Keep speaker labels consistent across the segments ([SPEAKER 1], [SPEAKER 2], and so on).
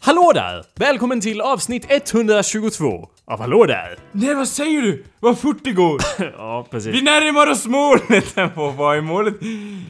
[SPEAKER 1] Hallå där! Välkommen till avsnitt 122 av Hallå där!
[SPEAKER 2] Nej vad säger du? Vad fort det går!
[SPEAKER 1] Ja, precis.
[SPEAKER 2] Vi närmar oss målet! Vad vad är målet?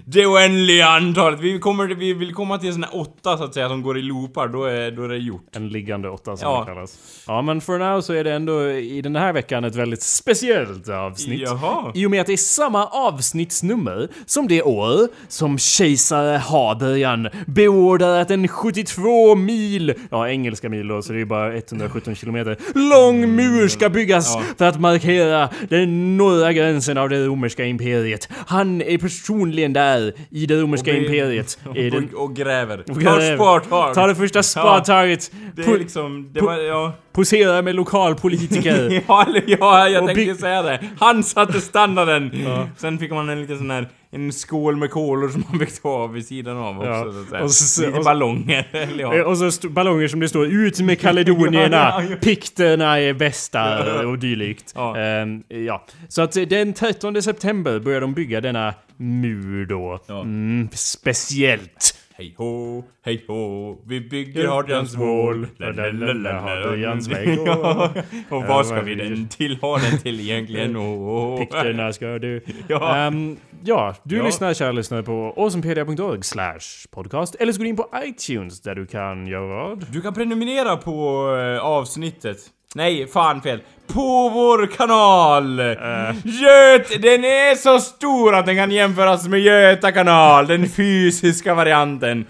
[SPEAKER 2] Det oändliga antalet. Vi, kommer, vi vill komma till en sån här åtta så att säga som går i loopar, då är, då är det gjort.
[SPEAKER 1] En liggande åtta som
[SPEAKER 2] Ja.
[SPEAKER 1] det kallas. Ja, men for now så är det ändå i den här veckan ett väldigt speciellt avsnitt.
[SPEAKER 2] Jaha.
[SPEAKER 1] I och med att det är samma avsnittsnummer som det år som kejsare Hadrian beordrar att en 72 mil, ja engelska mil då, så det är ju bara 117 kilometer,
[SPEAKER 2] Mm.
[SPEAKER 1] lång mur ska byggas för att markera den norra gränsen av det romerska imperiet. Han är personligen där i det romerska
[SPEAKER 2] Och vi-
[SPEAKER 1] imperiet. i den
[SPEAKER 2] Och, och gräver.
[SPEAKER 1] gräver.
[SPEAKER 2] Tar spartag.
[SPEAKER 1] Ta det första spartaget.
[SPEAKER 2] Det
[SPEAKER 1] Po-
[SPEAKER 2] är liksom, det
[SPEAKER 1] po-
[SPEAKER 2] var, ja.
[SPEAKER 1] Posera med lokalpolitiker.
[SPEAKER 2] Ja, eller- ja jag
[SPEAKER 1] Och
[SPEAKER 2] tänkte
[SPEAKER 1] bygg-
[SPEAKER 2] säga det. Han satte standarden! Sen fick man en liten sån här, en skål med kolor som man fick ta av vid sidan av också
[SPEAKER 1] Ja.
[SPEAKER 2] så att säga.
[SPEAKER 1] Och så-
[SPEAKER 2] Lite
[SPEAKER 1] och så-
[SPEAKER 2] ballonger, eller
[SPEAKER 1] Eh,
[SPEAKER 2] ja.
[SPEAKER 1] Och så st- ballonger som det står ut med kaledonierna,
[SPEAKER 2] Ja, ja, ja.
[SPEAKER 1] pikterna är bästa och dylikt.
[SPEAKER 2] Ja.
[SPEAKER 1] Ehm, ja. Så att eh, den 13 september börjar de bygga denna mur då.
[SPEAKER 2] Ja.
[SPEAKER 1] Mm, speciellt.
[SPEAKER 2] Hej ho, hej ho, vi bygger
[SPEAKER 1] Hadrians
[SPEAKER 2] Hadrians
[SPEAKER 1] mål.
[SPEAKER 2] mål.
[SPEAKER 1] Lalalala, Hadrians väg.
[SPEAKER 2] Ja. Och
[SPEAKER 1] Ja,
[SPEAKER 2] vad ska vi
[SPEAKER 1] verkligen.
[SPEAKER 2] den till? Ha den till egentligen? Oh, oh.
[SPEAKER 1] Pikterna ska du.
[SPEAKER 2] Ja.
[SPEAKER 1] Ehm, ja, du
[SPEAKER 2] Ja.
[SPEAKER 1] lyssnar kära lyssnare på awesomepedia.org slash podcast. Eller så går du in på iTunes där du kan göra vad?
[SPEAKER 2] Du kan prenumerera på eh, avsnittet. Nej, fan fel. På vår kanal!
[SPEAKER 1] Eh.
[SPEAKER 2] Göt, den är så stor att den kan jämföras med Göta kanal, den fysiska varianten.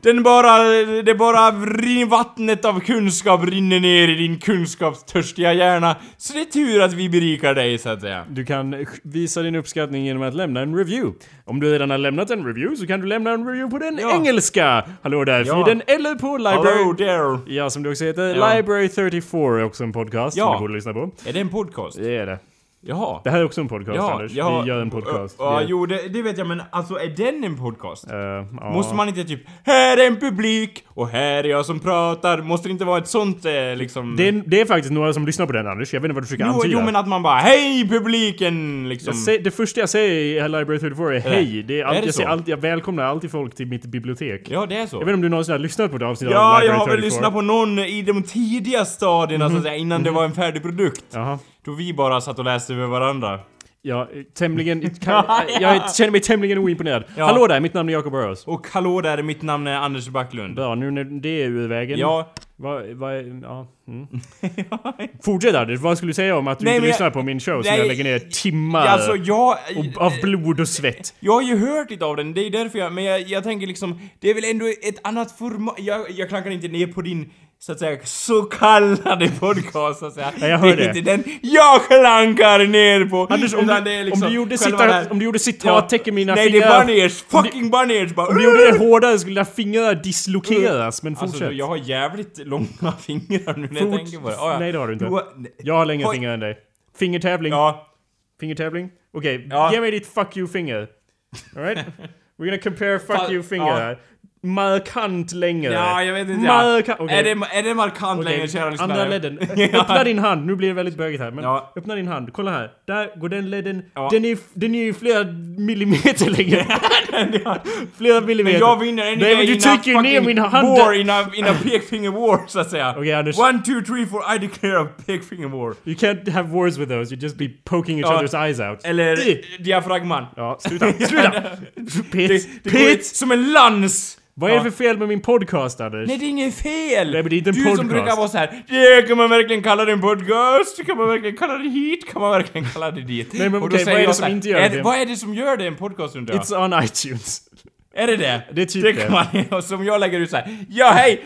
[SPEAKER 2] Den bara, det bara rin- vattnet av kunskap rinner ner i din kunskapstörstiga hjärna. Så det är tur att vi berikar dig så att säga.
[SPEAKER 1] Du kan sk- visa din uppskattning genom att lämna en review. Om du redan har lämnat en review så kan du lämna en review på den
[SPEAKER 2] Ja.
[SPEAKER 1] engelska Hallå där-feeden eller på
[SPEAKER 2] Hello
[SPEAKER 1] Library...
[SPEAKER 2] there!
[SPEAKER 1] Ja, som det också heter.
[SPEAKER 2] Ja.
[SPEAKER 1] Library 34 är också en podcast som
[SPEAKER 2] Ja.
[SPEAKER 1] du borde lyssna på.
[SPEAKER 2] Är det en podcast?
[SPEAKER 1] Det är det.
[SPEAKER 2] Jaha.
[SPEAKER 1] Det här är också en podcast,
[SPEAKER 2] Ja,
[SPEAKER 1] Anders.
[SPEAKER 2] ja,
[SPEAKER 1] Vi gör en podcast.
[SPEAKER 2] Ja,
[SPEAKER 1] Vi-
[SPEAKER 2] jo det, det vet jag men alltså är den en podcast?
[SPEAKER 1] Eh, ja.
[SPEAKER 2] Måste man inte typ Här är en publik och här är jag som pratar Måste det inte vara ett sånt eh, liksom
[SPEAKER 1] det, är, det är faktiskt några som lyssnar på den, Anders. Jag vet inte vad du försöker
[SPEAKER 2] jo,
[SPEAKER 1] antyda.
[SPEAKER 2] jo men att man bara Hej publiken! Liksom
[SPEAKER 1] Jag säger, det första jag säger i här Library 34 är hej. Det är allt,
[SPEAKER 2] Är det
[SPEAKER 1] jag,
[SPEAKER 2] så?
[SPEAKER 1] säger allt, jag välkomnar alltid folk till mitt bibliotek.
[SPEAKER 2] Ja det är så
[SPEAKER 1] Jag vet inte om du någonsin har lyssnat på det avsnittet av
[SPEAKER 2] Ja,
[SPEAKER 1] Library Mhm.
[SPEAKER 2] jag har väl
[SPEAKER 1] 34.
[SPEAKER 2] lyssnat på någon i de tidiga stadierna så att säga, innan det var en färdig produkt.
[SPEAKER 1] Jaha.
[SPEAKER 2] Då vi bara satt och läste över varandra.
[SPEAKER 1] Ja, eh, tämligen... Kan, jag känner mig tämligen oimponerad.
[SPEAKER 2] Ja.
[SPEAKER 1] Hallå där, mitt namn är Jacob Burrows.
[SPEAKER 2] Och hallå där, mitt namn är Anders Backlund.
[SPEAKER 1] Bra, nu när det är ur vägen.
[SPEAKER 2] Ja,
[SPEAKER 1] Vad... vad ja. Mm. Fortsätt Anders, vad skulle du säga om att du
[SPEAKER 2] Nej,
[SPEAKER 1] inte
[SPEAKER 2] men jag-
[SPEAKER 1] lyssnar på min show som
[SPEAKER 2] Nej,
[SPEAKER 1] jag lägger ner timmar
[SPEAKER 2] alltså jag...
[SPEAKER 1] och- av blod och svett?
[SPEAKER 2] Jag har ju hört lite av den, det är därför jag, men jag, jag tänker liksom, det är väl ändå ett annat format, jag, jag klankar inte ner på din så att säga så kallade podcast så att säga.
[SPEAKER 1] Nej, jag hör
[SPEAKER 2] det
[SPEAKER 1] det.
[SPEAKER 2] är inte den jag klankar ner på!
[SPEAKER 1] Anders, om,
[SPEAKER 2] utan
[SPEAKER 1] du,
[SPEAKER 2] det är liksom
[SPEAKER 1] om, du gjorde
[SPEAKER 2] själva
[SPEAKER 1] cita-
[SPEAKER 2] det här-
[SPEAKER 1] om du gjorde citattecken mina
[SPEAKER 2] Nej, det
[SPEAKER 1] fingrar...
[SPEAKER 2] är Barniers, fucking Barniers bara...
[SPEAKER 1] Om du gjorde det hårdare skulle dina fingrar dislokeras, men fortsätt.
[SPEAKER 2] Alltså, du, jag har jävligt långa fingrar nu när jag
[SPEAKER 1] Fort-
[SPEAKER 2] tänker på det. ja.
[SPEAKER 1] Nej, det har du inte.
[SPEAKER 2] har- nej.
[SPEAKER 1] Jag har längre
[SPEAKER 2] Oj.
[SPEAKER 1] fingrar än dig. Fingertävling.
[SPEAKER 2] Ja,
[SPEAKER 1] Fingertävling? Okej,
[SPEAKER 2] Ja.
[SPEAKER 1] ge mig ditt fuck you finger. Alright? We're gonna compare fuck
[SPEAKER 2] Fa-
[SPEAKER 1] you finger
[SPEAKER 2] ja.
[SPEAKER 1] här. Markant längre.
[SPEAKER 2] ja, jag vet inte. ja.
[SPEAKER 1] Markant... Okej.
[SPEAKER 2] Är, det, är det markant
[SPEAKER 1] Okej,
[SPEAKER 2] längre, kära lyssnare?
[SPEAKER 1] Andra ledden. Öppna din hand. Nu blir det väldigt bögigt här. Men
[SPEAKER 2] Ja.
[SPEAKER 1] öppna din hand. Kolla här. Där går den ledden.
[SPEAKER 2] Ja.
[SPEAKER 1] Den, är, den är ju flera millimeter längre. flera millimeter.
[SPEAKER 2] Men jag vinner anyway
[SPEAKER 1] Nej men du
[SPEAKER 2] in a
[SPEAKER 1] trycker ju ner
[SPEAKER 2] fucking
[SPEAKER 1] min hand.
[SPEAKER 2] War, in a, in a pekfinger war så att säga.
[SPEAKER 1] Okej, Anders.
[SPEAKER 2] One, two, three, four, I declare a pekfinger war.
[SPEAKER 1] You can't have wars with those. You just be poking each
[SPEAKER 2] Ja.
[SPEAKER 1] other's eyes out.
[SPEAKER 2] Eller
[SPEAKER 1] I.
[SPEAKER 2] diafragman.
[SPEAKER 1] Ja, sluta. Sluta! Pete,
[SPEAKER 2] Det, det går ut
[SPEAKER 1] Pete!
[SPEAKER 2] som en lans!
[SPEAKER 1] Vad är det
[SPEAKER 2] Ja.
[SPEAKER 1] för fel med min podcast Anders?
[SPEAKER 2] Nej det är inget fel!
[SPEAKER 1] Nej, men det är inte en
[SPEAKER 2] du som
[SPEAKER 1] podcast.
[SPEAKER 2] brukar vara såhär yeah, kan man verkligen kalla det en podcast? Kan man verkligen kalla det hit? Kan man verkligen kalla det dit?
[SPEAKER 1] Nej, men
[SPEAKER 2] Och
[SPEAKER 1] okej,
[SPEAKER 2] då
[SPEAKER 1] vad
[SPEAKER 2] säger
[SPEAKER 1] är det
[SPEAKER 2] jag
[SPEAKER 1] som
[SPEAKER 2] så här,
[SPEAKER 1] inte gör
[SPEAKER 2] är,
[SPEAKER 1] det?
[SPEAKER 2] Vad är det som gör det en podcast undrar jag?
[SPEAKER 1] It's on iTunes.
[SPEAKER 2] Är det det?
[SPEAKER 1] Det är typ
[SPEAKER 2] det
[SPEAKER 1] det.
[SPEAKER 2] kan man, Som jag lägger ut såhär ja hej!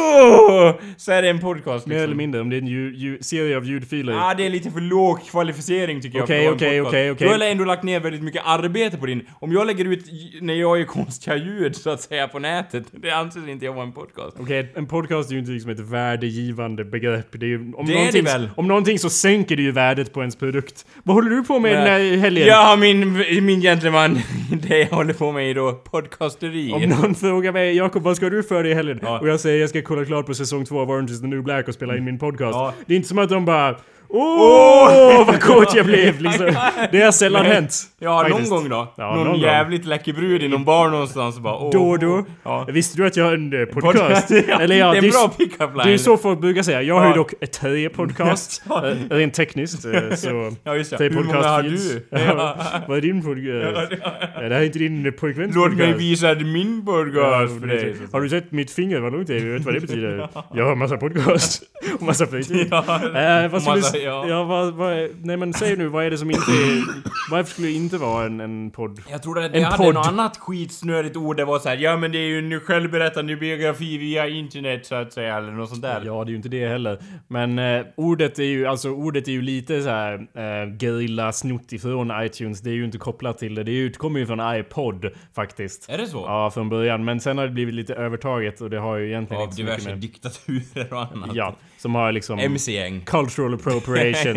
[SPEAKER 2] Oh, så är det en podcast
[SPEAKER 1] Mer eller
[SPEAKER 2] liksom.
[SPEAKER 1] mindre om det är en ljud, ljud, serie av ljudfiler.
[SPEAKER 2] Ja, ah, det är lite för låg kvalificering tycker jag
[SPEAKER 1] Okej,
[SPEAKER 2] för att vara en
[SPEAKER 1] okej,
[SPEAKER 2] podcast.
[SPEAKER 1] okej, okej.
[SPEAKER 2] Du har ändå lagt ner väldigt mycket arbete på din. Om jag lägger ut j- när jag gör konstiga ljud så att säga på nätet, det anses inte jag vara en podcast.
[SPEAKER 1] Okej, en podcast är ju inte liksom ett värdegivande begrepp. Det är ju, om,
[SPEAKER 2] Det är
[SPEAKER 1] någonting,
[SPEAKER 2] det väl?
[SPEAKER 1] om någonting så sänker det ju värdet på ens produkt. Vad håller du på med den här helgen?
[SPEAKER 2] Ja, min, min gentleman, det jag håller på med är då podcasteri.
[SPEAKER 1] Om någon frågar mig Jakob vad ska du för dig i helgen?
[SPEAKER 2] Ja. Mm.
[SPEAKER 1] Och jag säger jag ska kolla klart på säsong två av Orange is the new black och spela in min podcast.
[SPEAKER 2] Ja.
[SPEAKER 1] Det är inte som att de bara Åh, vad kåt jag blev liksom. Det har sällan hänt.
[SPEAKER 2] Ja,
[SPEAKER 1] faktiskt.
[SPEAKER 2] någon gång då.
[SPEAKER 1] Ja,
[SPEAKER 2] någon,
[SPEAKER 1] någon gång.
[SPEAKER 2] jävligt läcker brud i någon bar någonstans och bara åh.
[SPEAKER 1] Då och då.
[SPEAKER 2] Ja.
[SPEAKER 1] Visste du att jag har en eh, podcast?
[SPEAKER 2] Podcast. Ja,
[SPEAKER 1] Eller ja,
[SPEAKER 2] det är
[SPEAKER 1] det,
[SPEAKER 2] en
[SPEAKER 1] är,
[SPEAKER 2] bra
[SPEAKER 1] s-
[SPEAKER 2] pick-up line.
[SPEAKER 1] det är så folk brukar säga. Jag har ju
[SPEAKER 2] Ja.
[SPEAKER 1] dock ett tre podcast.
[SPEAKER 2] Ja.
[SPEAKER 1] Eh, Rent tekniskt. eh, Så
[SPEAKER 2] Ja just ja.
[SPEAKER 1] tre
[SPEAKER 2] Hur många har
[SPEAKER 1] finns.
[SPEAKER 2] du?
[SPEAKER 1] Ja, Vad är din podcast? Eh, Det här är inte din eh, pojkväns
[SPEAKER 2] Låt mig
[SPEAKER 1] podcast.
[SPEAKER 2] visa min
[SPEAKER 1] Ja,
[SPEAKER 2] podcast för dig.
[SPEAKER 1] Har du sett mitt finger? Vad långt det är? Jag vet vad det betyder. Jag har massa podcast. Och massa fritid.
[SPEAKER 2] Ja.
[SPEAKER 1] Eh, vad
[SPEAKER 2] Om
[SPEAKER 1] skulle
[SPEAKER 2] man
[SPEAKER 1] du s-
[SPEAKER 2] säger, ja.
[SPEAKER 1] ja, vad, vad, är- nej men säg nu, vad är det som inte är, Varför skulle det inte vara en, en podd?
[SPEAKER 2] Jag trodde att
[SPEAKER 1] En
[SPEAKER 2] jag hade
[SPEAKER 1] podd.
[SPEAKER 2] något annat skitsnörigt ord, det var så här, ja men det är ju en självberättande biografi via internet så att säga, eller något sånt där.
[SPEAKER 1] Ja, det är ju inte det heller. Men eh, ordet är ju, alltså ordet är ju lite så här eh, gerilla snott ifrån iTunes. Det är ju inte kopplat till det. Det utkommer ju från iPod faktiskt.
[SPEAKER 2] Är det så?
[SPEAKER 1] Ja, från början. Men sen har det blivit lite övertaget och det har ju egentligen
[SPEAKER 2] Av
[SPEAKER 1] inte så mycket
[SPEAKER 2] diverse
[SPEAKER 1] med...
[SPEAKER 2] diktaturer och annat.
[SPEAKER 1] Ja, som har liksom...
[SPEAKER 2] MC-gäng.
[SPEAKER 1] Cultural appropriation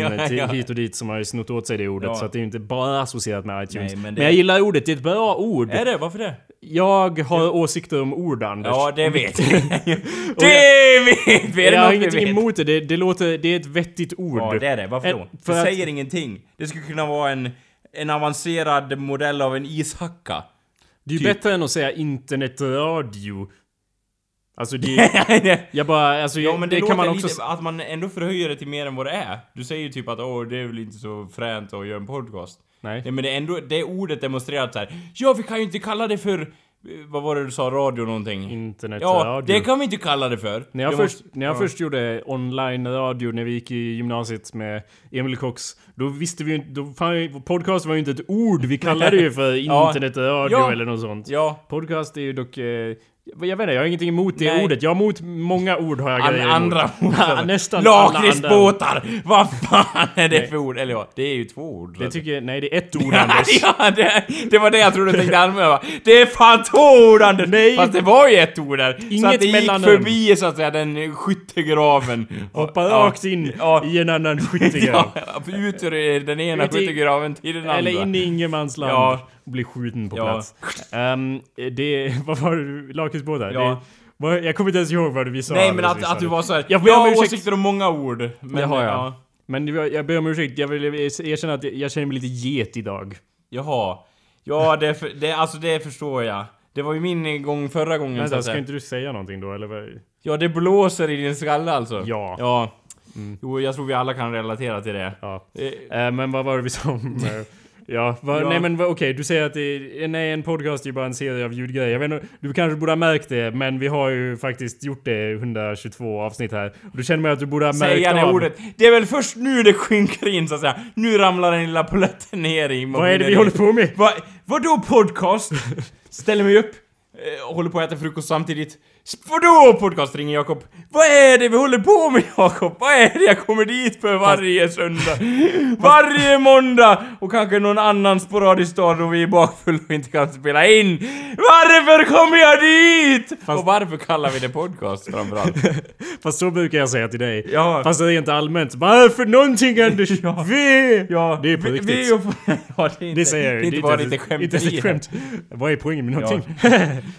[SPEAKER 2] Ja, ja.
[SPEAKER 1] till- hit och dit som har ju snott åt sig det ordet
[SPEAKER 2] Ja.
[SPEAKER 1] så att det är ju inte bara associerat med iTunes.
[SPEAKER 2] Nej,
[SPEAKER 1] men,
[SPEAKER 2] men det-
[SPEAKER 1] jag gillar ordet, det är ett bra ord.
[SPEAKER 2] Är det? Varför det?
[SPEAKER 1] Jag har åsikter om ord Anders.
[SPEAKER 2] Ja, det vet vi. det vet vi! Är det
[SPEAKER 1] jag har
[SPEAKER 2] något vi
[SPEAKER 1] inget
[SPEAKER 2] vet?
[SPEAKER 1] emot det. det, det låter... Det är ett vettigt ord.
[SPEAKER 2] Ja, det är det. Varför
[SPEAKER 1] Eh,
[SPEAKER 2] då?
[SPEAKER 1] För
[SPEAKER 2] det
[SPEAKER 1] att,
[SPEAKER 2] säger ingenting. Det skulle kunna vara en, en avancerad modell av en ishacka.
[SPEAKER 1] det är ju
[SPEAKER 2] typ.
[SPEAKER 1] bättre än att säga internetradio. Alltså det... Jag bara... Alltså,
[SPEAKER 2] ja men det,
[SPEAKER 1] det
[SPEAKER 2] låter
[SPEAKER 1] kan man också...
[SPEAKER 2] lite, att man ändå förhöjer det till mer än vad det är. Du säger ju typ att åh, det är väl inte så fränt att göra en podcast.
[SPEAKER 1] Nej.
[SPEAKER 2] men det är ändå, det ordet demonstrerar att så här. ja vi kan ju inte kalla det för, eh, vad var det du sa, radio någonting?
[SPEAKER 1] Internetradio.
[SPEAKER 2] ja, det kan vi inte kalla det för.
[SPEAKER 1] När jag,
[SPEAKER 2] Det
[SPEAKER 1] först,
[SPEAKER 2] måste-
[SPEAKER 1] när jag först gjorde online-radio när vi gick i gymnasiet med Emil Cox, då visste vi ju inte... då fan- Podcast var ju inte ett ord, vi kallade det ju för
[SPEAKER 2] Ja.
[SPEAKER 1] internetradio
[SPEAKER 2] Ja.
[SPEAKER 1] eller något sånt.
[SPEAKER 2] Ja.
[SPEAKER 1] Podcast är ju dock... Eh, jag vet inte, jag har ingenting emot det
[SPEAKER 2] Nej.
[SPEAKER 1] ordet. Jag har emot många ord har jag
[SPEAKER 2] An,
[SPEAKER 1] grejer emot.
[SPEAKER 2] andra ord.
[SPEAKER 1] Nästan alla andra.
[SPEAKER 2] Lakritsbåtar! Vad fan är det för ord? Eller ja, det är ju två ord.
[SPEAKER 1] Det
[SPEAKER 2] så
[SPEAKER 1] tycker jag, nej det är ett ord Anders.
[SPEAKER 2] ja, det, det var det jag trodde du tänkte använda. Det är fan två ord Anders!
[SPEAKER 1] Nej.
[SPEAKER 2] Fast det var ju ett ord där. så
[SPEAKER 1] Inget
[SPEAKER 2] att det gick
[SPEAKER 1] mellanrum.
[SPEAKER 2] förbi så att säga den skyttegraven.
[SPEAKER 1] Hoppa
[SPEAKER 2] Ja.
[SPEAKER 1] rakt in
[SPEAKER 2] Ja.
[SPEAKER 1] i en annan skyttegrav.
[SPEAKER 2] Ja, ut ur den ena
[SPEAKER 1] Ut i-
[SPEAKER 2] skyttegraven till den andra.
[SPEAKER 1] Eller in i ingenmansland
[SPEAKER 2] Ja.
[SPEAKER 1] och bli skjuten på
[SPEAKER 2] Ja.
[SPEAKER 1] plats. Ehm, det, vad var det, lakritsbåtar?
[SPEAKER 2] Ja.
[SPEAKER 1] Det- vad- Jag kommer inte ens ihåg vad vi sa
[SPEAKER 2] Nej men
[SPEAKER 1] alldeles
[SPEAKER 2] att,
[SPEAKER 1] nyss,
[SPEAKER 2] att du
[SPEAKER 1] Anders.
[SPEAKER 2] var såhär, jag,
[SPEAKER 1] Jag ber om
[SPEAKER 2] har
[SPEAKER 1] ursäkt.
[SPEAKER 2] åsikter om många ord. Men,
[SPEAKER 1] Det har jag.
[SPEAKER 2] Ja,
[SPEAKER 1] Men det var- jag ber om ursäkt, jag vill erkänna att jag känner mig lite get idag.
[SPEAKER 2] jaha. Ja, det, för, det, alltså det förstår jag. Det var ju min gång förra gången så
[SPEAKER 1] Vänta,
[SPEAKER 2] att
[SPEAKER 1] ska
[SPEAKER 2] säga.
[SPEAKER 1] inte du säga någonting då eller? vad?
[SPEAKER 2] Ja, det blåser i din skalle alltså?
[SPEAKER 1] Ja. Mm.
[SPEAKER 2] Ja. Jo, jag tror vi alla kan relatera till det.
[SPEAKER 1] Ja.
[SPEAKER 2] Eh,
[SPEAKER 1] Eh, men vad var det vi sa om... eh, Ja, vad-
[SPEAKER 2] Ja.
[SPEAKER 1] nej men vad- okej, du säger att det är, nej, en podcast är ju bara en serie av ljudgrejer. Jag vet inte, du kanske borde ha märkt det, men vi har ju faktiskt gjort det i 122 avsnitt här. Och du känner mig att du borde ha märkt
[SPEAKER 2] Säga det
[SPEAKER 1] av-
[SPEAKER 2] ordet. Det är väl först nu det sjunker in så att säga. Nu ramlar den lilla polletten ner i
[SPEAKER 1] Vad är det vi håller på med?
[SPEAKER 2] Va, vadå podcast? Ställer mig upp, eh, och håller på att äta frukost samtidigt. S- Vadå podcast? Ringer Jakob. Vad är det vi håller på med Jakob? Vad är det jag kommer dit för varje söndag? Varje måndag! Och kanske någon annan sporadisk dag då vi är bakfulla och inte kan spela in. Varför kommer jag dit? Och varför kallar vi det podcast framförallt?
[SPEAKER 1] Fast så brukar jag säga till dig.
[SPEAKER 2] Ja.
[SPEAKER 1] Fast det är inte allmänt. Varför någonting Anders?
[SPEAKER 2] Ja.
[SPEAKER 1] Vi!
[SPEAKER 2] Ja,
[SPEAKER 1] Det är på
[SPEAKER 2] vi-
[SPEAKER 1] riktigt.
[SPEAKER 2] Vi, ja, det är inte,
[SPEAKER 1] det säger jag ju.
[SPEAKER 2] Det är inte bara lite
[SPEAKER 1] ens ett-
[SPEAKER 2] skämt.
[SPEAKER 1] Inte ens
[SPEAKER 2] i
[SPEAKER 1] ett
[SPEAKER 2] det.
[SPEAKER 1] skämt. Vad är poängen med någonting?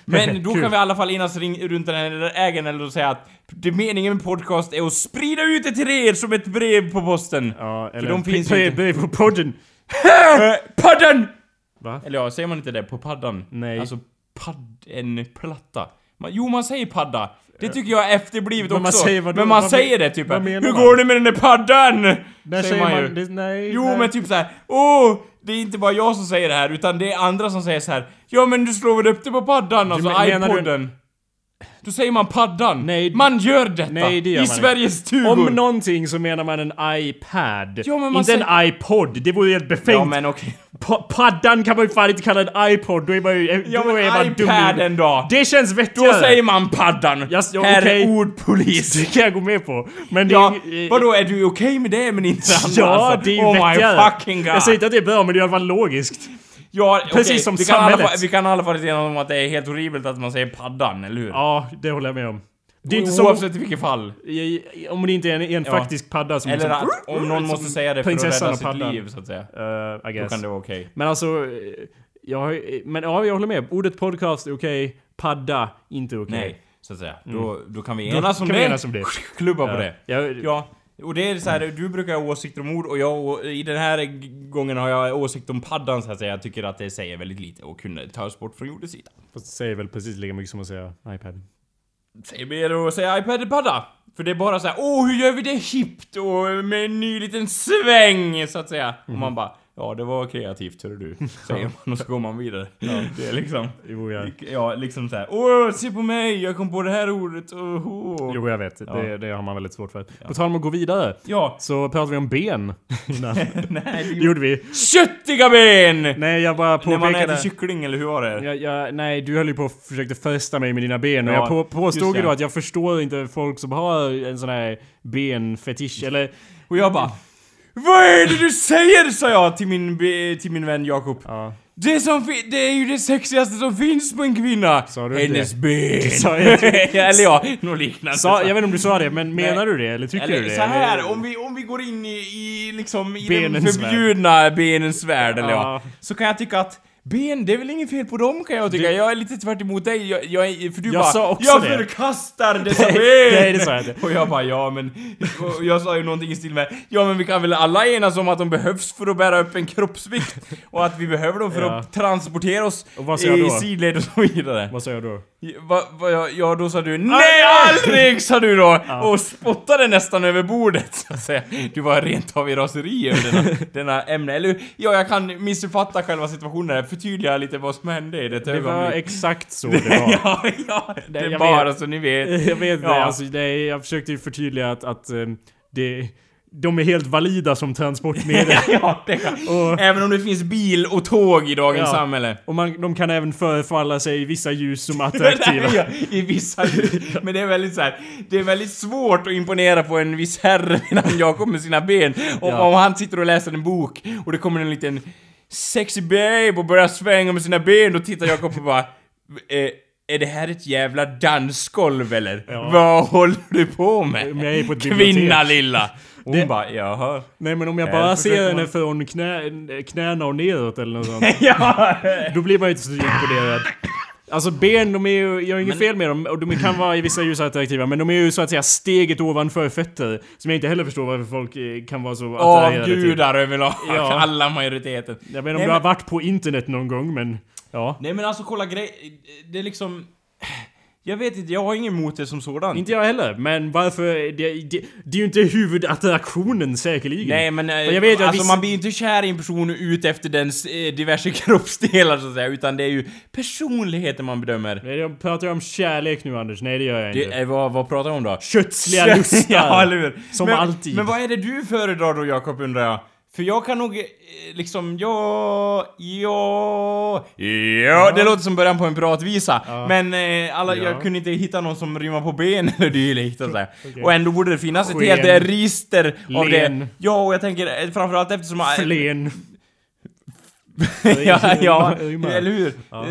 [SPEAKER 2] Men då
[SPEAKER 1] Kul.
[SPEAKER 2] kan vi i alla fall enas ring, runt den här ägen eller säga att det meningen med podcast är att sprida ut det till er som ett brev på posten.
[SPEAKER 1] Ja, eller...
[SPEAKER 2] de finns ju inte.
[SPEAKER 1] på podden.
[SPEAKER 2] Eh, paddan!
[SPEAKER 1] Va?
[SPEAKER 2] Eller ja, säger man inte det? På paddan?
[SPEAKER 1] Nej.
[SPEAKER 2] Alltså, padd... En platta. Man, jo, man säger padda. Det tycker jag är efterblivet
[SPEAKER 1] Eh, Men man
[SPEAKER 2] också.
[SPEAKER 1] säger vadå?
[SPEAKER 2] men man
[SPEAKER 1] Vad men-
[SPEAKER 2] säger det typ.
[SPEAKER 1] vad menar
[SPEAKER 2] Hur
[SPEAKER 1] man?
[SPEAKER 2] går det med den där paddan?
[SPEAKER 1] Där säger man,
[SPEAKER 2] ju.
[SPEAKER 1] det, nej.
[SPEAKER 2] Jo
[SPEAKER 1] nej.
[SPEAKER 2] men typ såhär, åh! Det är inte bara jag som säger det här utan det är andra som säger så här. Ja men du slår väl upp det på paddan, alltså
[SPEAKER 1] men- menar du-
[SPEAKER 2] iPoden. Då säger man paddan.
[SPEAKER 1] Nej.
[SPEAKER 2] man gör detta!
[SPEAKER 1] Nej, det gör
[SPEAKER 2] I
[SPEAKER 1] man inte.
[SPEAKER 2] Sveriges stugor!
[SPEAKER 1] Om någonting så menar man en iPad.
[SPEAKER 2] Ja, men man
[SPEAKER 1] inte en
[SPEAKER 2] säger-
[SPEAKER 1] iPod, det vore ju helt befängt.
[SPEAKER 2] ja men okej.
[SPEAKER 1] Pa- paddan kan man ju fan inte kalla en iPod, då är man ju...
[SPEAKER 2] Ja
[SPEAKER 1] då är man
[SPEAKER 2] men iPaden då!
[SPEAKER 1] Det känns
[SPEAKER 2] Då
[SPEAKER 1] vettigare.
[SPEAKER 2] säger man paddan!
[SPEAKER 1] Jag s- ja,
[SPEAKER 2] här
[SPEAKER 1] okej.
[SPEAKER 2] är ordpolis!
[SPEAKER 1] Det kan jag gå med på. Men det
[SPEAKER 2] Ja,
[SPEAKER 1] är ju- eh,
[SPEAKER 2] vadå är du okej med det men inte andra?
[SPEAKER 1] Ja,
[SPEAKER 2] alltså?
[SPEAKER 1] det är ju
[SPEAKER 2] Oh my
[SPEAKER 1] vettigare.
[SPEAKER 2] fucking god!
[SPEAKER 1] Jag säger inte att det är bra, men det är i alla fall logiskt.
[SPEAKER 2] ja,
[SPEAKER 1] precis
[SPEAKER 2] okej,
[SPEAKER 1] som
[SPEAKER 2] vi kan i alla
[SPEAKER 1] samhället.
[SPEAKER 2] fall- Vi kan i alla fall säga om att det är helt horribelt att man säger paddan, eller hur?
[SPEAKER 1] Ja, det håller jag med om. Det är inte som...
[SPEAKER 2] Oavsett i vilket fall.
[SPEAKER 1] Om det inte är en, en
[SPEAKER 2] Ja.
[SPEAKER 1] faktisk padda som...
[SPEAKER 2] Eller
[SPEAKER 1] liksom,
[SPEAKER 2] att om någon måste säga det för att
[SPEAKER 1] prinsessan
[SPEAKER 2] rädda
[SPEAKER 1] och
[SPEAKER 2] sitt
[SPEAKER 1] paddan.
[SPEAKER 2] liv så att säga.
[SPEAKER 1] Eh, I
[SPEAKER 2] Då
[SPEAKER 1] guess.
[SPEAKER 2] kan det vara okej.
[SPEAKER 1] Men alltså... eh, Jag, har ju- men ja, jag håller med. Ordet podcast är okej. Padda, inte okej.
[SPEAKER 2] Nej, så att säga. Då, då kan vi
[SPEAKER 1] Mm. Då
[SPEAKER 2] enas om
[SPEAKER 1] kan vi
[SPEAKER 2] det.
[SPEAKER 1] enas om det.
[SPEAKER 2] Klubba på
[SPEAKER 1] Ja.
[SPEAKER 2] det.
[SPEAKER 1] Jag,
[SPEAKER 2] Ja. Och det är så här, du brukar ha åsikter om ord och jag, och i den här g- gången har jag åsikt om paddan så att säga. Jag tycker att det säger väldigt lite och kunde tas bort från jordens sida.
[SPEAKER 1] Fast det säger väl precis lika mycket som att säga iPad.
[SPEAKER 2] Säg mer att säga iPad-padda! För det är bara så här, åh hur gör vi det hippt och med en ny liten sväng så att säga. Och
[SPEAKER 1] Mm.
[SPEAKER 2] man bara, ja det var kreativt hörru du. Säger man och så går man vidare. Det är liksom,
[SPEAKER 1] Jo, jag,
[SPEAKER 2] ja liksom så här, åh se på mig, jag kom på det här ordet, oh, oh.
[SPEAKER 1] jo, jag vet. Det, det har man väldigt svårt för. På tal om att gå vidare.
[SPEAKER 2] Ja,
[SPEAKER 1] Så pratade vi om ben innan.
[SPEAKER 2] nej det
[SPEAKER 1] Det gjorde vi.
[SPEAKER 2] Köttiga ben!
[SPEAKER 1] Nej, jag bara
[SPEAKER 2] När man
[SPEAKER 1] påpekade...
[SPEAKER 2] äter kyckling eller hur var det?
[SPEAKER 1] Jag, jag, nej, du höll ju på och försökte fästa mig med dina ben och
[SPEAKER 2] Ja,
[SPEAKER 1] jag på,
[SPEAKER 2] just
[SPEAKER 1] påstod
[SPEAKER 2] det.
[SPEAKER 1] ju då att jag förstår inte folk som har en sån här benfetisch eller...
[SPEAKER 2] Och jag bara Vad är det du säger? sa jag till min, be- till min vän Jakob.
[SPEAKER 1] Ja.
[SPEAKER 2] Det, som fi- det är ju det sexigaste som finns på en kvinna!
[SPEAKER 1] Sa du
[SPEAKER 2] Hennes
[SPEAKER 1] det?
[SPEAKER 2] ben!
[SPEAKER 1] Sa jag-
[SPEAKER 2] eller ja, något liknande.
[SPEAKER 1] Sa, jag vet inte om du sa det, men menar
[SPEAKER 2] Nej.
[SPEAKER 1] du det? Eller tycker
[SPEAKER 2] eller
[SPEAKER 1] du det?
[SPEAKER 2] så här,
[SPEAKER 1] Eller-
[SPEAKER 2] om vi, om vi går in i, i liksom i den
[SPEAKER 1] Benens värld.
[SPEAKER 2] förbjudna benens värld eller ja.
[SPEAKER 1] Ja.
[SPEAKER 2] Så kan jag tycka att Ben, det är väl inget fel på dem kan jag tycka. Jag är lite tvärt emot dig. Jag, jag är, för du
[SPEAKER 1] Jag
[SPEAKER 2] bara
[SPEAKER 1] sa också
[SPEAKER 2] Jag
[SPEAKER 1] det."
[SPEAKER 2] förkastar dessa ben!
[SPEAKER 1] nej, det sa jag inte.
[SPEAKER 2] Och jag bara ja men... Och jag sa ju någonting i stil med Ja men vi kan väl alla enas om att de behövs för att bära upp en kroppsvikt? Och att vi behöver dem för
[SPEAKER 1] Ja.
[SPEAKER 2] att transportera oss
[SPEAKER 1] Och vad sa jag
[SPEAKER 2] i
[SPEAKER 1] då?
[SPEAKER 2] sidled och så vidare.
[SPEAKER 1] Vad sa jag då?
[SPEAKER 2] Va, va, ja, ja, då sa du NEJ ALDRIG sa du då! Och spottade nästan över bordet så att säga. Du var rent av i raseri över denna, denna ämne. Eller hur? Ja, jag kan missuppfatta själva situationen här. Förtydliga lite vad som hände i det
[SPEAKER 1] Det var
[SPEAKER 2] ögonblick.
[SPEAKER 1] exakt så det var.
[SPEAKER 2] Ja, ja. Det
[SPEAKER 1] Nej,
[SPEAKER 2] är
[SPEAKER 1] jag
[SPEAKER 2] bara
[SPEAKER 1] vet.
[SPEAKER 2] så ni vet.
[SPEAKER 1] Jag vet
[SPEAKER 2] Ja.
[SPEAKER 1] det, alltså, nej, jag försökte ju förtydliga att, att ehm, det, de är helt valida som transportmedel.
[SPEAKER 2] ja, det kan.
[SPEAKER 1] och,
[SPEAKER 2] Även om det finns bil och tåg i dagens
[SPEAKER 1] Ja.
[SPEAKER 2] samhälle.
[SPEAKER 1] och man, de kan även förfalla sig i vissa ljus som
[SPEAKER 2] Det
[SPEAKER 1] attraktiva.
[SPEAKER 2] där är jag I vissa Men det är väldigt så här, det är väldigt svårt att imponera på en viss herre innan Jakob med sina ben. Om,
[SPEAKER 1] Ja.
[SPEAKER 2] om han sitter och läser en bok och det kommer en liten sexy babe och börjar svänga med sina ben, då tittar Jakob och bara eh, är det här ett jävla dansgolv eller?
[SPEAKER 1] Ja.
[SPEAKER 2] Vad håller du på med?
[SPEAKER 1] Men jag är på ett
[SPEAKER 2] Kvinna
[SPEAKER 1] bibliotek."
[SPEAKER 2] lilla! Och hon
[SPEAKER 1] Det-
[SPEAKER 2] bara jaha.
[SPEAKER 1] Nej men om jag
[SPEAKER 2] Nej,
[SPEAKER 1] bara
[SPEAKER 2] då försöker
[SPEAKER 1] ser
[SPEAKER 2] man-
[SPEAKER 1] henne från knä, knäna och neråt eller något sånt.
[SPEAKER 2] ja.
[SPEAKER 1] Då blir man ju inte så imponerad. Alltså ben, de är ju, jag har inget fel med dem och de kan vara i vissa ljus attraktiva men de är ju så att säga steget ovanför fötter. Som jag inte heller förstår varför folk eh, kan vara så attraherade till.
[SPEAKER 2] Avgudar överlag,
[SPEAKER 1] Ja.
[SPEAKER 2] alla majoriteten.
[SPEAKER 1] Jag menar om
[SPEAKER 2] Nej,
[SPEAKER 1] du
[SPEAKER 2] men-
[SPEAKER 1] har varit på internet någon gång men... Ja.
[SPEAKER 2] Nej men alltså kolla grej... Det är liksom... Jag vet inte, jag har inget emot det som sådant.
[SPEAKER 1] Inte jag heller, men varför... Det, det, det är ju inte huvudattraktionen säkerligen.
[SPEAKER 2] Nej men, eh,
[SPEAKER 1] jag vet ju att
[SPEAKER 2] alltså
[SPEAKER 1] vissa-
[SPEAKER 2] man blir ju inte kär i en person ut efter dens eh, diverse kroppsdelar så att säga, utan det är ju personligheten man bedömer.
[SPEAKER 1] Nej, Jag pratar om kärlek nu Anders, nej det gör jag inte.
[SPEAKER 2] Det, eh, vad, vad pratar vi om då?
[SPEAKER 1] Köttsliga lustar!
[SPEAKER 2] Ja, eller hur?
[SPEAKER 1] Som
[SPEAKER 2] men,
[SPEAKER 1] alltid.
[SPEAKER 2] Men vad är det du föredrar då Jakob undrar jag? För jag kan nog eh, liksom, ja, ja, ja, det låter som början på en pratvisa. Men eh, alla,
[SPEAKER 1] Ja.
[SPEAKER 2] jag kunde inte hitta någon som rimmar på ben eller dylikt och, sådär.
[SPEAKER 1] Okej.
[SPEAKER 2] och ändå borde det finnas ett
[SPEAKER 1] Sken.
[SPEAKER 2] helt eh, register av det.
[SPEAKER 1] Len.
[SPEAKER 2] Ja, och jag tänker eh, framförallt eftersom...
[SPEAKER 1] Flen.
[SPEAKER 2] ja, ja,
[SPEAKER 1] Rimmar.
[SPEAKER 2] eller hur?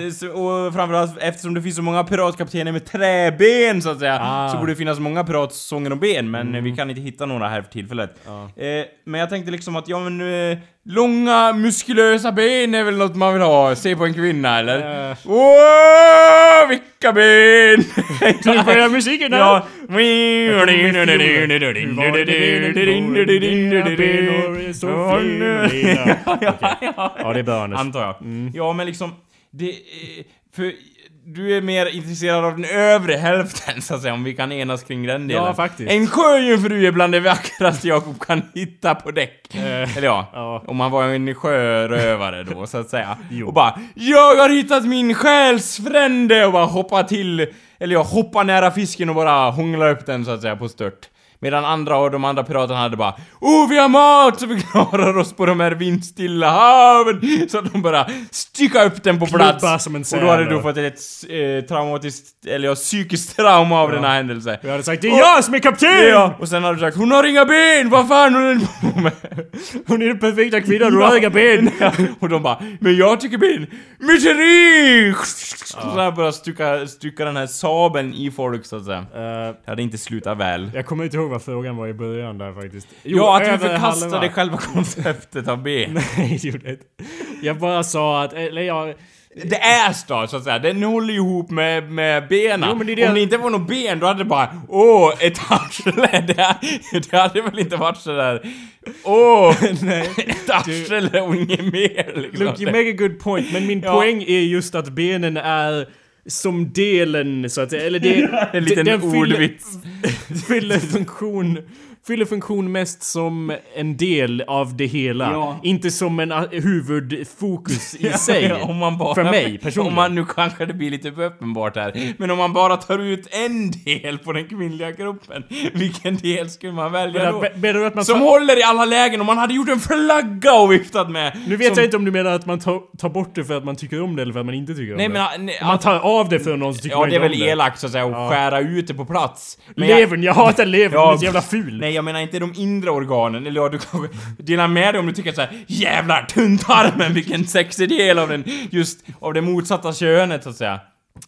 [SPEAKER 2] Eh, Så, och framförallt eftersom det finns så många piratkaptener med träben så att säga,
[SPEAKER 1] Ah.
[SPEAKER 2] så borde det finnas många piratsånger om ben, men eh, vi kan inte hitta några här för tillfället. Eh, men jag tänkte liksom att, ja men, eh, långa muskulösa ben är väl något man vill ha, se på en kvinna eller?
[SPEAKER 1] Eh.
[SPEAKER 2] Åh, vilka ben!
[SPEAKER 1] Nu börjar musiken här!
[SPEAKER 2] Ja.
[SPEAKER 1] Ja, det är bra Anders. Mm.
[SPEAKER 2] Antar jag. Ja, men liksom... Det, eh, för du är mer intresserad av den övre hälften, så att säga, om vi kan enas kring den delen.
[SPEAKER 1] Ja, faktiskt.
[SPEAKER 2] En sjöjungfru är bland det vackraste Jakob kan hitta på däck. Eller ja,
[SPEAKER 1] Eh, ja.
[SPEAKER 2] om man var en sjörövare då, så att säga.
[SPEAKER 1] Jo.
[SPEAKER 2] Och bara Jag har hittat min själsfrände! Och bara hoppa till, eller ja, hoppa nära fisken och bara hångla upp den, så att säga, på stört. Medan andra och de andra piraterna hade bara Oh vi har mat så vi klarar oss på de här vindstilla haven! Så att de bara stycka upp den på
[SPEAKER 1] Klubba
[SPEAKER 2] plats.
[SPEAKER 1] som en
[SPEAKER 2] och då hade
[SPEAKER 1] säl
[SPEAKER 2] du
[SPEAKER 1] och-
[SPEAKER 2] fått ett eh, traumatiskt, eller ja, psykiskt trauma av denna händelse.
[SPEAKER 1] Jag hade sagt det är jag som är kapten!
[SPEAKER 2] Ja, och sen hade du sagt Hon har inga ben! Vad fan håller ni på med?
[SPEAKER 1] Hon är den perfekta kvinnan, hon har inga ben!
[SPEAKER 2] Ja, och de bara Men jag tycker ben! Myteri! Så här bara stycka, stycka den här sabeln i folk så att säga.
[SPEAKER 1] Eh,
[SPEAKER 2] Det hade inte slutat väl.
[SPEAKER 1] jag kommer inte ihåg vad frågan var i början där faktiskt. Jo,
[SPEAKER 2] Ja, att du
[SPEAKER 1] över
[SPEAKER 2] förkastade
[SPEAKER 1] halva.
[SPEAKER 2] själva konceptet av ben.
[SPEAKER 1] Nej, det gjorde jag inte. Jag bara sa att, eller jag...
[SPEAKER 2] Det är stad så att säga, den håller ihop med, med benen.
[SPEAKER 1] Jo, men det är det
[SPEAKER 2] Om det
[SPEAKER 1] jag-
[SPEAKER 2] inte var något ben då hade det bara Åh, ett arsle! Det, hade- det hade väl inte varit sådär Åh, ett arsle och inget mer liksom.
[SPEAKER 1] Look, you make a good point, men min
[SPEAKER 2] Ja.
[SPEAKER 1] poäng är just att benen är som delen, så att säga. Eller det...
[SPEAKER 2] En liten
[SPEAKER 1] den fyller-
[SPEAKER 2] ordvits.
[SPEAKER 1] fyller funktion Fyller funktion mest som en del av det hela.
[SPEAKER 2] Ja.
[SPEAKER 1] Inte som en a- huvudfokus i sig.
[SPEAKER 2] om man bara,
[SPEAKER 1] För mig personligen.
[SPEAKER 2] Om man, nu kanske det blir lite för uppenbart här. Men om man bara tar ut en del på den kvinnliga kroppen, vilken del skulle man välja
[SPEAKER 1] Menar-
[SPEAKER 2] då?
[SPEAKER 1] be- menar du att man
[SPEAKER 2] Som
[SPEAKER 1] tar-
[SPEAKER 2] håller i alla lägen och man hade gjort en flagga och viftat med!
[SPEAKER 1] Nu vet
[SPEAKER 2] som,
[SPEAKER 1] jag inte om du menar att man tar, tar bort det för att man tycker om det eller för att man inte tycker om
[SPEAKER 2] Nej
[SPEAKER 1] det.
[SPEAKER 2] men... ah, Nej,
[SPEAKER 1] man tar av det för någon så tycker
[SPEAKER 2] ja
[SPEAKER 1] man
[SPEAKER 2] det är
[SPEAKER 1] inte
[SPEAKER 2] väl
[SPEAKER 1] om det.
[SPEAKER 2] elakt så att säga att skära ut det på plats. Men jag-
[SPEAKER 1] Levern, jag hatar levern,
[SPEAKER 2] Ja,
[SPEAKER 1] den är så jävla ful.
[SPEAKER 2] Nej jag menar inte de inre organen, eller ja du kanske delar med dig om du tycker såhär Jävlar tunntarmen vilken sexig del av den, just av det motsatta könet så att säga.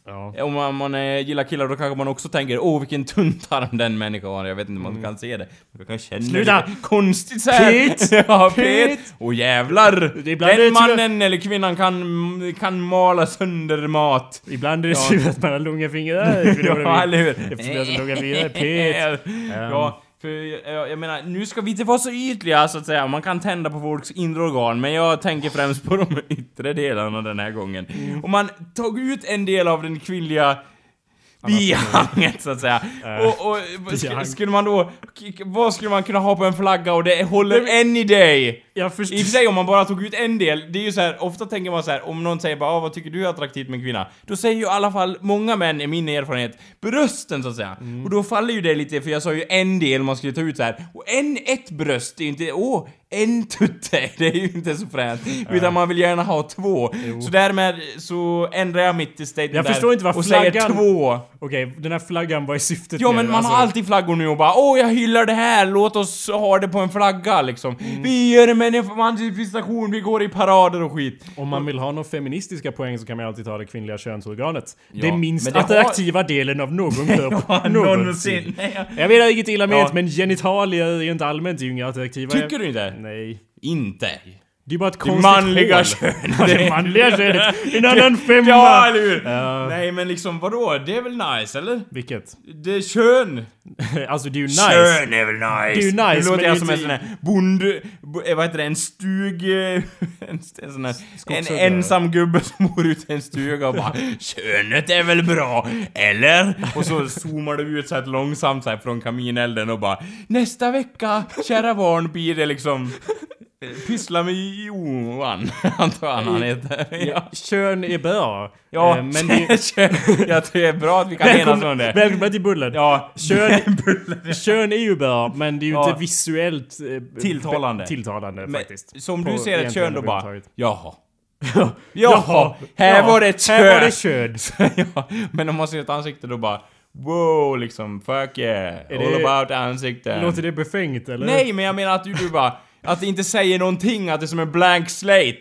[SPEAKER 1] Ja.
[SPEAKER 2] Om man, man eh, gillar killar då kanske man också tänker åh vilken tunntarm den människan har, jag vet inte om man kan se det. Men Man kan känna
[SPEAKER 1] Mm. Sluta!
[SPEAKER 2] lite konstigt såhär.
[SPEAKER 1] Pete!
[SPEAKER 2] ja, Pete!
[SPEAKER 1] Pete!
[SPEAKER 2] Åh jävlar!
[SPEAKER 1] Det- ibland är
[SPEAKER 2] Den
[SPEAKER 1] det till och-
[SPEAKER 2] mannen eller kvinnan kan, kan mala sönder mat.
[SPEAKER 1] Ibland är det så att man har långa fingrar. För det var det
[SPEAKER 2] Ja,
[SPEAKER 1] vi-
[SPEAKER 2] eller hur?
[SPEAKER 1] Eftersom jag har så långa fingrar. Pet.
[SPEAKER 2] Ja, för jag, jag menar, nu ska vi inte vara så ytliga så att säga. Man kan tända på folks inre organ, men jag tänker främst på de yttre delarna den här gången. Om man tog ut en del av den kvinnliga bihanget så att säga. Och, och sk-
[SPEAKER 1] bihang.
[SPEAKER 2] skulle man då... k- Vad skulle man kunna ha på en flagga och det håller än i dig?
[SPEAKER 1] Jag
[SPEAKER 2] I och för
[SPEAKER 1] förstår.
[SPEAKER 2] sig om man bara tog ut en del, det är ju så här, ofta tänker man så här, om någon säger bara ah, vad tycker du är attraktivt med en kvinna? Då säger ju i alla fall många män, i min erfarenhet, brösten så att säga.
[SPEAKER 1] Mm.
[SPEAKER 2] Och då faller ju det lite, för jag sa ju en del man skulle ta ut så här. och en, ett bröst är ju inte, åh, en tutte, det är ju inte så fränt. Utan man vill gärna ha två. Så därmed så ändrar jag mitt statement
[SPEAKER 1] Jag
[SPEAKER 2] där
[SPEAKER 1] förstår inte vad
[SPEAKER 2] och säger
[SPEAKER 1] flaggan-
[SPEAKER 2] två.
[SPEAKER 1] Okej, den här flaggan, vad är syftet
[SPEAKER 2] Ja
[SPEAKER 1] med
[SPEAKER 2] men
[SPEAKER 1] den?
[SPEAKER 2] man har
[SPEAKER 1] Alltså,
[SPEAKER 2] alltid flaggor nu och bara åh jag hyllar det här, låt oss ha det på en flagga liksom. Vi gör en manifestation, vi går i parader och skit.
[SPEAKER 1] Om man vill ha några feministiska poäng så kan man alltid ta det kvinnliga könsorganet.
[SPEAKER 2] Ja,
[SPEAKER 1] det minst
[SPEAKER 2] men det har-
[SPEAKER 1] attraktiva delen av någon kropp någonsin.
[SPEAKER 2] Nej, jag-
[SPEAKER 1] Jag menar inget illa
[SPEAKER 2] Ja.
[SPEAKER 1] ment, men genitalier är inte allmänt ju inga attraktiva.
[SPEAKER 2] Tycker du inte?
[SPEAKER 1] Nej.
[SPEAKER 2] Inte.
[SPEAKER 1] Det är bara ett
[SPEAKER 2] Det
[SPEAKER 1] konstigt
[SPEAKER 2] manliga
[SPEAKER 1] hål.
[SPEAKER 2] könet.
[SPEAKER 1] Ja, det manliga könet. En annan femma.
[SPEAKER 2] Ja, eller hur?
[SPEAKER 1] Ja.
[SPEAKER 2] Nej men liksom vadå, det är väl nice eller?
[SPEAKER 1] Vilket?
[SPEAKER 2] Det är kön.
[SPEAKER 1] Alltså det är ju nice.
[SPEAKER 2] Kön är väl nice?
[SPEAKER 1] Det är ju nice,
[SPEAKER 2] Nu låter
[SPEAKER 1] men
[SPEAKER 2] jag
[SPEAKER 1] det
[SPEAKER 2] som
[SPEAKER 1] är
[SPEAKER 2] en
[SPEAKER 1] ju- typ-
[SPEAKER 2] sån här bonde... bo- eh, Vad heter det? En stug... eh, En, st- en sån här... En
[SPEAKER 1] skogshuggare.
[SPEAKER 2] ensam gubbe som bor ute i en stuga och bara Könet är väl bra? Eller? Och så zoomar det ut så här långsamt så här från kaminelden och bara Nästa vecka, kära barn, blir det liksom... eh, Pyssla med Johan, antar jag han heter. Ja,
[SPEAKER 1] Kön är bra.
[SPEAKER 2] ja
[SPEAKER 1] Eh,
[SPEAKER 2] men
[SPEAKER 1] men det...
[SPEAKER 2] Jag tror det är bra att vi kan enas om
[SPEAKER 1] Välkomna,
[SPEAKER 2] det.
[SPEAKER 1] välkomna till Bullen.
[SPEAKER 2] Ja,
[SPEAKER 1] Kön, kön är ju bra, men det är ju
[SPEAKER 2] Ja.
[SPEAKER 1] inte visuellt eh,
[SPEAKER 2] Tilltalande.
[SPEAKER 1] tilltalande
[SPEAKER 2] Men
[SPEAKER 1] faktiskt.
[SPEAKER 2] Som du
[SPEAKER 1] På
[SPEAKER 2] ser ett
[SPEAKER 1] egentligen
[SPEAKER 2] kön då bara,
[SPEAKER 1] överhuvudtaget.
[SPEAKER 2] jaha. Jaha, här
[SPEAKER 1] ja,
[SPEAKER 2] var det ett kön!
[SPEAKER 1] Här var det kön.
[SPEAKER 2] ja, men om man ser ett ansikte då bara, wow liksom, fuck yeah. All
[SPEAKER 1] det-
[SPEAKER 2] about ansikten.
[SPEAKER 1] Låter det befängt eller?
[SPEAKER 2] Nej, men jag menar att du, du bara, att det inte säger någonting, att det är som en blank slate.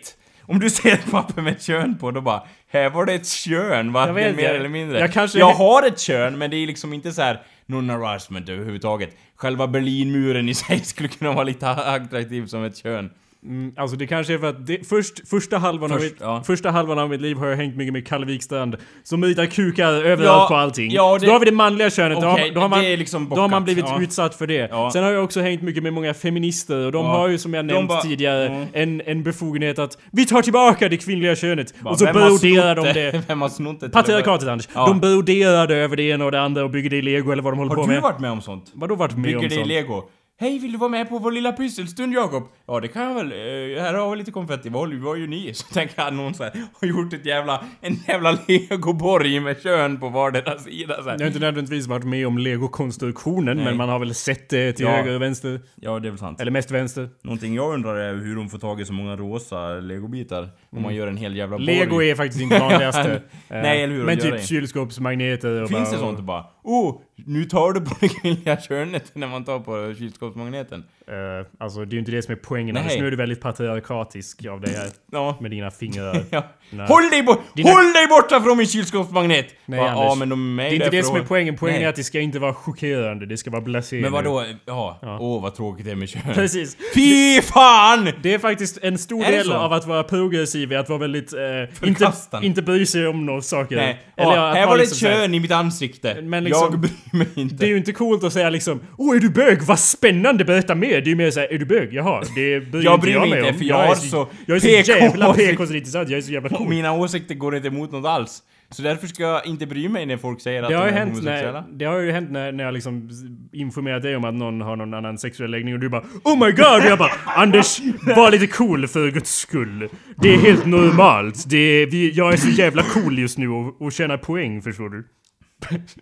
[SPEAKER 2] Om du ser ett papper med ett kön på, då bara, här var det ett kön, varken
[SPEAKER 1] vet,
[SPEAKER 2] mer
[SPEAKER 1] jag-
[SPEAKER 2] eller mindre.
[SPEAKER 1] jag kanske-
[SPEAKER 2] jag har ett kön, men det är liksom inte så här någon harassment överhuvudtaget. Själva Berlinmuren i sig skulle kunna vara lite attraktiv som ett kön.
[SPEAKER 1] Mm, alltså det kanske är för att det, först, första, halvan av
[SPEAKER 2] Först,
[SPEAKER 1] mitt,
[SPEAKER 2] ja.
[SPEAKER 1] första halvan av mitt liv har jag hängt mycket med Kalle Wikstrand som ritar kukar överallt
[SPEAKER 2] Ja,
[SPEAKER 1] på allting.
[SPEAKER 2] ja,
[SPEAKER 1] så
[SPEAKER 2] det-
[SPEAKER 1] då har vi det manliga könet, då,
[SPEAKER 2] Okej,
[SPEAKER 1] har, då, har man,
[SPEAKER 2] det är liksom
[SPEAKER 1] då har man
[SPEAKER 2] bockat,
[SPEAKER 1] blivit
[SPEAKER 2] ja.
[SPEAKER 1] utsatt för det.
[SPEAKER 2] Ja.
[SPEAKER 1] Sen har jag också hängt mycket med många feminister och de
[SPEAKER 2] Ja.
[SPEAKER 1] har ju som jag
[SPEAKER 2] De
[SPEAKER 1] nämnt
[SPEAKER 2] bara-
[SPEAKER 1] tidigare
[SPEAKER 2] Mm.
[SPEAKER 1] en, en befogenhet att vi tar tillbaka det kvinnliga könet och så
[SPEAKER 2] Vem har snott
[SPEAKER 1] broderar de det.
[SPEAKER 2] Vem har snott det?
[SPEAKER 1] Patriarkatet Anders,
[SPEAKER 2] Ja.
[SPEAKER 1] de broderar det över det ena och det andra och bygger det i lego eller vad de håller på
[SPEAKER 2] Har du
[SPEAKER 1] med.
[SPEAKER 2] varit med om sånt?
[SPEAKER 1] Vadå varit med
[SPEAKER 2] Bygger
[SPEAKER 1] om
[SPEAKER 2] det i
[SPEAKER 1] sånt?
[SPEAKER 2] lego? Hej, vill du vara med på vår lilla pysselstund Jakob? Ja, det kan jag väl. Eh, här har vi lite konfetti. Vad håller- vad gör ni? Så tänker jag att någon så här, har gjort ett jävla, en jävla legoborg med kön på vardera sida så
[SPEAKER 1] Jag har
[SPEAKER 2] här.
[SPEAKER 1] inte nödvändigtvis varit med om legokonstruktionen men man har väl sett det till
[SPEAKER 2] Ja.
[SPEAKER 1] höger och vänster.
[SPEAKER 2] Ja, det är väl sant.
[SPEAKER 1] Eller mest vänster.
[SPEAKER 2] Någonting jag undrar är hur de får tag i så många rosa legobitar. Om man gör en hel jävla
[SPEAKER 1] Lego
[SPEAKER 2] borg.
[SPEAKER 1] är faktiskt inte vanligaste. Eh,
[SPEAKER 2] Nej, eller hur,
[SPEAKER 1] Men
[SPEAKER 2] gör det
[SPEAKER 1] typ
[SPEAKER 2] inte.
[SPEAKER 1] kylskåpsmagneter och
[SPEAKER 2] Finns
[SPEAKER 1] bara,
[SPEAKER 2] det sånt bara? Oh, nu tar du på det kvinnliga könet när man tar på kylskåpsmagneten.
[SPEAKER 1] Eh, alltså det är ju inte det som är poängen.
[SPEAKER 2] Nej.
[SPEAKER 1] Annars nu är du väldigt patriarkatisk av dig här.
[SPEAKER 2] Ja.
[SPEAKER 1] Med dina fingrar.
[SPEAKER 2] Ja.
[SPEAKER 1] Nej.
[SPEAKER 2] Håll, dig bo-
[SPEAKER 1] Dina-
[SPEAKER 2] Håll dig borta från min kylskåpsmagnet!
[SPEAKER 1] Nej,
[SPEAKER 2] Va,
[SPEAKER 1] Anders.
[SPEAKER 2] ja, men de
[SPEAKER 1] Det
[SPEAKER 2] är
[SPEAKER 1] är inte det som är
[SPEAKER 2] därifrån.
[SPEAKER 1] poängen. Poängen
[SPEAKER 2] Nej.
[SPEAKER 1] är att det ska inte vara chockerande. Det ska vara blasé.
[SPEAKER 2] Men
[SPEAKER 1] nu.
[SPEAKER 2] vadå? Ja. Åh, vad tråkigt det är med kön.
[SPEAKER 1] Precis.
[SPEAKER 2] Fy fan!
[SPEAKER 1] Det är faktiskt en stor
[SPEAKER 2] Är det
[SPEAKER 1] del
[SPEAKER 2] så?
[SPEAKER 1] av att vara progressiv, är att vara väldigt... Eh, inte,
[SPEAKER 2] Förkastande.
[SPEAKER 1] inte bry sig om några saker.
[SPEAKER 2] Nej.
[SPEAKER 1] Eller
[SPEAKER 2] Ja,
[SPEAKER 1] att
[SPEAKER 2] här
[SPEAKER 1] vara
[SPEAKER 2] var det
[SPEAKER 1] liksom
[SPEAKER 2] ett
[SPEAKER 1] så här-
[SPEAKER 2] kön i mitt ansikte.
[SPEAKER 1] Men liksom-
[SPEAKER 2] jag bryr mig inte.
[SPEAKER 1] Det är ju inte coolt att säga liksom Åh är du bög? Vad spännande, berätta mer! Det är ju mer såhär, är du bög? Jaha, det bryr
[SPEAKER 2] Jag
[SPEAKER 1] inte
[SPEAKER 2] bryr
[SPEAKER 1] jag
[SPEAKER 2] mig
[SPEAKER 1] mig
[SPEAKER 2] inte,
[SPEAKER 1] om.
[SPEAKER 2] för jag har
[SPEAKER 1] är
[SPEAKER 2] så
[SPEAKER 1] Jag är så
[SPEAKER 2] PK
[SPEAKER 1] jävla
[SPEAKER 2] åsikt.
[SPEAKER 1] PK så det är inte sant. Jag är så jävla
[SPEAKER 2] Och
[SPEAKER 1] cool.
[SPEAKER 2] Mina åsikter går inte emot något alls. Så därför ska jag inte bry mig när folk säger att
[SPEAKER 1] Det har,
[SPEAKER 2] de
[SPEAKER 1] ju
[SPEAKER 2] är
[SPEAKER 1] hänt
[SPEAKER 2] homosexuella.
[SPEAKER 1] när, det har ju hänt när, när jag liksom informerat dig om att någon har någon annan sexuell läggning och du bara Oh my god! Och jag bara Anders, var lite cool för guds skull. Det är helt normalt. Det är, vi, jag är så jävla cool just nu och, och tjänar poäng förstår du.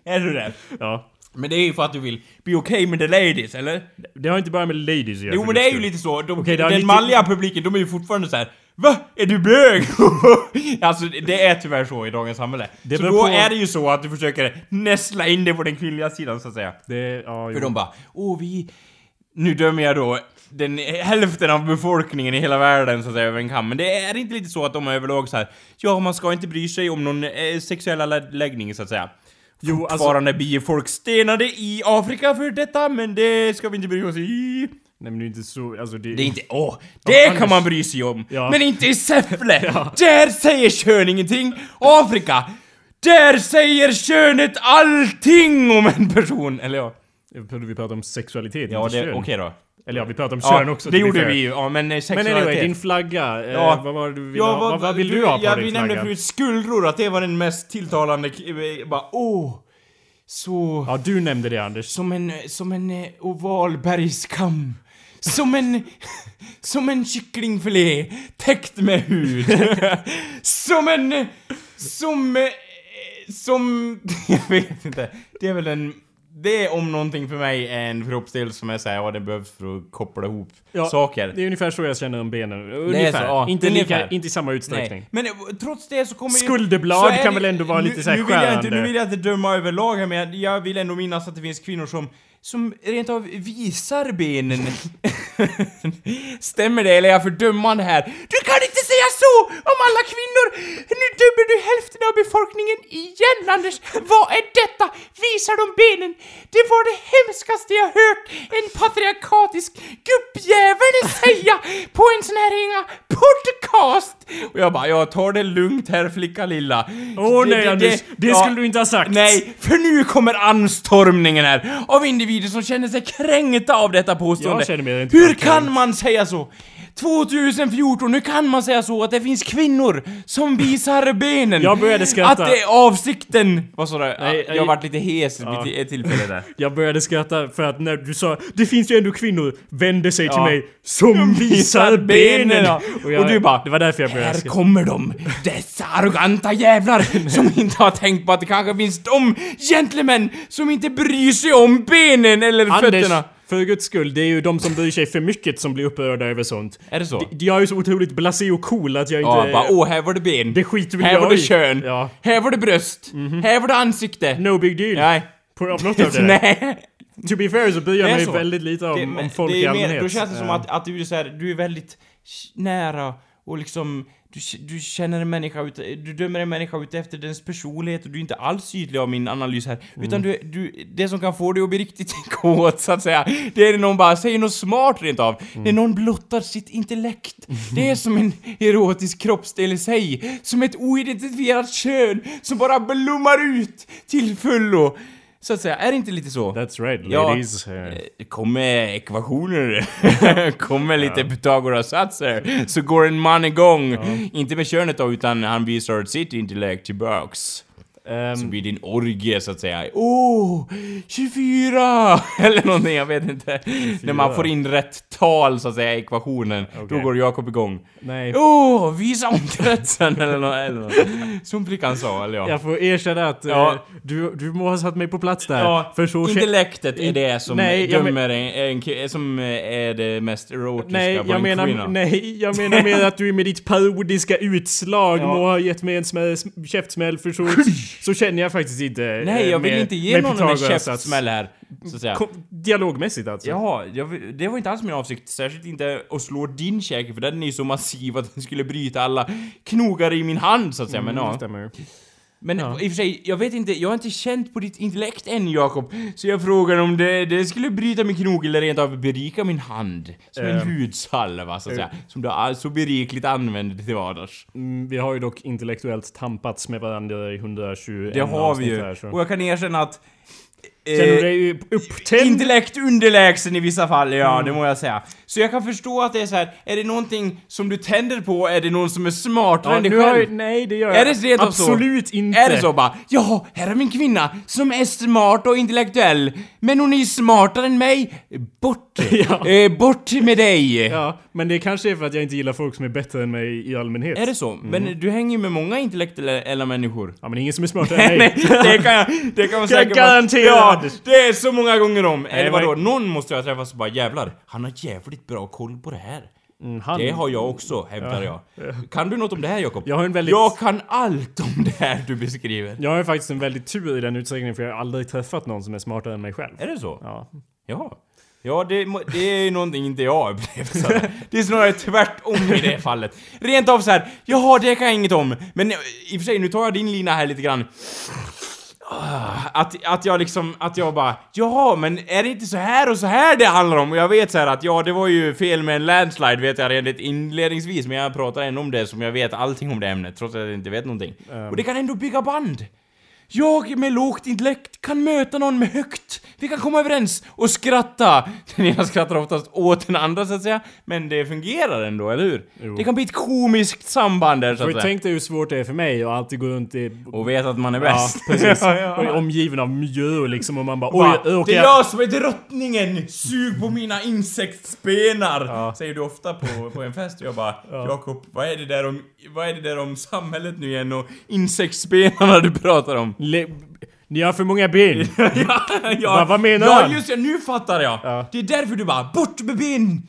[SPEAKER 2] Är du det?
[SPEAKER 1] Ja.
[SPEAKER 2] Men det är ju för att du vill bli okej med the ladies, eller?
[SPEAKER 1] Det har inte bara med ladies att göra
[SPEAKER 2] Jo
[SPEAKER 1] för
[SPEAKER 2] men
[SPEAKER 1] guds
[SPEAKER 2] det är ju
[SPEAKER 1] skull.
[SPEAKER 2] lite så, de,
[SPEAKER 1] Okej, det har
[SPEAKER 2] den
[SPEAKER 1] lite-
[SPEAKER 2] manliga publiken de är ju fortfarande så här. VA? Är du bög? alltså det- det är tyvärr så i dagens samhälle.
[SPEAKER 1] Det
[SPEAKER 2] så
[SPEAKER 1] beror
[SPEAKER 2] då
[SPEAKER 1] på-
[SPEAKER 2] är det ju så att du försöker näsla in det på den kvinnliga sidan så att säga.
[SPEAKER 1] Det, ja,
[SPEAKER 2] För
[SPEAKER 1] jo.
[SPEAKER 2] de bara, åh vi... Nu dömer jag då den hälften av befolkningen i hela världen så att säga över en kam. Men det är inte lite så att de är överlag så här. ja man ska inte bry sig om någon eh, sexuella lä- läggning så att säga.
[SPEAKER 1] Jo, alltså-
[SPEAKER 2] Fortfarande blir folk stenade i Afrika för detta, men det ska vi inte bry oss i.
[SPEAKER 1] Nej men det är inte så, alltså det...
[SPEAKER 2] Det är inte, åh, det
[SPEAKER 1] Anders.
[SPEAKER 2] kan man bry sig om!
[SPEAKER 1] Ja.
[SPEAKER 2] Men inte i Säffle! Där säger kön ingenting! Afrika! Där säger könet allting om en person! Eller ja,
[SPEAKER 1] Jag trodde vi pratade om sexualitet,
[SPEAKER 2] ja
[SPEAKER 1] inte
[SPEAKER 2] det,
[SPEAKER 1] kön.
[SPEAKER 2] okej då.
[SPEAKER 1] Eller ja, vi pratade om
[SPEAKER 2] Ja,
[SPEAKER 1] kön också.
[SPEAKER 2] det
[SPEAKER 1] till
[SPEAKER 2] gjorde
[SPEAKER 1] fair.
[SPEAKER 2] vi ju, ja men eh,
[SPEAKER 1] Men
[SPEAKER 2] sexualitet.
[SPEAKER 1] anyway, din flagga.
[SPEAKER 2] Ja.
[SPEAKER 1] Eh, vad var det du ville
[SPEAKER 2] Ja,
[SPEAKER 1] ha? Vad, vad vill du, ha på
[SPEAKER 2] ja,
[SPEAKER 1] din
[SPEAKER 2] Vi
[SPEAKER 1] flagga?
[SPEAKER 2] nämnde förut skuldror, att det var den mest tilltalande... k- eh, Bara åh! Så...
[SPEAKER 1] Ja, du nämnde det Anders.
[SPEAKER 2] Som en, som en eh, oval bergskam. Som en... Som en kycklingfilé täckt med hud. som en... eh, Som... eh, Som... Jag vet inte. Det är väl en... Det är om någonting för mig är en kroppsdel som är såhär, ja det behövs för att koppla ihop
[SPEAKER 1] Ja,
[SPEAKER 2] saker.
[SPEAKER 1] Det är ungefär så jag känner om benen. Ungefär.
[SPEAKER 2] ja,
[SPEAKER 1] inte, Lika,
[SPEAKER 2] ungefär.
[SPEAKER 1] inte i samma
[SPEAKER 2] Nej,
[SPEAKER 1] utsträckning.
[SPEAKER 2] Men eh, trots det så kommer ju-
[SPEAKER 1] Skulderblad
[SPEAKER 2] så är
[SPEAKER 1] kan
[SPEAKER 2] det-
[SPEAKER 1] väl ändå vara
[SPEAKER 2] nu,
[SPEAKER 1] lite så här
[SPEAKER 2] nu vill, jag inte, nu
[SPEAKER 1] skärande.
[SPEAKER 2] vill jag inte döma överlag här men jag, jag vill ändå minnas att det finns kvinnor som som rent av visar benen. Stämmer det eller är jag för dömande här? Du kan inte säga så om alla kvinnor! Nu dömer du hälften av befolkningen igen Anders! Vad är detta? Visar de benen? Det var det hemskaste jag hört en patriarkatisk gubbjävel säga på en sån här inga podcast! Och jag bara, jag tar det lugnt här flicka lilla.
[SPEAKER 1] Åh
[SPEAKER 2] Det-
[SPEAKER 1] nej
[SPEAKER 2] det-
[SPEAKER 1] Anders! Det
[SPEAKER 2] ja.
[SPEAKER 1] skulle du inte ha sagt!
[SPEAKER 2] Nej, för nu kommer anstormningen här av individer som känner sig kränkta av detta påstående.
[SPEAKER 1] Jag känner mig inte
[SPEAKER 2] Hur
[SPEAKER 1] kränkt.
[SPEAKER 2] kan man säga så? 2014, hur kan man säga så att det finns kvinnor som visar benen?
[SPEAKER 1] Jag började skratta.
[SPEAKER 2] Att det är avsikten! Vad sa du?
[SPEAKER 1] Nej,
[SPEAKER 2] jag
[SPEAKER 1] jag-
[SPEAKER 2] vart lite hes vid ett tillfälle där.
[SPEAKER 1] Jag började skratta för att när du sa Det finns ju ändå kvinnor, vände sig till
[SPEAKER 2] Ja.
[SPEAKER 1] mig, som visar benen!
[SPEAKER 2] ja. Och du bara,
[SPEAKER 1] Det var därför jag började
[SPEAKER 2] Här
[SPEAKER 1] skratta.
[SPEAKER 2] kommer de! Dessa arroganta jävlar som inte har tänkt på att det kanske finns de gentlemän som inte bryr sig om benen eller
[SPEAKER 1] Anders,
[SPEAKER 2] fötterna.
[SPEAKER 1] för guds skull, det är ju de som bryr sig för mycket som blir upprörda över sånt.
[SPEAKER 2] Är det så?
[SPEAKER 1] D- Jag är ju så otroligt blasé och cool att jag inte...
[SPEAKER 2] Ja, bara åh, här var det ben.
[SPEAKER 1] Det skiter väl
[SPEAKER 2] Här
[SPEAKER 1] jag
[SPEAKER 2] var det
[SPEAKER 1] i."
[SPEAKER 2] kön.
[SPEAKER 1] Ja.
[SPEAKER 2] Här var det bröst. Här var det ansikte.
[SPEAKER 1] No big deal.
[SPEAKER 2] Nej.
[SPEAKER 1] På, av något av det. där.
[SPEAKER 2] Nej.
[SPEAKER 1] To be fair så bryr jag
[SPEAKER 2] Det är
[SPEAKER 1] mig
[SPEAKER 2] så.
[SPEAKER 1] väldigt lite
[SPEAKER 2] Det-
[SPEAKER 1] om, om folk
[SPEAKER 2] det
[SPEAKER 1] i
[SPEAKER 2] är mer-
[SPEAKER 1] allmänhet.
[SPEAKER 2] Då känns det som
[SPEAKER 1] Eh,
[SPEAKER 2] att, att du är så här, du är väldigt k- nära och liksom du, k- du känner en människa ut, du dömer en människa ut efter dens personlighet och du är inte alls ytlig av min analys här.
[SPEAKER 1] Mm.
[SPEAKER 2] Utan du, du, det som kan få dig att bli riktigt kåt så att säga, det är när någon bara säger något smart rent av.
[SPEAKER 1] Mm.
[SPEAKER 2] När någon blottar sitt intellekt. Det är som en erotisk kroppsdel i sig. Som ett oidentifierat kön som bara blommar ut till fullo. Så att säga, är det inte lite så?
[SPEAKER 1] That's right,
[SPEAKER 2] Ja.
[SPEAKER 1] ladies. Eh,
[SPEAKER 2] Eh, Kom med ekvationer, kom med lite Pythagoras-satser, så går en man igång. Inte med könet då, utan han visar sitt intellekt tillbaks.
[SPEAKER 1] ehm,
[SPEAKER 2] Så blir det en orgie så att säga. Åh, 24! Eller någonting, jag vet inte. När man får in rätt tal så att säga i ekvationen, då
[SPEAKER 1] Okej.
[SPEAKER 2] går Jakob igång.
[SPEAKER 1] nej.
[SPEAKER 2] Åh, visa omkretsen eller något, eller något. Som flickan sa, eller ja.
[SPEAKER 1] Jag får erkänna att eh,
[SPEAKER 2] Ja.
[SPEAKER 1] du, du må ha satt mig på plats där.
[SPEAKER 2] Ja,
[SPEAKER 1] för så kä-
[SPEAKER 2] intellektet är det som
[SPEAKER 1] Nej, jag men-
[SPEAKER 2] dömer en, en, ki- som eh, är det mest erotiska
[SPEAKER 1] Nej,
[SPEAKER 2] på
[SPEAKER 1] jag
[SPEAKER 2] en
[SPEAKER 1] menar,
[SPEAKER 2] kvinna.
[SPEAKER 1] nej, jag menar mer att du med ditt parodiska utslag
[SPEAKER 2] Ja.
[SPEAKER 1] må ha gett mig en smäll, sm- käftsmäll för så så känner jag faktiskt inte...
[SPEAKER 2] Nej,
[SPEAKER 1] eh,
[SPEAKER 2] jag vill
[SPEAKER 1] med-
[SPEAKER 2] inte ge
[SPEAKER 1] med
[SPEAKER 2] någon en
[SPEAKER 1] Pythagoras
[SPEAKER 2] käftsmäll här. Så att säga.
[SPEAKER 1] att- Kom- Dialogmässigt alltså.
[SPEAKER 2] Jaha, jag, vill- det var inte alls min avsikt. Särskilt inte att slå din käke, för den är ju så massiv att den skulle bryta alla knogar i min hand så att säga. Men
[SPEAKER 1] Mm, det
[SPEAKER 2] ja.
[SPEAKER 1] stämmer.
[SPEAKER 2] Men i och för sig, jag vet inte, jag har inte känt på ditt intellekt än Jakob. Så jag frågar om det, det skulle bryta min krog eller rent av berika min hand. Som en
[SPEAKER 1] Eh.
[SPEAKER 2] hudsalva så att
[SPEAKER 1] Eh.
[SPEAKER 2] säga. Som du all- så berikligt använder till vardags.
[SPEAKER 1] Mm, vi har ju dock intellektuellt tampats med varandra i 121
[SPEAKER 2] Det har vi
[SPEAKER 1] avsnitt
[SPEAKER 2] ju.
[SPEAKER 1] Här, så.
[SPEAKER 2] Och jag kan erkänna att... eh,
[SPEAKER 1] Känner du dig upptänd?
[SPEAKER 2] Intellekt underlägsen i vissa fall, ja
[SPEAKER 1] Mm.
[SPEAKER 2] det må jag säga. Så jag kan förstå att det är så här. är det någonting som du tänder på, är det någon som är smartare
[SPEAKER 1] Ja,
[SPEAKER 2] än dig
[SPEAKER 1] nu har jag,
[SPEAKER 2] själv?
[SPEAKER 1] nej, det gör
[SPEAKER 2] Är
[SPEAKER 1] jag
[SPEAKER 2] det rent av så?
[SPEAKER 1] absolut inte.
[SPEAKER 2] Är det så bara, ja, här är min kvinna som är smart och intellektuell, men hon är ju smartare än mig. Bort!
[SPEAKER 1] Ja.
[SPEAKER 2] eh, bort med dig!
[SPEAKER 1] Ja, men det kanske är för att jag inte gillar folk som är bättre än mig i allmänhet.
[SPEAKER 2] Är det så? Men du hänger ju med många intellektuella människor.
[SPEAKER 1] Ja, men ingen som är smartare än mig.
[SPEAKER 2] det kan jag, det kan man
[SPEAKER 1] Kan jag
[SPEAKER 2] säkert vara-
[SPEAKER 1] garantera,
[SPEAKER 2] Ja,
[SPEAKER 1] Anders.
[SPEAKER 2] det är så många gånger om. Eller
[SPEAKER 1] vad-
[SPEAKER 2] vadå, någon måste jag träffa som bara jävlar, han har jävligt bra koll på det här.
[SPEAKER 1] Mm, han,
[SPEAKER 2] Det har jag också, hävdar jag. Kan du något om det här Jakob?
[SPEAKER 1] Jag har en väldigt-
[SPEAKER 2] Jag kan allt om det här du beskriver.
[SPEAKER 1] jag har ju faktiskt en väldig tur i den utsträckningen för jag har aldrig träffat någon som är smartare än mig själv.
[SPEAKER 2] Är det så?
[SPEAKER 1] Ja.
[SPEAKER 2] Ja. Ja, det, må- det är ju någonting inte jag har upplevt så här. Det är snarare tvärtom i det fallet. Rent av så här, jaha, det kan jag inget om. Men i och för sig, nu tar jag din lina här lite grann. Ah, Att, att jag liksom, att jag bara, jaha, men är det inte så här och så här det handlar om? Och jag vet så här att ja, det var ju fel med en landslide vet jag redan inledningsvis, men jag pratar ändå om det som jag vet allting om det ämnet, trots att jag inte vet någonting.
[SPEAKER 1] Ehm.
[SPEAKER 2] Och det kan ändå bygga band. Jag med lågt intellekt kan möta någon med högt. Vi kan komma överens och skratta. Den ena skrattar oftast åt den andra så att säga. Men det fungerar ändå, eller hur?
[SPEAKER 1] Jo.
[SPEAKER 2] Det kan bli ett komiskt samband där så
[SPEAKER 1] För
[SPEAKER 2] att säga.
[SPEAKER 1] tänk dig hur svårt det är för mig att alltid gå runt i...
[SPEAKER 2] Och vet att man är
[SPEAKER 1] Ja,
[SPEAKER 2] bäst.
[SPEAKER 1] precis.
[SPEAKER 2] Ja, ja.
[SPEAKER 1] Och är omgiven av mjöl liksom och man bara
[SPEAKER 2] Bara,
[SPEAKER 1] oj, råkar
[SPEAKER 2] det är
[SPEAKER 1] jag...
[SPEAKER 2] jag som är drottningen! Sug på mina insektsbenar! Säger du ofta på, på en fest och jag bara Jakob, vad är det där om, vad är det där om samhället nu igen och insektsbenarna du pratar om?
[SPEAKER 1] Le... Ni har för många ben.
[SPEAKER 2] ja, ja,
[SPEAKER 1] Va- vad menar
[SPEAKER 2] ja,
[SPEAKER 1] han?
[SPEAKER 2] just det, nu fattar jag!
[SPEAKER 1] Ja.
[SPEAKER 2] Det är därför du bara 'Bort med ben!'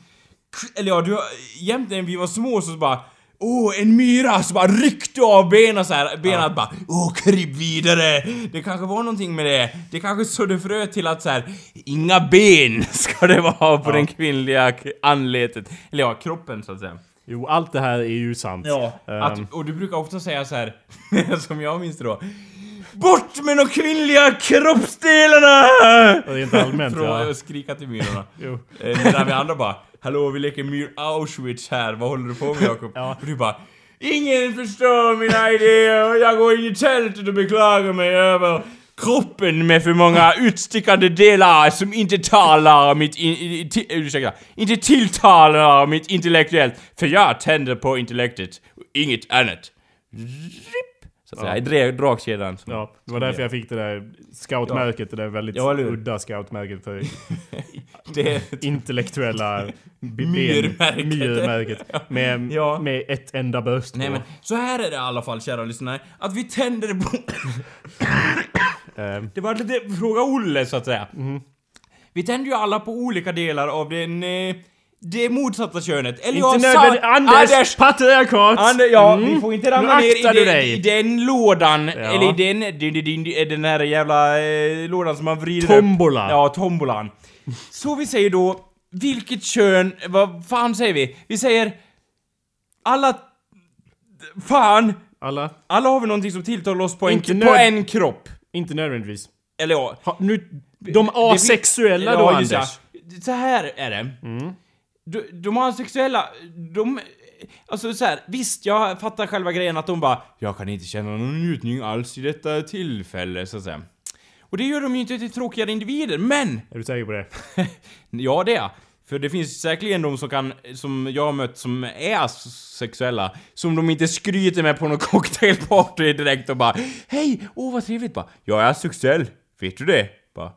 [SPEAKER 2] K- Eller ja, du, jämt när vi var små så bara Åh, en myra! Så bara ryckte du av benen så här, benen bara Åh, kryp vidare! Det kanske var någonting med det. Det kanske sådde frö till att så här Inga ben ska det vara på den kvinnliga k- anletet. Eller ja, kroppen så att säga.
[SPEAKER 1] Jo, allt det här är ju sant. Ehm,
[SPEAKER 2] Att, och du brukar ofta säga så här som jag minns det då. Bort med de kvinnliga kroppsdelarna!
[SPEAKER 1] Rent allmänt,
[SPEAKER 2] Från
[SPEAKER 1] ja.
[SPEAKER 2] att skrika till myrorna.
[SPEAKER 1] Jo.
[SPEAKER 2] Eh, Medan vi andra bara Hallå vi leker myr Auschwitz här, vad håller du på med Jakob?
[SPEAKER 1] Ja.
[SPEAKER 2] Och du bara Ingen förstår mina idéer, jag går in i tältet och beklagar mig över kroppen med för många utstickande delar som inte talar mitt in, i- ti, ursäkta, inte tilltalar mitt intellektuellt. För jag tänder på intellektet, och inget annat. Zip. Så att säga, dra- dragkedjan. som-
[SPEAKER 1] Ja, det var därför jag fick det där scoutmärket, det där väldigt
[SPEAKER 2] Ja, eller hur?
[SPEAKER 1] udda scoutmärket för
[SPEAKER 2] Det,
[SPEAKER 1] intellektuella ben-
[SPEAKER 2] Myrmärket.
[SPEAKER 1] myrmärket. Med,
[SPEAKER 2] Ja.
[SPEAKER 1] med ett enda bröst
[SPEAKER 2] nej
[SPEAKER 1] på.
[SPEAKER 2] men så här är det i alla fall kära lyssnare, att vi tänder på
[SPEAKER 1] Ehm, Mm.
[SPEAKER 2] Det var lite fråga Olle så att säga. Vi tänder ju alla på olika delar av den, eh, det motsatta könet. Eller
[SPEAKER 1] Inte
[SPEAKER 2] sa-
[SPEAKER 1] nödvändigt... Anders!
[SPEAKER 2] Anders!
[SPEAKER 1] Patriarkat!
[SPEAKER 2] Ander- ja,
[SPEAKER 1] Mm.
[SPEAKER 2] vi får inte ramla
[SPEAKER 1] Nu
[SPEAKER 2] ner
[SPEAKER 1] aktar
[SPEAKER 2] i,
[SPEAKER 1] du
[SPEAKER 2] den-
[SPEAKER 1] dig.
[SPEAKER 2] i den lådan, eller i den, den, den, den, den här jävla eh, lådan som man vrider upp.
[SPEAKER 1] Tombola.
[SPEAKER 2] Ja, tombolan. Så vi säger då, vilket kön, vad fan säger vi? Vi säger, alla, fan,
[SPEAKER 1] Alla?
[SPEAKER 2] alla har vi någonting som tilltalar oss på en,
[SPEAKER 1] Inte
[SPEAKER 2] på
[SPEAKER 1] nöd-
[SPEAKER 2] en kropp.
[SPEAKER 1] Inte nödvändigtvis.
[SPEAKER 2] Eller ja,
[SPEAKER 1] Ha, nu, de asexuella då,
[SPEAKER 2] Ja,
[SPEAKER 1] Anders? Mm.
[SPEAKER 2] just det. Så här är det. De, de asexuella, de... Alltså så här, visst jag fattar själva grejen att de bara Jag kan inte känna någon njutning alls i detta tillfälle, så att säga. Och det gör de ju inte till tråkigare individer, men!
[SPEAKER 1] Är du säker på det?
[SPEAKER 2] ja, det är jag. För det finns säkerligen de som kan, som jag har mött som är asexuella, som de inte skryter med på någon cocktailparty direkt och bara Hej! Åh vad trevligt! Bara, jag är asexuell, vet du det? Bara,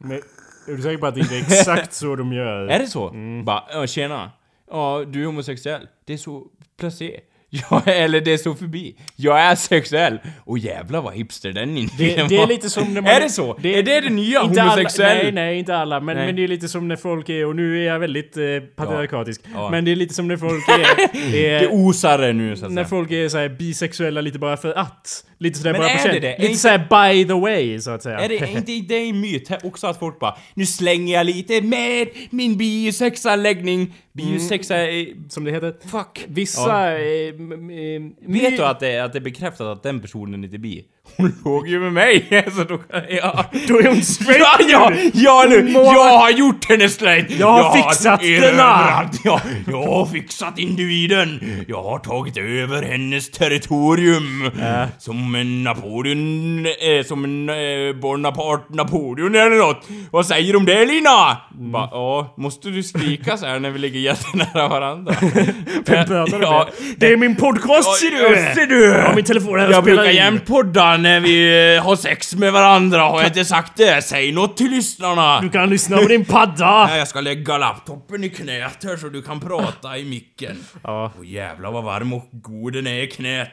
[SPEAKER 1] Men, är du säker på att det inte är exakt så de gör? Mm.
[SPEAKER 2] Är det så? Bara, "Ja, tjena. Ja, du är homosexuell. Det är så placé. Jag, eller det stod förbi. Jag är sexuell. Och jävla vad hipster den
[SPEAKER 1] Det,
[SPEAKER 2] individern
[SPEAKER 1] det är
[SPEAKER 2] var.
[SPEAKER 1] lite som när man...
[SPEAKER 2] Är det så? är det det nya
[SPEAKER 1] inte alla-
[SPEAKER 2] homosexuell?
[SPEAKER 1] nej, nej, inte alla. Men,
[SPEAKER 2] Nej.
[SPEAKER 1] men det är lite som när folk är... Och nu är jag väldigt eh, patriarkatisk.
[SPEAKER 2] Ja.
[SPEAKER 1] Men det är lite som när folk är...
[SPEAKER 2] Det
[SPEAKER 1] är
[SPEAKER 2] osar det nu så att
[SPEAKER 1] när
[SPEAKER 2] säga.
[SPEAKER 1] folk är så här bisexuella lite bara för att. Lite sådär
[SPEAKER 2] Men
[SPEAKER 1] bara
[SPEAKER 2] är
[SPEAKER 1] på
[SPEAKER 2] det
[SPEAKER 1] känn.
[SPEAKER 2] det? Är
[SPEAKER 1] Lite
[SPEAKER 2] inte-
[SPEAKER 1] såhär by the way, så att säga.
[SPEAKER 2] Är det är inte det är en myt här också att folk bara Nu slänger jag lite med min biosexanläggning.
[SPEAKER 1] Mm.
[SPEAKER 2] Biosexa är...
[SPEAKER 1] Som det heter.
[SPEAKER 2] Fuck.
[SPEAKER 1] Vissa... Eh, m- m- eh,
[SPEAKER 2] Vet
[SPEAKER 1] my-
[SPEAKER 2] du att det, att det är bekräftat att den personen inte är bi? Hon låg ju med mig! Så då kan jag...
[SPEAKER 1] Då är hon straight!
[SPEAKER 2] Ja, ja, ja nu!
[SPEAKER 1] Må-
[SPEAKER 2] Jag har gjort henne straight! Jag
[SPEAKER 1] har fixat den här.
[SPEAKER 2] erövrat, Jag, jag har fixat individen! Jag har tagit över hennes territorium! Som en Napoleon... Eh, som en eh, Bonaparte Napoleon eller något! Vad säger du om det Lina?
[SPEAKER 1] Mm.
[SPEAKER 2] Bara, ja, måste du skrika så här när vi ligger jättenära varandra?
[SPEAKER 1] Vem pratar du
[SPEAKER 2] Ja.
[SPEAKER 1] med? Det är min podcast ser
[SPEAKER 2] Ja,
[SPEAKER 1] du!
[SPEAKER 2] ser du!
[SPEAKER 1] Ja, min telefon här och
[SPEAKER 2] Jag
[SPEAKER 1] spelar
[SPEAKER 2] brukar
[SPEAKER 1] in.
[SPEAKER 2] jämt podda när vi eh, har sex med varandra, har jag inte sagt det? Säg något till lyssnarna!
[SPEAKER 1] Du kan lyssna på din padda!
[SPEAKER 2] Ja, Jag ska lägga laptopen i knät här så du kan prata i micken.
[SPEAKER 1] Ja.
[SPEAKER 2] Och jävlar vad varm och god den är i knät.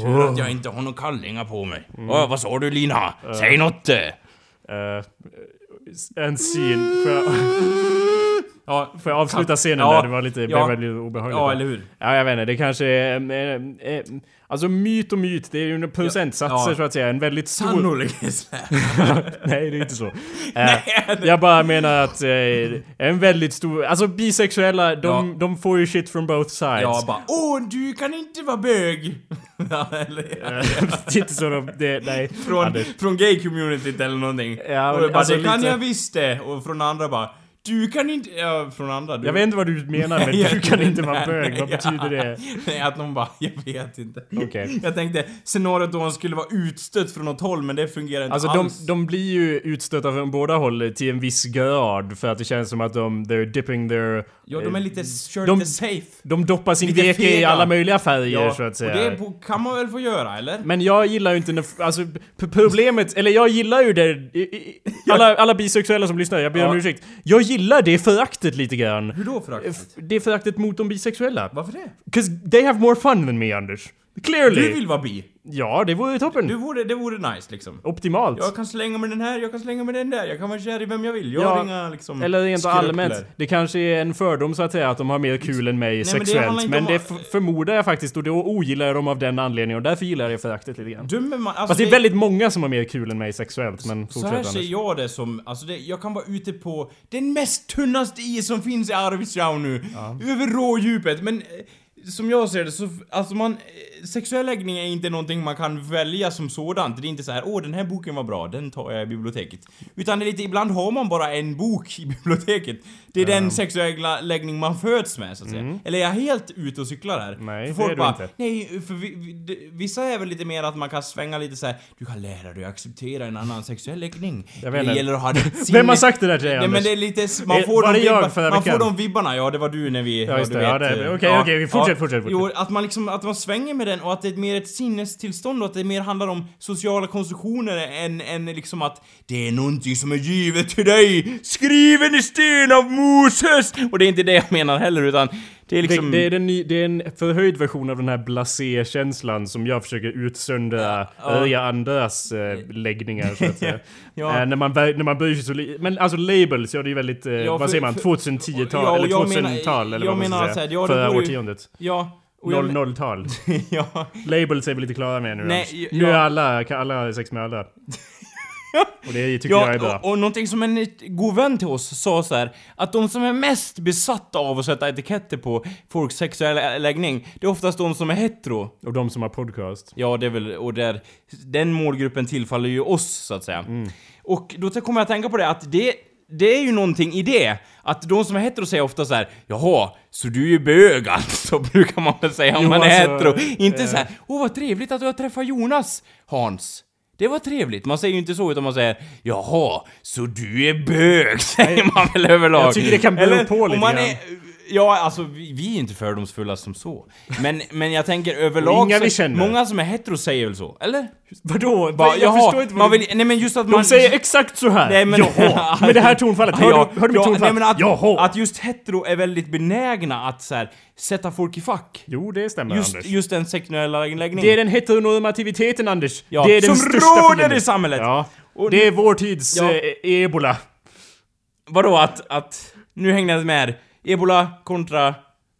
[SPEAKER 2] Tur att jag inte har några kallingar på mig. Åh, vad sa du Lina? Säg något! eh.
[SPEAKER 1] Eh, en scen. Får jag,
[SPEAKER 2] Ja,
[SPEAKER 1] får jag avsluta scenen
[SPEAKER 2] Mm. Ja,
[SPEAKER 1] där? Det var lite, det
[SPEAKER 2] ja.
[SPEAKER 1] blev väldigt obehagligt.
[SPEAKER 2] ja eller hur?
[SPEAKER 1] Ja, jag vet inte. Det kanske är... em, em, em, Alltså myt och myt, det är ju en procentsatser
[SPEAKER 2] Ja.
[SPEAKER 1] så att säga. En väldigt stor...
[SPEAKER 2] Sannolikt.
[SPEAKER 1] Nej, det är inte så. Eh, jag bara menar att eh, en väldigt stor... Alltså bisexuella, de,
[SPEAKER 2] Ja.
[SPEAKER 1] de får ju shit from both sides.
[SPEAKER 2] Jag bara Åh, du kan inte vara bög! Ja, eller-
[SPEAKER 1] det är inte så de... Det, nej.
[SPEAKER 2] Från,
[SPEAKER 1] Anders.
[SPEAKER 2] från gay-communityt eller någonting.
[SPEAKER 1] Ja,
[SPEAKER 2] och
[SPEAKER 1] men
[SPEAKER 2] jag bara,
[SPEAKER 1] alltså
[SPEAKER 2] det kan
[SPEAKER 1] lite-
[SPEAKER 2] jag visst det! Och från andra bara, du kan inte... Ja, från andra. Du,
[SPEAKER 1] Jag vet inte vad du menar, men
[SPEAKER 2] Nej,
[SPEAKER 1] du kan inte
[SPEAKER 2] nej,
[SPEAKER 1] vara bög.
[SPEAKER 2] nej,
[SPEAKER 1] Vad
[SPEAKER 2] ja.
[SPEAKER 1] betyder det?
[SPEAKER 2] Nej, att någon bara, jag vet inte.
[SPEAKER 1] Okej.
[SPEAKER 2] Jag tänkte, scenariot då hon skulle vara utstött från något håll, men det fungerar inte
[SPEAKER 1] Alltså de,
[SPEAKER 2] alls.
[SPEAKER 1] de blir ju utstötta från båda håll till en viss grad för att det känns som att de, they're dipping their...
[SPEAKER 2] ja, de är lite, kör
[SPEAKER 1] Eh, de-
[SPEAKER 2] lite safe.
[SPEAKER 1] De doppar sin
[SPEAKER 2] lite
[SPEAKER 1] veke i
[SPEAKER 2] fega.
[SPEAKER 1] alla möjliga färger så att säga.
[SPEAKER 2] och det bo- kan man väl få göra, eller?
[SPEAKER 1] Men jag gillar ju inte när, alltså p- problemet, eller jag gillar ju det, i- i- alla, alla bisexuella som lyssnar, jag ber om
[SPEAKER 2] Ja.
[SPEAKER 1] ursäkt. Jag gillar det föraktet lite grann.
[SPEAKER 2] Hur då föraktigt?
[SPEAKER 1] Det föraktet mot de bisexuella.
[SPEAKER 2] Varför det?
[SPEAKER 1] 'Cause they have more fun than me Anders. Clearly!
[SPEAKER 2] Du vill vara bi.
[SPEAKER 1] Ja, det vore ju toppen.
[SPEAKER 2] Du vore, det vore nice liksom.
[SPEAKER 1] Optimalt.
[SPEAKER 2] Jag kan slänga med den här, jag kan slänga med den där, jag kan vara kär i vem jag vill. Jag
[SPEAKER 1] Ja,
[SPEAKER 2] har inga liksom...
[SPEAKER 1] Eller rent allmänt,
[SPEAKER 2] skrupler.
[SPEAKER 1] det kanske är en fördom så att säga att de har mer kul än mig
[SPEAKER 2] men det
[SPEAKER 1] sexuellt.
[SPEAKER 2] handlar inte
[SPEAKER 1] men
[SPEAKER 2] om
[SPEAKER 1] det
[SPEAKER 2] att-
[SPEAKER 1] f- förmodar jag faktiskt och då ogillar jag dem av den anledningen och därför gillar jag det föraktet lite grann.
[SPEAKER 2] Dömer man... Alltså
[SPEAKER 1] Fast det är väldigt många som har mer kul än mig sexuellt men
[SPEAKER 2] Så här
[SPEAKER 1] Mm, fortsätt
[SPEAKER 2] ser
[SPEAKER 1] Anders.
[SPEAKER 2] jag det som, alltså det, jag kan vara ute på den mest tunnaste is som finns i Arvidsjaur nu. Över rådjupet, men eh, som jag ser det så, alltså man, eh, sexuell läggning är inte någonting man kan välja som sådant. Det är inte så här, åh den här boken var bra, den tar jag i biblioteket. Utan det är lite, ibland har man bara en bok i biblioteket. Det är den sexuella läggning man föds med så att säga. Eller är jag helt ute och cyklar här?
[SPEAKER 1] Mm. Nej, det
[SPEAKER 2] För folk
[SPEAKER 1] är du
[SPEAKER 2] bara,
[SPEAKER 1] inte.
[SPEAKER 2] Nej, för vi, vi, d- vissa är väl lite mer att man kan svänga lite så här. du kan lära dig att acceptera en annan sexuell läggning.
[SPEAKER 1] Jag vet
[SPEAKER 2] det
[SPEAKER 1] inte.
[SPEAKER 2] gäller att ha ditt sinne.
[SPEAKER 1] Vem har sagt det där till dig
[SPEAKER 2] Nej
[SPEAKER 1] Anders?
[SPEAKER 2] men det är lite, s- man
[SPEAKER 1] Eh,
[SPEAKER 2] får,
[SPEAKER 1] var
[SPEAKER 2] de,
[SPEAKER 1] det jag förra
[SPEAKER 2] vibbar, man får
[SPEAKER 1] veckan?
[SPEAKER 2] de vibbarna, ja det var du när vi... Ja,
[SPEAKER 1] just
[SPEAKER 2] du
[SPEAKER 1] det, ja, det-
[SPEAKER 2] eh,
[SPEAKER 1] okej, okej, vi fortsätt, fortsätt, fortsätt.
[SPEAKER 2] Jo, att man liksom, att man svänger med den och att det är mer ett sinnestillstånd och att det mer handlar om sociala konstruktioner än, än liksom att det är någonting som är givet till dig, skriven i sten av Moses! Och det är inte det jag menar heller utan det är
[SPEAKER 1] Det,
[SPEAKER 2] liksom...
[SPEAKER 1] det, är den ny, det är en förhöjd version av den här blasé-känslan som jag försöker utsöndra övriga andras eh, läggningar så att säga.
[SPEAKER 2] Ja.
[SPEAKER 1] eh, när, man, bär- när man bryr sig så li- Men alltså labels, ja det är väldigt, eh,
[SPEAKER 2] för-
[SPEAKER 1] vad säger man,
[SPEAKER 2] för-
[SPEAKER 1] 2010-tal
[SPEAKER 2] Ja, och
[SPEAKER 1] eller
[SPEAKER 2] jag
[SPEAKER 1] 2000-tal
[SPEAKER 2] menar-
[SPEAKER 1] eller
[SPEAKER 2] jag
[SPEAKER 1] vad man
[SPEAKER 2] menar
[SPEAKER 1] ska
[SPEAKER 2] så
[SPEAKER 1] säga.
[SPEAKER 2] här, ja, det
[SPEAKER 1] Förra
[SPEAKER 2] vore ju-
[SPEAKER 1] årtiondet.
[SPEAKER 2] Ja. och jag men-
[SPEAKER 1] 00-tal.
[SPEAKER 2] ja.
[SPEAKER 1] Labels är vi lite klara med nu
[SPEAKER 2] Nej,
[SPEAKER 1] Anders.
[SPEAKER 2] ja-
[SPEAKER 1] Nu är alla, kan alla sex med alla. Och det tycker jag är bra.
[SPEAKER 2] Och, och någonting som en god vän till oss sa så här att de som är mest besatta av att sätta etiketter på folks sexuella läggning, det är oftast de som är hetero.
[SPEAKER 1] Och de som har podcast.
[SPEAKER 2] Ja, det är väl, och där, den målgruppen tillfaller ju oss så att säga.
[SPEAKER 1] Mm.
[SPEAKER 2] Och då t- kommer jag att tänka på det att det, det är ju någonting i det, att de som är hetero säger ofta så här: jaha, så du är ju bög alltså, brukar man väl säga om
[SPEAKER 1] Jo,
[SPEAKER 2] man är
[SPEAKER 1] alltså,
[SPEAKER 2] hetero. Inte
[SPEAKER 1] eh.
[SPEAKER 2] så här, åh vad trevligt att du har träffat Jonas, Hans. Det var trevligt, man säger ju inte så utan man säger Jaha, så du är bög, säger man väl överlag.
[SPEAKER 1] jag tycker det kan bero på lite
[SPEAKER 2] om man
[SPEAKER 1] grann.
[SPEAKER 2] är Ja, alltså vi, vi är inte fördomsfulla som så. Men, men jag tänker överlag...
[SPEAKER 1] inga
[SPEAKER 2] så-
[SPEAKER 1] vi känner.
[SPEAKER 2] många som är hetero säger väl så? Eller?
[SPEAKER 1] Vadå?
[SPEAKER 2] Bara,
[SPEAKER 1] jag
[SPEAKER 2] jaha,
[SPEAKER 1] förstår inte vad
[SPEAKER 2] man
[SPEAKER 1] du-
[SPEAKER 2] vill, Nej men just att
[SPEAKER 1] De
[SPEAKER 2] man...
[SPEAKER 1] säger exakt så här.
[SPEAKER 2] Nej, men-
[SPEAKER 1] Jaha! Med det här tonfallet. Hör,
[SPEAKER 2] Ja,
[SPEAKER 1] du, hör du mitt
[SPEAKER 2] ja, nej,
[SPEAKER 1] tonfall?
[SPEAKER 2] men att,
[SPEAKER 1] Jaha!
[SPEAKER 2] att just hetero är väldigt benägna att så här, sätta folk i fack.
[SPEAKER 1] jo, det stämmer
[SPEAKER 2] Just,
[SPEAKER 1] Anders.
[SPEAKER 2] just den sexuella läggningen.
[SPEAKER 1] det är den heteronormativiteten Anders.
[SPEAKER 2] Ja,
[SPEAKER 1] det är den
[SPEAKER 2] som
[SPEAKER 1] största
[SPEAKER 2] råder
[SPEAKER 1] fienden.
[SPEAKER 2] i samhället.
[SPEAKER 1] Ja.
[SPEAKER 2] Och
[SPEAKER 1] det är vår tids
[SPEAKER 2] Ja.
[SPEAKER 1] eh, ebola.
[SPEAKER 2] Vadå att, att... Nu hängde jag inte med. Ebola kontra...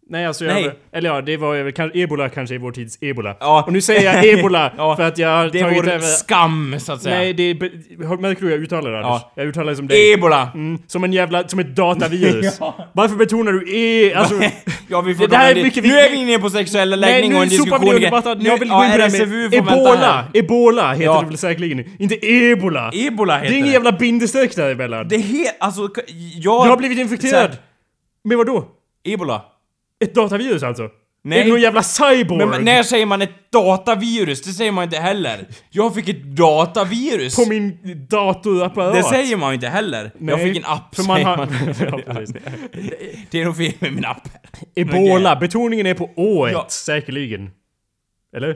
[SPEAKER 1] Nej, alltså
[SPEAKER 2] Nej.
[SPEAKER 1] Jag, eller ja, det var ju- kan, ebola kanske är vår tids ebola.
[SPEAKER 2] Ja.
[SPEAKER 1] Och nu säger jag ebola
[SPEAKER 2] Ja.
[SPEAKER 1] för att jag har
[SPEAKER 2] Det är
[SPEAKER 1] tagit
[SPEAKER 2] vår
[SPEAKER 1] över...
[SPEAKER 2] skam, så att säga.
[SPEAKER 1] Nej, det är... be- har- Märker du hur jag uttalar det Anders?
[SPEAKER 2] Ja.
[SPEAKER 1] Jag uttalar det som dig.
[SPEAKER 2] Ebola!
[SPEAKER 1] Mm, som en jävla... Som ett datavirus. Varför betonar du e... Alltså...
[SPEAKER 2] Ja, vi får
[SPEAKER 1] Det här är
[SPEAKER 2] ta
[SPEAKER 1] mycket
[SPEAKER 2] Nu
[SPEAKER 1] viktigt.
[SPEAKER 2] är vi inne på sexuella
[SPEAKER 1] Nej,
[SPEAKER 2] läggning och
[SPEAKER 1] nu
[SPEAKER 2] en
[SPEAKER 1] sopar
[SPEAKER 2] diskussion.
[SPEAKER 1] vi under
[SPEAKER 2] igen.
[SPEAKER 1] mattan.
[SPEAKER 2] Nu-
[SPEAKER 1] Jag vill gå
[SPEAKER 2] ja,
[SPEAKER 1] in på det här
[SPEAKER 2] RSFU
[SPEAKER 1] med
[SPEAKER 2] får vänta
[SPEAKER 1] Ebola!
[SPEAKER 2] här.
[SPEAKER 1] Ebola heter
[SPEAKER 2] Ja.
[SPEAKER 1] det väl säkerligen? Inte ebola!
[SPEAKER 2] Ebola
[SPEAKER 1] det är
[SPEAKER 2] heter
[SPEAKER 1] ingen
[SPEAKER 2] det.
[SPEAKER 1] jävla bindestreck däremellan.
[SPEAKER 2] Det är helt... Alltså, k- jag...
[SPEAKER 1] Jag har blivit infekterad!
[SPEAKER 2] Så
[SPEAKER 1] Med vadå?
[SPEAKER 2] Ebola.
[SPEAKER 1] Ett datavirus alltså?
[SPEAKER 2] Nej.
[SPEAKER 1] Är det någon jävla cyborg?
[SPEAKER 2] Men, men när säger man ett datavirus? Det säger man inte heller. Jag fick ett datavirus.
[SPEAKER 1] På min datorapparat?
[SPEAKER 2] Det säger man ju inte heller. Jag
[SPEAKER 1] Nej,
[SPEAKER 2] fick en app,
[SPEAKER 1] för man
[SPEAKER 2] säger
[SPEAKER 1] har-
[SPEAKER 2] man.
[SPEAKER 1] Ja, precis.
[SPEAKER 2] Det är nog fel med min app.
[SPEAKER 1] Ebola, betoningen är på ået,
[SPEAKER 2] Ja.
[SPEAKER 1] säkerligen. Eller?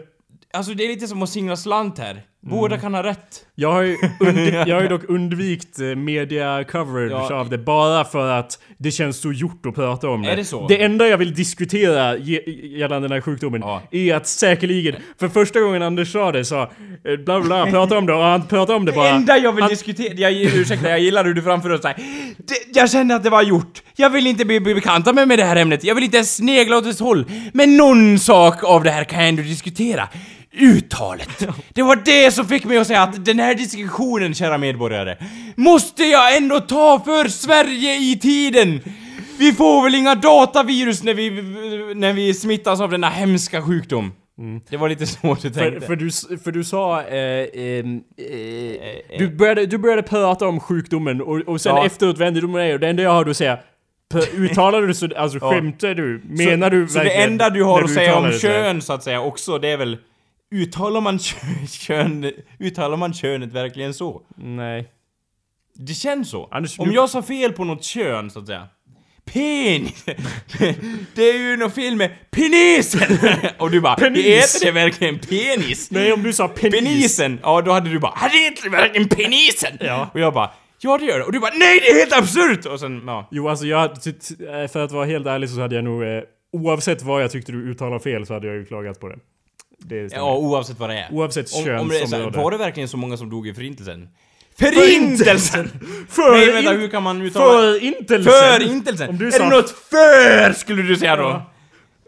[SPEAKER 2] Alltså det är lite som att singla slant här. Båda
[SPEAKER 1] Mm.
[SPEAKER 2] kan ha rätt.
[SPEAKER 1] Jag har ju, und- jag har ju dock undvikit eh, media coverage
[SPEAKER 2] Ja.
[SPEAKER 1] av det bara för att det känns så gjort att prata om det.
[SPEAKER 2] Är det så?
[SPEAKER 1] det enda jag vill diskutera ge- gällande den här sjukdomen
[SPEAKER 2] Ja.
[SPEAKER 1] är att säkerligen, för första gången Anders sa det sa eh, bla bla, prata om det och han pratade om det
[SPEAKER 2] Det
[SPEAKER 1] bara.
[SPEAKER 2] enda jag vill diskutera, jag, ursäkta jag gillar hur du framför oss här. Det- Jag kände att det var gjort. Jag vill inte bli bli bekanta med, med det här ämnet. Jag vill inte ens snegla åt dess håll. Men någon sak av det här kan jag ändå diskutera. Uttalet. Det var det som fick mig att säga att den här diskussionen, kära medborgare, måste jag ändå ta för Sverige i tiden. Vi får väl inga datavirus när vi, när vi smittas av denna hemska sjukdom. Det var lite så du tänkte.
[SPEAKER 1] Mm. För, för, du, s- för du sa... Eh, ehm, eh, du, började, du började prata om sjukdomen och, och sen
[SPEAKER 2] eh. Ja.
[SPEAKER 1] efteråt vände du med dig och det enda jag hörde att säga... p- Uttalade du så... Alltså skämtar du? Menar du
[SPEAKER 2] Så det
[SPEAKER 1] verkligen
[SPEAKER 2] enda du
[SPEAKER 1] när
[SPEAKER 2] har att säga om
[SPEAKER 1] uttalade det så här?
[SPEAKER 2] kön så att säga också, det är väl Uttalar man kön, kön, uttalar man könet verkligen så?
[SPEAKER 1] Nej.
[SPEAKER 2] Det känns så.
[SPEAKER 1] Anders,
[SPEAKER 2] om
[SPEAKER 1] du-
[SPEAKER 2] jag sa fel på något kön så att säga. Penis! det är ju något fel med penisen! Och du bara,
[SPEAKER 1] Penis.
[SPEAKER 2] heter det verkligen penis?
[SPEAKER 1] Nej, om du sa penis.
[SPEAKER 2] Penisen! Ja, då hade du bara, "Här heter det verkligen penisen?
[SPEAKER 1] Ja.
[SPEAKER 2] Och jag bara, ja det gör det. Och du bara, nej det är helt absurt! Och sen, ja.
[SPEAKER 1] Jo, alltså jag... ty- ty- eh, För att vara helt ärlig så hade jag nog... Eh, oavsett vad jag tyckte du uttalade fel så hade jag ju klagat på det. Det stämmer.
[SPEAKER 2] Ja, oavsett vad det är.
[SPEAKER 1] Oavsett
[SPEAKER 2] om,
[SPEAKER 1] kön
[SPEAKER 2] om det är
[SPEAKER 1] som
[SPEAKER 2] så här,
[SPEAKER 1] det var
[SPEAKER 2] Var det verkligen så många som dog i förintelsen? Förintelsen!
[SPEAKER 1] För
[SPEAKER 2] Nej vänta,
[SPEAKER 1] in-
[SPEAKER 2] hur kan man uttala...
[SPEAKER 1] Förintelsen!
[SPEAKER 2] Förintelsen!
[SPEAKER 1] Om du
[SPEAKER 2] är
[SPEAKER 1] sa-
[SPEAKER 2] det något för skulle du säga då?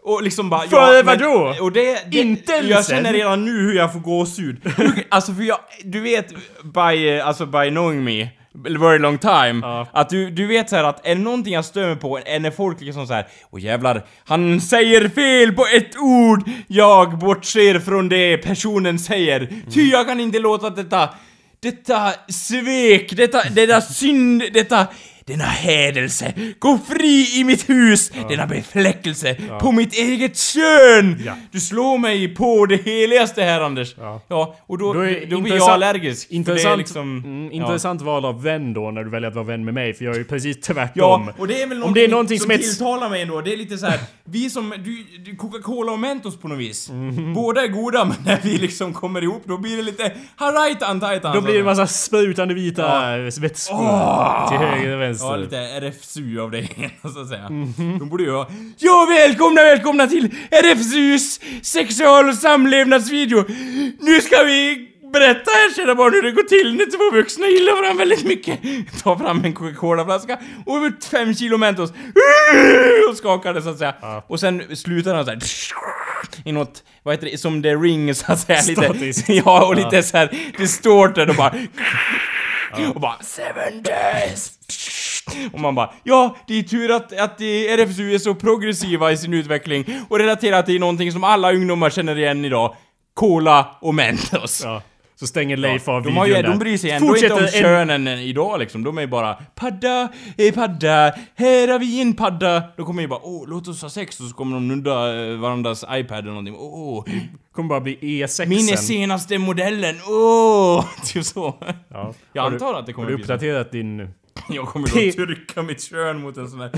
[SPEAKER 2] Och liksom bara...
[SPEAKER 1] För
[SPEAKER 2] men-
[SPEAKER 1] vadå?
[SPEAKER 2] Och det, det,
[SPEAKER 1] Intelsen?
[SPEAKER 2] Jag känner redan nu hur jag får gåshud. Hur- alltså för jag... Du vet, by, eh, alltså by knowing me, a very long time,
[SPEAKER 1] Ja.
[SPEAKER 2] att du, du vet så här att är det någonting jag stör mig på är när folk liksom så här, Åh jävlar, han säger fel på ett ord! Jag bortser från det personen säger, ty
[SPEAKER 1] Mm.
[SPEAKER 2] jag kan inte låta detta, detta svek, detta, detta synd, detta denna hädelse gå fri i mitt hus, denna befläckelse på mitt eget kön!
[SPEAKER 1] Ja.
[SPEAKER 2] Du slår mig på det heligaste här Anders.
[SPEAKER 1] Ja.
[SPEAKER 2] och
[SPEAKER 1] Då
[SPEAKER 2] då, då,
[SPEAKER 1] är
[SPEAKER 2] blir jag
[SPEAKER 1] intressant-
[SPEAKER 2] allergisk. för
[SPEAKER 1] Intressant,
[SPEAKER 2] Det är liksom,
[SPEAKER 1] mm,
[SPEAKER 2] ja.
[SPEAKER 1] intressant val av vän då när du väljer att vara vän med mig för jag är ju precis tvärtom.
[SPEAKER 2] Ja, och det är väl
[SPEAKER 1] Om det är någonting som,
[SPEAKER 2] som
[SPEAKER 1] är... ett-
[SPEAKER 2] tilltalar mig ändå. Det är lite så här, vi som, du, du, Coca-Cola och Mentos på något vis.
[SPEAKER 1] Mhm.
[SPEAKER 2] Båda är goda, men när vi liksom kommer ihop då blir det lite harajtan tajtan.
[SPEAKER 1] Då blir det en massa sprutande vita vätskor
[SPEAKER 2] Ah!
[SPEAKER 1] till höger och
[SPEAKER 2] Ja,
[SPEAKER 1] vänster.
[SPEAKER 2] lite RFSU av det hela, så att säga. De borde ju ha... Ja, välkomna, välkomna till RFSUs sexual och samlevnadsvideo! Nu ska vi berätta här, kära barn, hur det går till när två vuxna gillar varandra väldigt mycket. Ta fram en Coca-Cola-flaska och ut fem kilo Mentos. Och skakar det, så att säga. Och sen slutar han så här. I något, vad heter det, som The Ring, så att säga.
[SPEAKER 1] Statiskt.
[SPEAKER 2] Lite, ja, och lite så här distorted och bara... Och bara Seven days! Och man bara Ja, det är tur att, att det- RFSU är så progressiva i sin utveckling och relaterat till någonting som alla ungdomar känner igen idag. Cola och Mentos.
[SPEAKER 1] Ja. Så stänger Leif av
[SPEAKER 2] De, har ju,
[SPEAKER 1] videon där.
[SPEAKER 2] de bryr sig ändå inte
[SPEAKER 1] Fortsätter
[SPEAKER 2] om
[SPEAKER 1] en-
[SPEAKER 2] könen idag liksom. De är ju bara Padda, eh, padda, här har vi en padda. Då kommer ju bara åh, låt oss ha sex och så kommer de nudda eh, varandras iPad eller någonting. Åh, åh,
[SPEAKER 1] Kommer bara bli E E6
[SPEAKER 2] min är
[SPEAKER 1] Mm. sen.
[SPEAKER 2] senaste modellen, åh! Typ så.
[SPEAKER 1] Ja.
[SPEAKER 2] Jag
[SPEAKER 1] Har du-
[SPEAKER 2] antar att det kommer
[SPEAKER 1] Har du
[SPEAKER 2] bli så.
[SPEAKER 1] uppdaterat din
[SPEAKER 2] Jag kommer
[SPEAKER 1] Det-
[SPEAKER 2] då trycka mitt kön mot en sån här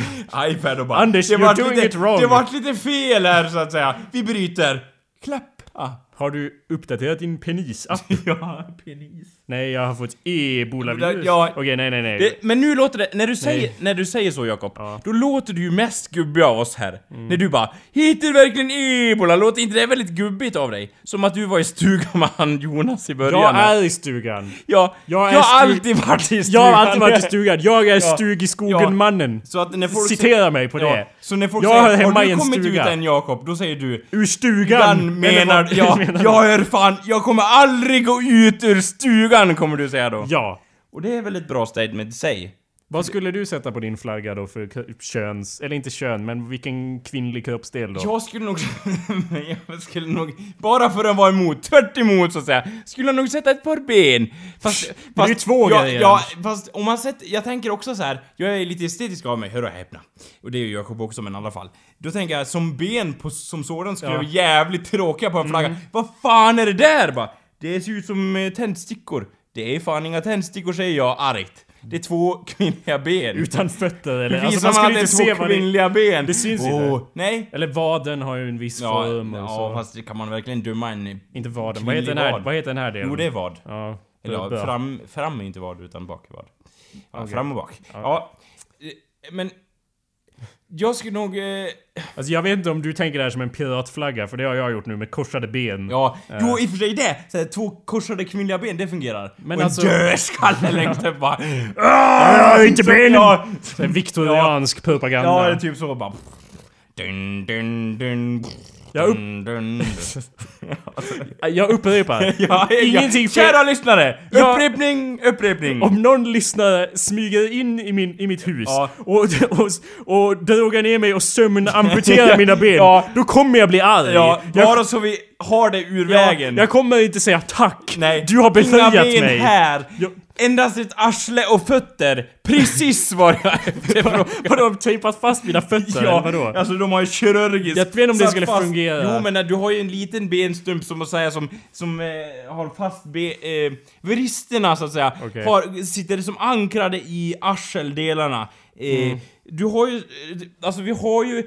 [SPEAKER 2] iPad och bara...
[SPEAKER 1] Anders, you're
[SPEAKER 2] vart
[SPEAKER 1] doing
[SPEAKER 2] lite,
[SPEAKER 1] it wrong."
[SPEAKER 2] Det vart lite fel här så att säga. Vi bryter. Ah. Klappa.
[SPEAKER 1] Har du uppdaterat din penis-app?
[SPEAKER 2] Ja, penis.
[SPEAKER 1] nej, jag har fått ebola-virus.
[SPEAKER 2] Ja.
[SPEAKER 1] Okej, nej, nej, nej.
[SPEAKER 2] Det, men nu låter det, när du säger, när du säger så Jakob, då låter du ju mest gubbig av oss här.
[SPEAKER 1] Mm.
[SPEAKER 2] När du bara “Hittar verkligen ebola?” Låter inte det väldigt gubbigt av dig? Som att du var i stugan med han Jonas i början.
[SPEAKER 1] jag
[SPEAKER 2] här.
[SPEAKER 1] är i stugan.
[SPEAKER 2] ja,
[SPEAKER 1] jag är
[SPEAKER 2] jag har
[SPEAKER 1] stu-
[SPEAKER 2] alltid varit i
[SPEAKER 1] Jag
[SPEAKER 2] stugan.
[SPEAKER 1] har alltid varit i stugan. Jag är
[SPEAKER 2] Ja.
[SPEAKER 1] stug i
[SPEAKER 2] Ja.
[SPEAKER 1] skogen-mannen.
[SPEAKER 2] Så att när folk
[SPEAKER 1] Citera mig på
[SPEAKER 2] Ja,
[SPEAKER 1] det.
[SPEAKER 2] så när folk
[SPEAKER 1] Jag hör
[SPEAKER 2] säger
[SPEAKER 1] hemma
[SPEAKER 2] “Har
[SPEAKER 1] i
[SPEAKER 2] du
[SPEAKER 1] en
[SPEAKER 2] kommit
[SPEAKER 1] stuga."
[SPEAKER 2] ut än Jakob?” Då säger du
[SPEAKER 1] Ur stugan!
[SPEAKER 2] “Stugan
[SPEAKER 1] Eller
[SPEAKER 2] menar...
[SPEAKER 1] vad-
[SPEAKER 2] Ja,
[SPEAKER 1] menar du?
[SPEAKER 2] jag är fan... Jag kommer aldrig gå ut ur stugan” kommer du säga då.
[SPEAKER 1] ja.
[SPEAKER 2] Och det är väl ett bra statement i sig.
[SPEAKER 1] Vad skulle du sätta på din flagga då för k- köns... Eller inte kön, men vilken kvinnlig kroppsdel då?
[SPEAKER 2] Jag skulle nog... jag skulle nog... Bara för att vara emot, tvärt emot så att säga, skulle jag nog sätta ett par ben. Fast... fast
[SPEAKER 1] är ju två
[SPEAKER 2] ja,
[SPEAKER 1] grejer.
[SPEAKER 2] Ja, fast om man sett... Jag tänker också så här. jag är lite estetisk av mig, hör och häpna. Och det är ju Jakob också, men i alla fall. Då tänker jag, som ben på, som sådan skulle
[SPEAKER 1] Ja. Mm.
[SPEAKER 2] vara jävligt tråkiga på en flagga. Vad fan är det där bara? Det ser ut som eh, tändstickor. Det är fan inga tändstickor säger jag argt. Det är två kvinnliga ben.
[SPEAKER 1] Utan fötter eller... Alltså
[SPEAKER 2] Visar
[SPEAKER 1] man
[SPEAKER 2] man att
[SPEAKER 1] skulle
[SPEAKER 2] det
[SPEAKER 1] inte se
[SPEAKER 2] är två
[SPEAKER 1] vad det...
[SPEAKER 2] kvinnliga ben?
[SPEAKER 1] Det syns inte.
[SPEAKER 2] Nej,
[SPEAKER 1] Eller vaden har ju en viss form och
[SPEAKER 2] ja
[SPEAKER 1] så.
[SPEAKER 2] fast det kan man verkligen döma en...
[SPEAKER 1] Inte vaden. Vad
[SPEAKER 2] Kvinnlig
[SPEAKER 1] heter, den här,
[SPEAKER 2] vad?
[SPEAKER 1] vad heter den här delen?
[SPEAKER 2] Jo, det är vad.
[SPEAKER 1] Ja.
[SPEAKER 2] Eller ja,
[SPEAKER 1] bra.
[SPEAKER 2] fram, fram är inte vad, utan bak är vad. Ja,
[SPEAKER 1] Okej.
[SPEAKER 2] fram och bak. Ja. eh, men... Jag skulle nog... Eh,
[SPEAKER 1] Alltså jag vet inte om du tänker det här som en piratflagga, för det har jag gjort nu med korsade ben.
[SPEAKER 2] ja, jo i och för sig det! Så här, två korsade kvinnliga ben, det fungerar.
[SPEAKER 1] Men
[SPEAKER 2] och
[SPEAKER 1] alltså-
[SPEAKER 2] en dödskalle längst upp bara...
[SPEAKER 1] Ah, inte benen!
[SPEAKER 2] Ja,
[SPEAKER 1] Så En viktoriansk propaganda.
[SPEAKER 2] ja, det är typ så bara... Dun, dun, dun,
[SPEAKER 1] Jag upp-
[SPEAKER 2] dun, dun, dun.
[SPEAKER 1] Ah, Jag upprepar.
[SPEAKER 2] Ja, ja.
[SPEAKER 1] Ingenting fel.
[SPEAKER 2] Kära lyssnare!
[SPEAKER 1] Ja.
[SPEAKER 2] Upprepning, upprepning!
[SPEAKER 1] Om någon lyssnare smyger in i, min, i mitt hus
[SPEAKER 2] Ja.
[SPEAKER 1] och, och, och drogar ner mig och sömnamputerar mina ben,
[SPEAKER 2] Ja.
[SPEAKER 1] då kommer jag bli arg.
[SPEAKER 2] Ja,
[SPEAKER 1] jag,
[SPEAKER 2] bara så vi har det ur
[SPEAKER 1] ja,
[SPEAKER 2] vägen.
[SPEAKER 1] jag kommer inte säga tack.
[SPEAKER 2] Nej,
[SPEAKER 1] Du har befriat
[SPEAKER 2] inga ben
[SPEAKER 1] mig.
[SPEAKER 2] här.
[SPEAKER 1] Jag-
[SPEAKER 2] Endast ett arsle och fötter. Precis vad jag efterfrågar.
[SPEAKER 1] Har de tejpat fast mina fötter? eller vadå?
[SPEAKER 2] alltså de har ju kirurgiskt
[SPEAKER 1] Jag vet inte om det
[SPEAKER 2] satt
[SPEAKER 1] skulle fungera.
[SPEAKER 2] Jo men eh, du har ju en liten benstump som att säga som, som eh, har fast be, eh, vristerna så att säga.
[SPEAKER 1] Okej.
[SPEAKER 2] Har, sitter som ankrade i arseldelarna. Eh,
[SPEAKER 1] Mm.
[SPEAKER 2] Du har ju, eh, alltså vi har ju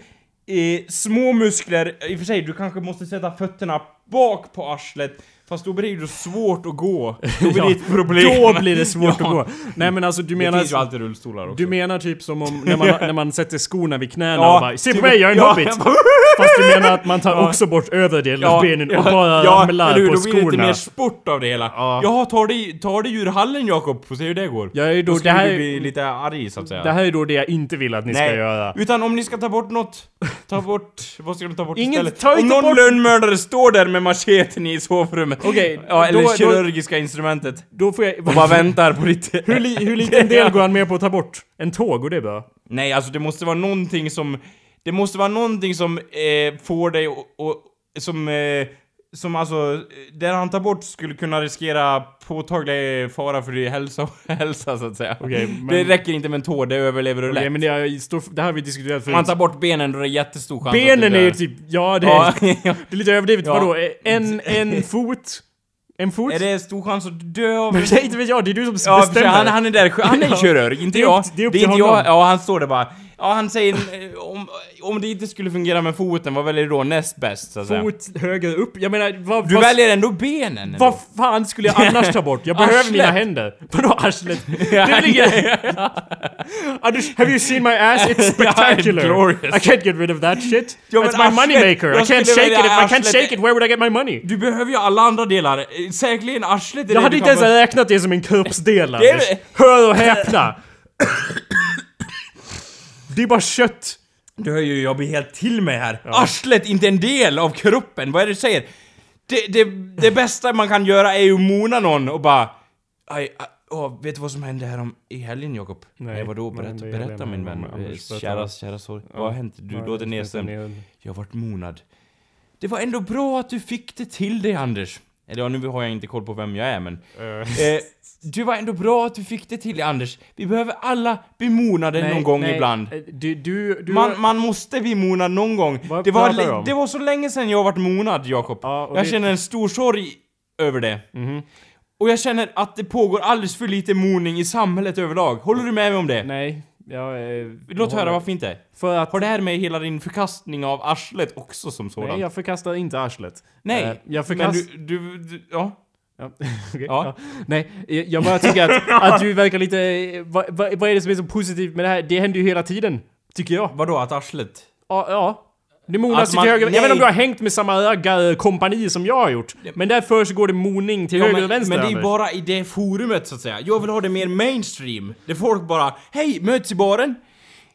[SPEAKER 2] eh, små muskler, i och för sig du kanske måste sätta fötterna bak på arslet. Fast då blir det ju svårt att gå. Då blir
[SPEAKER 1] Ja,
[SPEAKER 2] det ett problem.
[SPEAKER 1] Då blir det svårt
[SPEAKER 2] Ja.
[SPEAKER 1] att gå. Nej men alltså du
[SPEAKER 2] Det
[SPEAKER 1] menar...
[SPEAKER 2] finns ju alltid rullstolar också.
[SPEAKER 1] Du menar typ som om när man, när man sätter skorna vid knäna och bara Se på
[SPEAKER 2] typ-
[SPEAKER 1] mig, jag är en
[SPEAKER 2] ja.
[SPEAKER 1] hobbit! Fast du menar att man tar också bort överdelen av benen och bara ramlar
[SPEAKER 2] eller hur?
[SPEAKER 1] på
[SPEAKER 2] Då blir det lite
[SPEAKER 1] skorna.
[SPEAKER 2] mer sport av det hela.
[SPEAKER 1] Ja.
[SPEAKER 2] Jaha, tar dig, tar dig ur hallen Jakob, får se hur det går.
[SPEAKER 1] Jag är ju då-
[SPEAKER 2] då skulle
[SPEAKER 1] det här-
[SPEAKER 2] du bli lite arg så att säga.
[SPEAKER 1] Det här är då det jag inte vill att ni
[SPEAKER 2] Nej,
[SPEAKER 1] ska göra.
[SPEAKER 2] utan om ni ska ta bort något, ta bort... Vad ska du ta bort
[SPEAKER 1] Ingen-
[SPEAKER 2] istället?
[SPEAKER 1] ta
[SPEAKER 2] om
[SPEAKER 1] inte
[SPEAKER 2] någon
[SPEAKER 1] bort-
[SPEAKER 2] lönnmördare står där med macheten i sovrummet.
[SPEAKER 1] Okej,
[SPEAKER 2] ja, eller
[SPEAKER 1] då- då-
[SPEAKER 2] kirurgiska instrumentet.
[SPEAKER 1] Då får jag...
[SPEAKER 2] Och bara väntar på ditt...
[SPEAKER 1] hur, li, hur liten del går han med på att ta bort? En tåg, och det är bra.
[SPEAKER 2] Nej, alltså det måste vara någonting som... Det måste vara någonting som eh, får dig och, och Som... Eh, som alltså... eh, Där han tar bort skulle kunna riskera påtaglig fara för din hälsa, hälsa så att säga.
[SPEAKER 1] Okej, men-
[SPEAKER 2] Det räcker inte med en tå, det överlever du
[SPEAKER 1] Okej,
[SPEAKER 2] lätt.
[SPEAKER 1] men det, är, står- det här har vi diskuterat
[SPEAKER 2] Man
[SPEAKER 1] förut.
[SPEAKER 2] tar bort benen då är det jättestor chans att
[SPEAKER 1] Benen
[SPEAKER 2] du
[SPEAKER 1] är
[SPEAKER 2] dör.
[SPEAKER 1] ju typ... Ja, det
[SPEAKER 2] Ja,
[SPEAKER 1] är, det är lite överdrivet.
[SPEAKER 2] Ja.
[SPEAKER 1] Vadå? En, en fot? En fot?
[SPEAKER 2] är det stor chans att dö av...
[SPEAKER 1] Men det är inte vet jag, det är du som
[SPEAKER 2] Ja, för sig,
[SPEAKER 1] bestämmer.
[SPEAKER 2] han, han är där, han är
[SPEAKER 1] Ja.
[SPEAKER 2] kirurg, inte
[SPEAKER 1] Det är
[SPEAKER 2] jag.
[SPEAKER 1] upp- det är upp
[SPEAKER 2] det är
[SPEAKER 1] till
[SPEAKER 2] inte jag.
[SPEAKER 1] honom.
[SPEAKER 2] Ja, han står där bara. Ja, han säger eh, om, om det inte skulle fungera med foten, vad väljer du då näst bäst? Så att säga.
[SPEAKER 1] Fot höger upp. Jag menar, vad...
[SPEAKER 2] Du
[SPEAKER 1] vad-
[SPEAKER 2] väljer ändå benen. ändå.
[SPEAKER 1] Vad fan skulle jag annars ta bort? Jag behöver
[SPEAKER 2] Arslet.
[SPEAKER 1] mina händer. Vadå arslet? Det är väl inget... Anders, have you seen my ass? It's spectacular.
[SPEAKER 2] Yeah, glorious.
[SPEAKER 1] I can't get rid of that shit.
[SPEAKER 2] Ja, men
[SPEAKER 1] That's my
[SPEAKER 2] arslet,
[SPEAKER 1] moneymaker. I
[SPEAKER 2] jag
[SPEAKER 1] can't
[SPEAKER 2] skulle
[SPEAKER 1] shake it.
[SPEAKER 2] välja
[SPEAKER 1] If I can't
[SPEAKER 2] arslet.
[SPEAKER 1] shake it, where would I get my money?
[SPEAKER 2] Du behöver ju alla andra delar. Eh, Säkerligen arslet är det
[SPEAKER 1] Jag hade
[SPEAKER 2] du
[SPEAKER 1] inte ens
[SPEAKER 2] kan få-
[SPEAKER 1] räknat det som en kroppsdel,
[SPEAKER 2] Det är-
[SPEAKER 1] Anders. Hör och häpna! Det är bara kött.
[SPEAKER 2] Du hör ju, jag blir helt till mig här. Arslet, inte en del av kroppen. Vad är det du säger? Det, det, det bästa man kan göra är ju att mona någon och bara... Aj, aj, åh, vet du vad som hände här om, i helgen Jakob?
[SPEAKER 1] Nej,
[SPEAKER 2] Nej, vadå?
[SPEAKER 1] vad
[SPEAKER 2] Berätta,
[SPEAKER 1] hände i
[SPEAKER 2] berätta
[SPEAKER 1] helgen,
[SPEAKER 2] min vän.
[SPEAKER 1] Anders? Berätta.
[SPEAKER 2] Eh, Kära, kära sorg. Vad har hänt? Du låter nedstämd. Jag har varit monad. Det var ändå bra att du fick det till dig Anders. Eller ja, nu har jag inte koll på vem jag är men... Eh, du var ändå bra att du fick det till dig Anders. Vi behöver alla bli monade någon gång ibland.
[SPEAKER 1] Du, du, du...
[SPEAKER 2] Man, man måste bli monad någon gång.
[SPEAKER 1] Vad
[SPEAKER 2] det, var
[SPEAKER 1] pratar du
[SPEAKER 2] li-
[SPEAKER 1] om?
[SPEAKER 2] det var så länge sedan jag varit monad Jakob.
[SPEAKER 1] Ja, och Mhm.
[SPEAKER 2] jag
[SPEAKER 1] det-
[SPEAKER 2] känner en stor sorg över det. Och jag känner att det pågår alldeles för lite moning i samhället överlag. Håller du med mig om det?
[SPEAKER 1] Nej, jag... eh,
[SPEAKER 2] Låt höra, varför inte?
[SPEAKER 1] För att...
[SPEAKER 2] Har det här med hela din förkastning av arslet också som sådant?
[SPEAKER 1] Nej, jag förkastar inte arslet.
[SPEAKER 2] Nej,
[SPEAKER 1] Eh, jag förkastar...
[SPEAKER 2] men du, du, du, ja.
[SPEAKER 1] Ja, okej,
[SPEAKER 2] Ja.
[SPEAKER 1] ja. Nej, jag jag bara tycker att, att du verkar lite... eh, Vad, vad, vad är det som är så positivt med det här? Det händer ju hela tiden, tycker jag.
[SPEAKER 2] Vadå, att arslet?
[SPEAKER 1] Ja, ja. Det monas
[SPEAKER 2] Att
[SPEAKER 1] ju
[SPEAKER 2] Alltså, man-
[SPEAKER 1] till höger. Jag
[SPEAKER 2] nej.
[SPEAKER 1] vet inte om du har hängt med samma öga-kompani som jag har gjort. Men där försiggår det moning till
[SPEAKER 2] Ja,
[SPEAKER 1] höger
[SPEAKER 2] men,
[SPEAKER 1] och vänster.
[SPEAKER 2] men det är ju
[SPEAKER 1] Anders.
[SPEAKER 2] bara i det forumet så att säga. Jag vill ha det mer mainstream. Där folk bara Hej, möts i baren!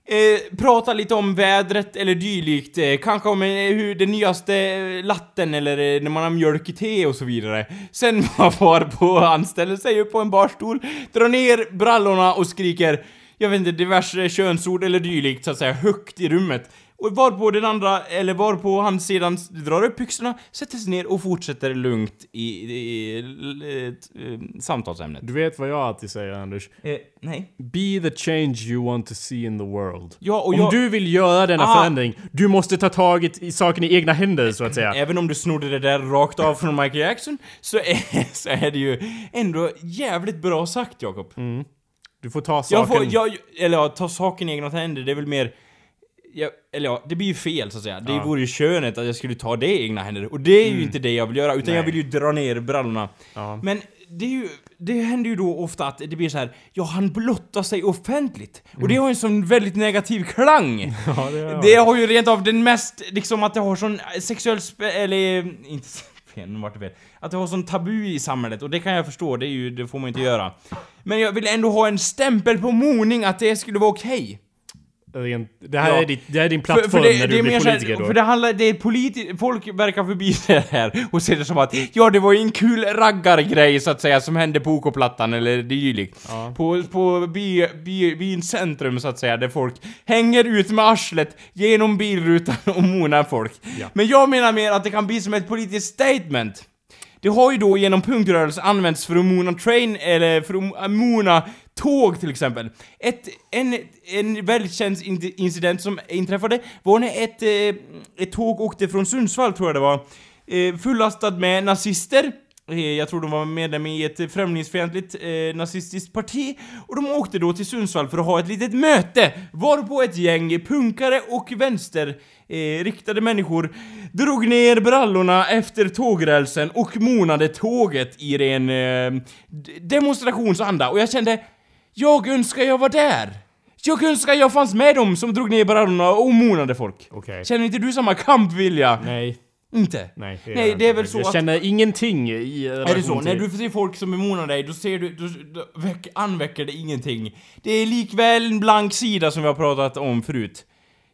[SPEAKER 2] Eh, prata lite om vädret eller dylikt, eh, kanske om eh, hur den nyaste eh, latten eller eh, när man har mjölk i te och så vidare. Sen man far på han ställer sig upp på en barstol, drar ner brallorna och skriker jag vet inte, diverse könsord eller dylikt så att säga högt i rummet. Och varpå den andra, eller varpå han sedan drar upp byxorna, sätter sig ner och fortsätter lugnt i, i, i, i, i samtalsämnet.
[SPEAKER 1] Du vet vad jag alltid säger, Anders.
[SPEAKER 2] Eh, nej.
[SPEAKER 1] Be the change you want to see in the world.
[SPEAKER 2] Ja, och
[SPEAKER 1] om
[SPEAKER 2] jag-
[SPEAKER 1] du vill göra denna
[SPEAKER 2] Ah.
[SPEAKER 1] förändring, du måste ta tag i- i saken i egna händer, så att säga.
[SPEAKER 2] Även om du snodde det där rakt av från Michael Jackson så är, så är det ju ändå jävligt bra sagt Jakob.
[SPEAKER 1] Du får ta Mm, saken...
[SPEAKER 2] jag får, jag, eller ja, ta saken i egna händer, det är väl mer... Jag, eller ja, det blir ju fel så att säga. Det vore ju könet att jag skulle ta det i egna händer. Och det är ju inte det jag vill göra, utan jag vill ju dra ner brallorna.
[SPEAKER 1] Mm. Ja.
[SPEAKER 2] Men det, är ju, det händer ju då ofta att det blir så här, ja han blottar sig offentligt. Och det har ju en sån väldigt negativ klang.
[SPEAKER 1] Mm. Ja, det gör jag.
[SPEAKER 2] Det har ju rent av den mest, liksom att det har sån sexuell spe- eller eh, inte spen, vart det fel. Att det har sån tabu i samhället och det kan jag förstå, det, är ju, det får man ju inte göra. Men jag vill ändå ha en stämpel på moning att det skulle vara okej.
[SPEAKER 1] Rent- Det här
[SPEAKER 2] Ja.
[SPEAKER 1] är, ditt, det här är din plattform när du
[SPEAKER 2] är
[SPEAKER 1] blir
[SPEAKER 2] mer så här-
[SPEAKER 1] politiker då.
[SPEAKER 2] För det handlar, det är politi- folk verkar förbi det här och ser det som att ja, det var ju en kul raggargrej så att säga som hände på OK-plattan eller dylikt. På, på by, by, byns centrum så att säga där folk hänger ut med arslet genom bilrutan och monar folk.
[SPEAKER 1] Ja.
[SPEAKER 2] Men jag menar mer att det kan bli som ett politiskt statement. Det har ju då genom punktrörelse använts för att mona train, eller för att mona tåg till exempel. Ett, en, en välkänd in- incident som inträffade var när ett, eh, ett tåg åkte från Sundsvall, tror jag det var, eh, fullastad med nazister. Eh, Jag tror de var medlem i ett främlingsfientligt eh, nazistiskt parti. Och de åkte då till Sundsvall för att ha ett litet möte. Varpå ett gäng punkare och vänster eh, riktade människor drog ner brallorna efter tågrälsen och monade tåget i ren eh, d- demonstrationsanda och jag kände Jag önskar jag var där! Jag önskar jag fanns med dem som drog ner brallorna och monade folk.
[SPEAKER 1] Okej.
[SPEAKER 2] Känner inte du samma kampvilja?
[SPEAKER 1] Nej,
[SPEAKER 2] Inte?
[SPEAKER 1] nej. jag
[SPEAKER 2] Nej, det är
[SPEAKER 1] inte.
[SPEAKER 2] väl så
[SPEAKER 1] Jag
[SPEAKER 2] att-
[SPEAKER 1] känner ingenting i
[SPEAKER 2] Är det så? När du ser folk som är måna dig, då ser du, då, då väck, anväcker det ingenting. Det är likväl en blank sida som vi har pratat om förut.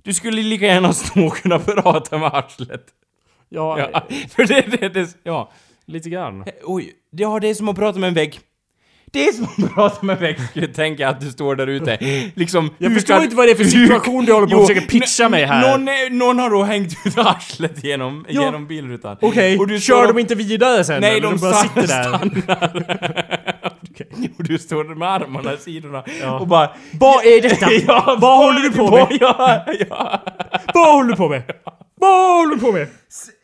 [SPEAKER 2] Du skulle lika gärna stå och kunna prata med arslet.
[SPEAKER 1] Ja,
[SPEAKER 2] Ja, för det, det, det, ja.
[SPEAKER 1] lite grann.
[SPEAKER 2] Oj, det, ja, det är som att prata med en vägg. Det är som att prata med en vägg, skulle jag tänka att du står där ute. Liksom,
[SPEAKER 1] Jag
[SPEAKER 2] hur
[SPEAKER 1] förstår
[SPEAKER 2] kan-
[SPEAKER 1] inte vad det är för
[SPEAKER 2] hur-
[SPEAKER 1] situation du håller på
[SPEAKER 2] Jo,
[SPEAKER 1] att försöka pitcha mig här.
[SPEAKER 2] Någon, är- någon har då hängt ut arslet genom,
[SPEAKER 1] Ja.
[SPEAKER 2] genom bilrutan.
[SPEAKER 1] Okej,
[SPEAKER 2] Och du
[SPEAKER 1] kör
[SPEAKER 2] står-
[SPEAKER 1] de inte vidare sen?
[SPEAKER 2] Nej,
[SPEAKER 1] eller
[SPEAKER 2] de
[SPEAKER 1] bara
[SPEAKER 2] stann-
[SPEAKER 1] sitter där.
[SPEAKER 2] Och du står där med armarna i sidorna
[SPEAKER 1] Ja.
[SPEAKER 2] och bara...
[SPEAKER 1] Vad är detta? Vad håller du på med?
[SPEAKER 2] Ja, ja,
[SPEAKER 1] Vad håller du på med? Vad håller du på med?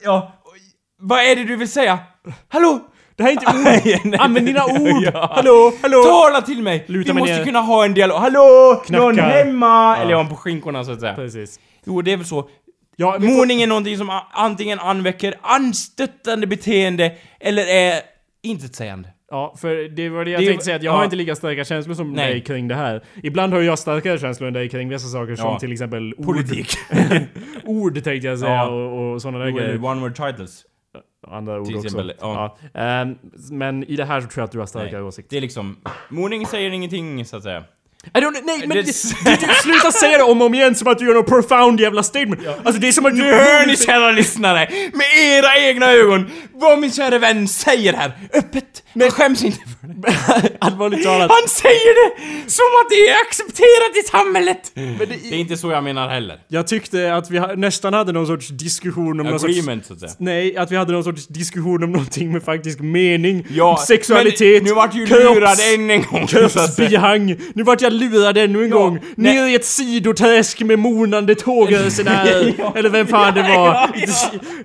[SPEAKER 2] ja. Oj, Vad är det du vill säga? Hallå?
[SPEAKER 1] Det här är
[SPEAKER 2] Nej,
[SPEAKER 1] inte ord!
[SPEAKER 2] nej,
[SPEAKER 1] Använd dina Ah, ord!
[SPEAKER 2] Ja.
[SPEAKER 1] Hallå, hallå!
[SPEAKER 2] Tala till mig!
[SPEAKER 1] Luta
[SPEAKER 2] Vi
[SPEAKER 1] mig
[SPEAKER 2] måste
[SPEAKER 1] ner.
[SPEAKER 2] kunna ha en dialog. Hallå? Någon
[SPEAKER 1] Knacka.
[SPEAKER 2] hemma? Eller ja, på skinkorna så att säga.
[SPEAKER 1] Precis.
[SPEAKER 2] Jo, det är väl så.
[SPEAKER 1] Ja, men-
[SPEAKER 2] Moning är någonting som a- antingen anväcker anstöttande beteende eller är intetsägande.
[SPEAKER 1] Ja, för det var det jag
[SPEAKER 2] Det är-
[SPEAKER 1] tänkte säga, att jag
[SPEAKER 2] ja.
[SPEAKER 1] har inte lika starka känslor som
[SPEAKER 2] Nej.
[SPEAKER 1] dig kring det här. Ibland har jag starkare känslor än dig kring vissa saker
[SPEAKER 2] Ja.
[SPEAKER 1] som till exempel ord.
[SPEAKER 2] Politik.
[SPEAKER 1] ord tänkte jag säga
[SPEAKER 2] Ja.
[SPEAKER 1] och, och sådana där grejer.
[SPEAKER 2] One word titles.
[SPEAKER 1] Andra ord
[SPEAKER 2] Till
[SPEAKER 1] också.
[SPEAKER 2] exempel, ja.
[SPEAKER 1] Ja. Ehm, men i det här så tror jag att du har starkare åsikter.
[SPEAKER 2] Det är liksom... Moning säger ingenting så att säga.
[SPEAKER 1] I don't, nej men
[SPEAKER 2] Det-
[SPEAKER 1] det, det, du, sluta säga det om och om igen som att du gör något profound jävla statement. Alltså det är som att du...
[SPEAKER 2] Nu hör ni kära lyssnare, med era egna ögon, vad min kära vän säger här, öppet. Han skäms inte för det.
[SPEAKER 1] Allvarligt talat.
[SPEAKER 2] Han säger det som att det är accepterat i samhället! det är inte så jag menar heller.
[SPEAKER 1] Jag tyckte att vi ha- nästan hade någon sorts diskussion om någon sorts...
[SPEAKER 2] Agreement så att säga.
[SPEAKER 1] Nej, att vi hade någon sorts diskussion om någonting med faktisk mening,
[SPEAKER 2] Ja,
[SPEAKER 1] om sexualitet,
[SPEAKER 2] men nu vart ju
[SPEAKER 1] kropps-
[SPEAKER 2] lurad än en gång. så att säga.
[SPEAKER 1] kroppsbihang. Nu vart jag lurade ännu en
[SPEAKER 2] Ja,
[SPEAKER 1] gång
[SPEAKER 2] nej.
[SPEAKER 1] ner i ett sidoträsk med monande tågresenärer.
[SPEAKER 2] Ja,
[SPEAKER 1] Eller vem fan det var.
[SPEAKER 2] ja, ja.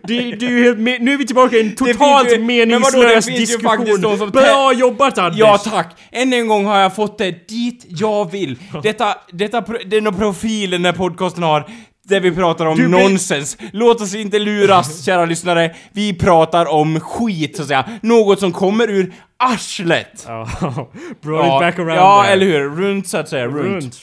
[SPEAKER 1] Det, det är ju helt, me- nu är vi tillbaka i en
[SPEAKER 2] finns
[SPEAKER 1] totalt
[SPEAKER 2] ju- men vadå, det
[SPEAKER 1] meningslös
[SPEAKER 2] finns ju faktiskt de
[SPEAKER 1] diskussion.
[SPEAKER 2] som
[SPEAKER 1] Bra jobbat Anders!
[SPEAKER 2] Ja tack! Än en gång har jag fått det dit jag vill. Detta, detta, pro- denna profil den här podcasten har. Där vi pratar om
[SPEAKER 1] Du blir-
[SPEAKER 2] nonsens. Låt oss inte luras, kära lyssnare. Vi pratar om skit, så att säga. Något som kommer ur arslet.
[SPEAKER 1] Ja, Brought it back around
[SPEAKER 2] ja
[SPEAKER 1] there.
[SPEAKER 2] eller hur? Runt, så att säga. Runt.
[SPEAKER 1] Runt.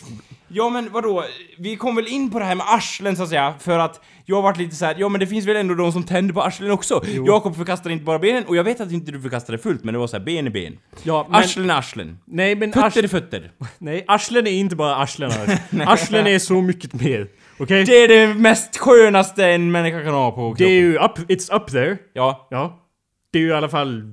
[SPEAKER 2] Ja men vadå, vi kom väl in på det här med arslen så att säga, för att jag har varit lite så här, ja men det finns väl ändå de som tänder på arslen också. Jakob förkastar inte bara benen, och jag vet att inte du förkastade fullt, men det var så här ben i ben.
[SPEAKER 1] Ja, men,
[SPEAKER 2] Arslen är arslen.
[SPEAKER 1] nej men
[SPEAKER 2] Fötter är
[SPEAKER 1] arslen,
[SPEAKER 2] fötter.
[SPEAKER 1] nej, arslen är inte bara arslen Anders. Arslen är så mycket mer. Okej?
[SPEAKER 2] Det är det mest skönaste en människa kan ha på
[SPEAKER 1] Det är ju
[SPEAKER 2] kroppen.
[SPEAKER 1] up, it's up there.
[SPEAKER 2] Ja.
[SPEAKER 1] Ja. Det är ju i alla fall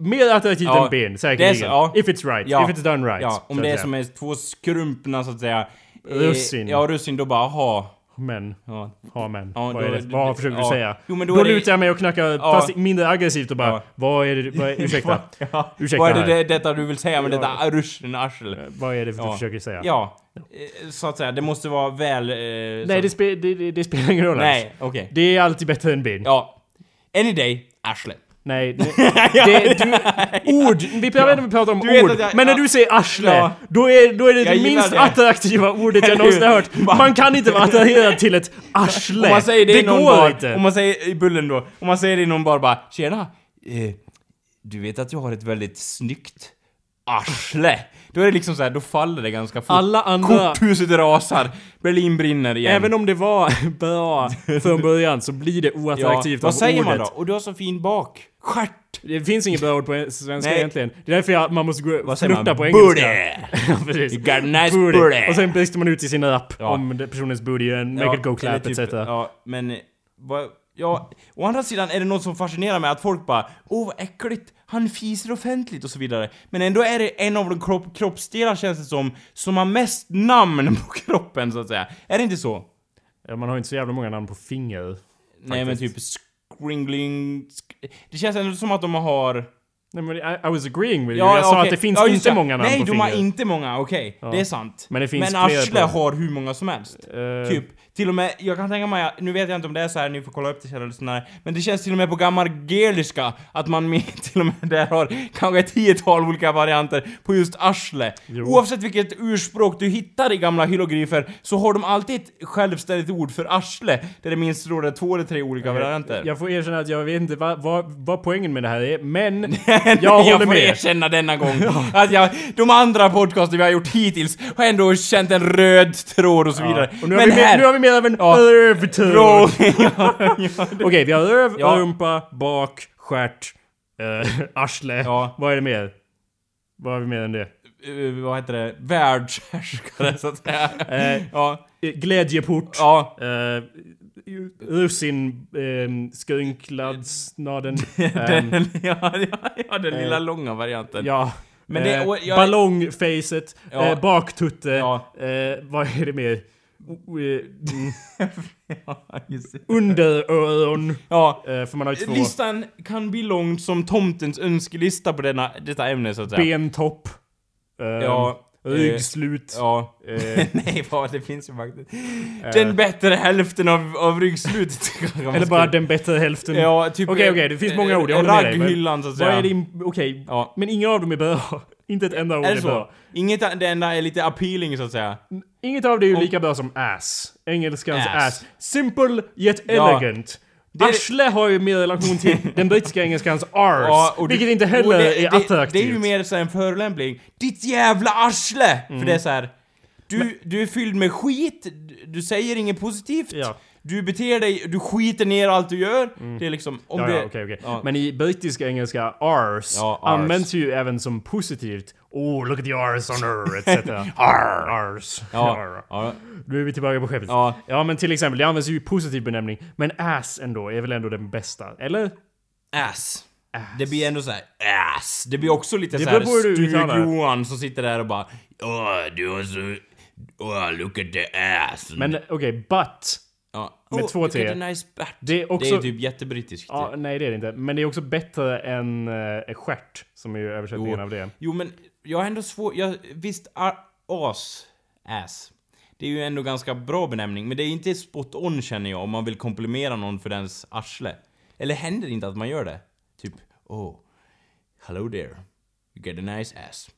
[SPEAKER 1] mer attraktivt
[SPEAKER 2] Ja,
[SPEAKER 1] än ben,
[SPEAKER 2] det
[SPEAKER 1] säkerligen.
[SPEAKER 2] är så, ja.
[SPEAKER 1] If it's right.
[SPEAKER 2] ja.
[SPEAKER 1] If it's done right.
[SPEAKER 2] Ja, om
[SPEAKER 1] så
[SPEAKER 2] det är
[SPEAKER 1] att
[SPEAKER 2] som
[SPEAKER 1] säga.
[SPEAKER 2] är två skrumpna så att säga. eh,
[SPEAKER 1] Russin.
[SPEAKER 2] Ja, russin, då bara, aha.
[SPEAKER 1] Men.
[SPEAKER 2] Ja.
[SPEAKER 1] Ja men.
[SPEAKER 2] Ja,
[SPEAKER 1] vad,
[SPEAKER 2] då-
[SPEAKER 1] är det? vad försöker du
[SPEAKER 2] ja.
[SPEAKER 1] säga?
[SPEAKER 2] Jo, men
[SPEAKER 1] då
[SPEAKER 2] då är det-
[SPEAKER 1] lutar jag mig och knackar fast mindre aggressivt och bara
[SPEAKER 2] Ja.
[SPEAKER 1] Vad är det? Vad är, ursäkta.
[SPEAKER 2] Ja.
[SPEAKER 1] Ursäkta Eh,
[SPEAKER 2] Vad är det,
[SPEAKER 1] här.
[SPEAKER 2] det detta du vill säga med detta russin, arsel?
[SPEAKER 1] Vad är det du
[SPEAKER 2] Ja.
[SPEAKER 1] försöker säga?
[SPEAKER 2] Ja, eh, så att säga. Det måste vara väl... eh,
[SPEAKER 1] Nej
[SPEAKER 2] så-
[SPEAKER 1] det, spe, det, det, det spelar ingen roll alls.
[SPEAKER 2] Nej, okej.
[SPEAKER 1] Det är alltid bättre än ben.
[SPEAKER 2] Ja. Any day, arsle.
[SPEAKER 1] Nej, det, det, du, ord. Vi behöver inte prata om
[SPEAKER 2] Du vet
[SPEAKER 1] ord.
[SPEAKER 2] att jag-
[SPEAKER 1] men när
[SPEAKER 2] ja.
[SPEAKER 1] du säger arsle,
[SPEAKER 2] Ja.
[SPEAKER 1] då, är, då är det
[SPEAKER 2] Jag
[SPEAKER 1] det
[SPEAKER 2] gillar
[SPEAKER 1] minst
[SPEAKER 2] det.
[SPEAKER 1] attraktiva ordet jag någonsin har hört.
[SPEAKER 2] Va?
[SPEAKER 1] Man kan inte vara attraherad till ett arsle.
[SPEAKER 2] Om man säger det,
[SPEAKER 1] det
[SPEAKER 2] i någon
[SPEAKER 1] går
[SPEAKER 2] bar,
[SPEAKER 1] inte.
[SPEAKER 2] Om man säger i bullen då, om man säger det i någon bar bara Tjena! Eh, du vet att jag har ett väldigt snyggt arsle. Då är det liksom så här, då faller det ganska fort.
[SPEAKER 1] Alla andra-
[SPEAKER 2] Korthuset rasar. Berlin brinner igen.
[SPEAKER 1] Även om det var bra från början så blir det oattraktivt
[SPEAKER 2] Vad
[SPEAKER 1] av
[SPEAKER 2] säger
[SPEAKER 1] ordet.
[SPEAKER 2] man då? Och du har så fin bak. Stjärt!
[SPEAKER 1] Det finns inget bra ord på svenska
[SPEAKER 2] Nej.
[SPEAKER 1] egentligen. Det är därför jag, man måste gå
[SPEAKER 2] säger
[SPEAKER 1] flirta
[SPEAKER 2] man?
[SPEAKER 1] på engelska.
[SPEAKER 2] Booty!
[SPEAKER 1] ja, precis.
[SPEAKER 2] You got a nice
[SPEAKER 1] Booty.
[SPEAKER 2] booty.
[SPEAKER 1] Och sen brister man ut i sin app
[SPEAKER 2] Ja.
[SPEAKER 1] om det- personens booty and make it go clap
[SPEAKER 2] eller typ-
[SPEAKER 1] etc.
[SPEAKER 2] Ja, men... eh, Vad, ja, å andra sidan är det något som fascinerar mig att folk bara Åh vad äckligt, han fiser offentligt och så vidare. Men ändå är det en av de kropp, kroppsdelar känns det som, som har mest namn på kroppen så att säga. Är det inte så?
[SPEAKER 1] Ja, Man har ju inte så jävla många namn på finger.
[SPEAKER 2] Nej men typ skringling... Sk- det känns ändå som att de har...
[SPEAKER 1] Nej men I, I was agreeing with you. Jag sa
[SPEAKER 2] okej.
[SPEAKER 1] att det finns
[SPEAKER 2] Ja, just
[SPEAKER 1] inte
[SPEAKER 2] det.
[SPEAKER 1] många namn
[SPEAKER 2] Nej,
[SPEAKER 1] på
[SPEAKER 2] de
[SPEAKER 1] finger.
[SPEAKER 2] har inte många, okej. Det är sant.
[SPEAKER 1] Men det finns
[SPEAKER 2] Men
[SPEAKER 1] fler
[SPEAKER 2] Arsle
[SPEAKER 1] på-
[SPEAKER 2] har hur många som helst.
[SPEAKER 1] Eh.
[SPEAKER 2] Typ, till och med, jag kan tänka mig, nu vet jag inte om det är så här, ni får kolla upp det kära lyssnare. Men det känns till och med på gammal geliska att man med, till och med där har kanske ett tiotal olika varianter på just arsle. Oavsett vilket urspråk du hittar i gamla hieroglyfer så har de alltid ett självständigt ord för arsle. Där det minst står det två eller tre
[SPEAKER 1] Eh,
[SPEAKER 2] olika varianter.
[SPEAKER 1] Jag får erkänna att jag vet inte vad, vad, vad poängen med det här är, men jag
[SPEAKER 2] Jag,
[SPEAKER 1] håller
[SPEAKER 2] får
[SPEAKER 1] med.
[SPEAKER 2] erkänna denna gång att jag, de andra podcaster vi har gjort hittills har ändå känt en röd tråd och så vidare.
[SPEAKER 1] Och nu, har vi mer, nu har vi mer av en
[SPEAKER 2] Ja.
[SPEAKER 1] rövtur.
[SPEAKER 2] Bro,
[SPEAKER 1] Okej, vi har röv,
[SPEAKER 2] Ja.
[SPEAKER 1] rumpa, bak, stjärt, eh, arsle.
[SPEAKER 2] Ja.
[SPEAKER 1] Vad är det mer? Vad har vi mer än det?
[SPEAKER 2] Eh, vad heter det? Världshärskare så att säga.
[SPEAKER 1] Eh,
[SPEAKER 2] Ja,
[SPEAKER 1] eh, Glädjeport.
[SPEAKER 2] ja.
[SPEAKER 1] Eh, russin, eh, skrynkladsnaden. ehm,
[SPEAKER 2] Den, ja, ja, ja, den lilla långa varianten.
[SPEAKER 1] Ja.
[SPEAKER 2] Men det-
[SPEAKER 1] eh,
[SPEAKER 2] och jag-
[SPEAKER 1] ballongfacet,
[SPEAKER 2] Ja.
[SPEAKER 1] eh, baktutte,
[SPEAKER 2] Ja.
[SPEAKER 1] eh, vad är det mer? O- eh,
[SPEAKER 2] Ja, just det.
[SPEAKER 1] Underöron,
[SPEAKER 2] ja.
[SPEAKER 1] eh, för man har ju två.
[SPEAKER 2] Listan kan bli lång som tomtens önskelista på denna, detta ämne så att säga.
[SPEAKER 1] Bentopp. Eh,
[SPEAKER 2] Ja, eh,
[SPEAKER 1] Ryggslut.
[SPEAKER 2] Ja.
[SPEAKER 1] Eh,
[SPEAKER 2] Nej, vad det finns ju faktiskt. Den bättre hälften av, av ryggslutet. kanske man
[SPEAKER 1] eller
[SPEAKER 2] skulle-
[SPEAKER 1] bara den bättre hälften.
[SPEAKER 2] Ja, typ... eh,
[SPEAKER 1] Okej, okej, det finns många ord, jag håller med dig, men-
[SPEAKER 2] Ragghyllan, så att
[SPEAKER 1] Vad
[SPEAKER 2] säga.
[SPEAKER 1] är din... Okej.
[SPEAKER 2] Ja.
[SPEAKER 1] Men inga av dem är bra. Inte ett enda ord
[SPEAKER 2] Är
[SPEAKER 1] är,
[SPEAKER 2] det så?
[SPEAKER 1] bra.
[SPEAKER 2] Inget, det enda är lite appealing, så att säga.
[SPEAKER 1] Inget av det är ju lika bra som ass. Engelskans ass.
[SPEAKER 2] Ass.
[SPEAKER 1] Simple yet
[SPEAKER 2] Ja.
[SPEAKER 1] elegant.
[SPEAKER 2] Det är-
[SPEAKER 1] Arsle har ju mer relation till den brittiska engelskans ars.
[SPEAKER 2] Ja, och du-
[SPEAKER 1] vilket inte
[SPEAKER 2] och
[SPEAKER 1] heller
[SPEAKER 2] det-
[SPEAKER 1] är attraktivt.
[SPEAKER 2] Det, det är ju mer så här en förolämpning. Ditt jävla arsle!
[SPEAKER 1] Mm.
[SPEAKER 2] För det är så här. Du, du är fylld med skit, du- du säger inget positivt.
[SPEAKER 1] Ja. Mm.
[SPEAKER 2] Du beter dig, du skiter ner allt du gör. Det är liksom, om
[SPEAKER 1] Ja,
[SPEAKER 2] det...
[SPEAKER 1] ja, okej, okej.
[SPEAKER 2] Ja.
[SPEAKER 1] Men i brittiska engelska, ars,
[SPEAKER 2] Ja, ars.
[SPEAKER 1] används ju även som positivt. Oh, look at the ars on her, etc.
[SPEAKER 2] Arr.
[SPEAKER 1] Ars.
[SPEAKER 2] Ja,
[SPEAKER 1] Ja.
[SPEAKER 2] ja,
[SPEAKER 1] Nu är vi tillbaka på skeppet.
[SPEAKER 2] Ja.
[SPEAKER 1] men till exempel, det används ju i positiv benämning. Men ass ändå är väl ändå den bästa, eller?
[SPEAKER 2] Ass. Det blir ändå såhär ass. Det blir också lite
[SPEAKER 1] beror på hur du uttalar det.
[SPEAKER 2] Stug-Johan som sitter där och bara Åh, du har så... Åh, look at the ass.
[SPEAKER 1] Men okej, but.
[SPEAKER 2] ja.
[SPEAKER 1] med två
[SPEAKER 2] look
[SPEAKER 1] T.
[SPEAKER 2] at the nice butt.
[SPEAKER 1] Det är också...
[SPEAKER 2] Det är typ jättebrittiskt.
[SPEAKER 1] ja, nej, det är det inte. Men det är också bättre än uh, stjärt, som är ju översättningen
[SPEAKER 2] Jo.
[SPEAKER 1] av det.
[SPEAKER 2] Jo men, jag har ändå svårt... Jag, visst, ar, as, ass. Det är ju ändå ganska bra benämning, men det är inte spot on känner jag om man vill komplimera någon för dens arsle. Eller händer det inte att man gör det? Typ, oh, hello there, you get a nice ass.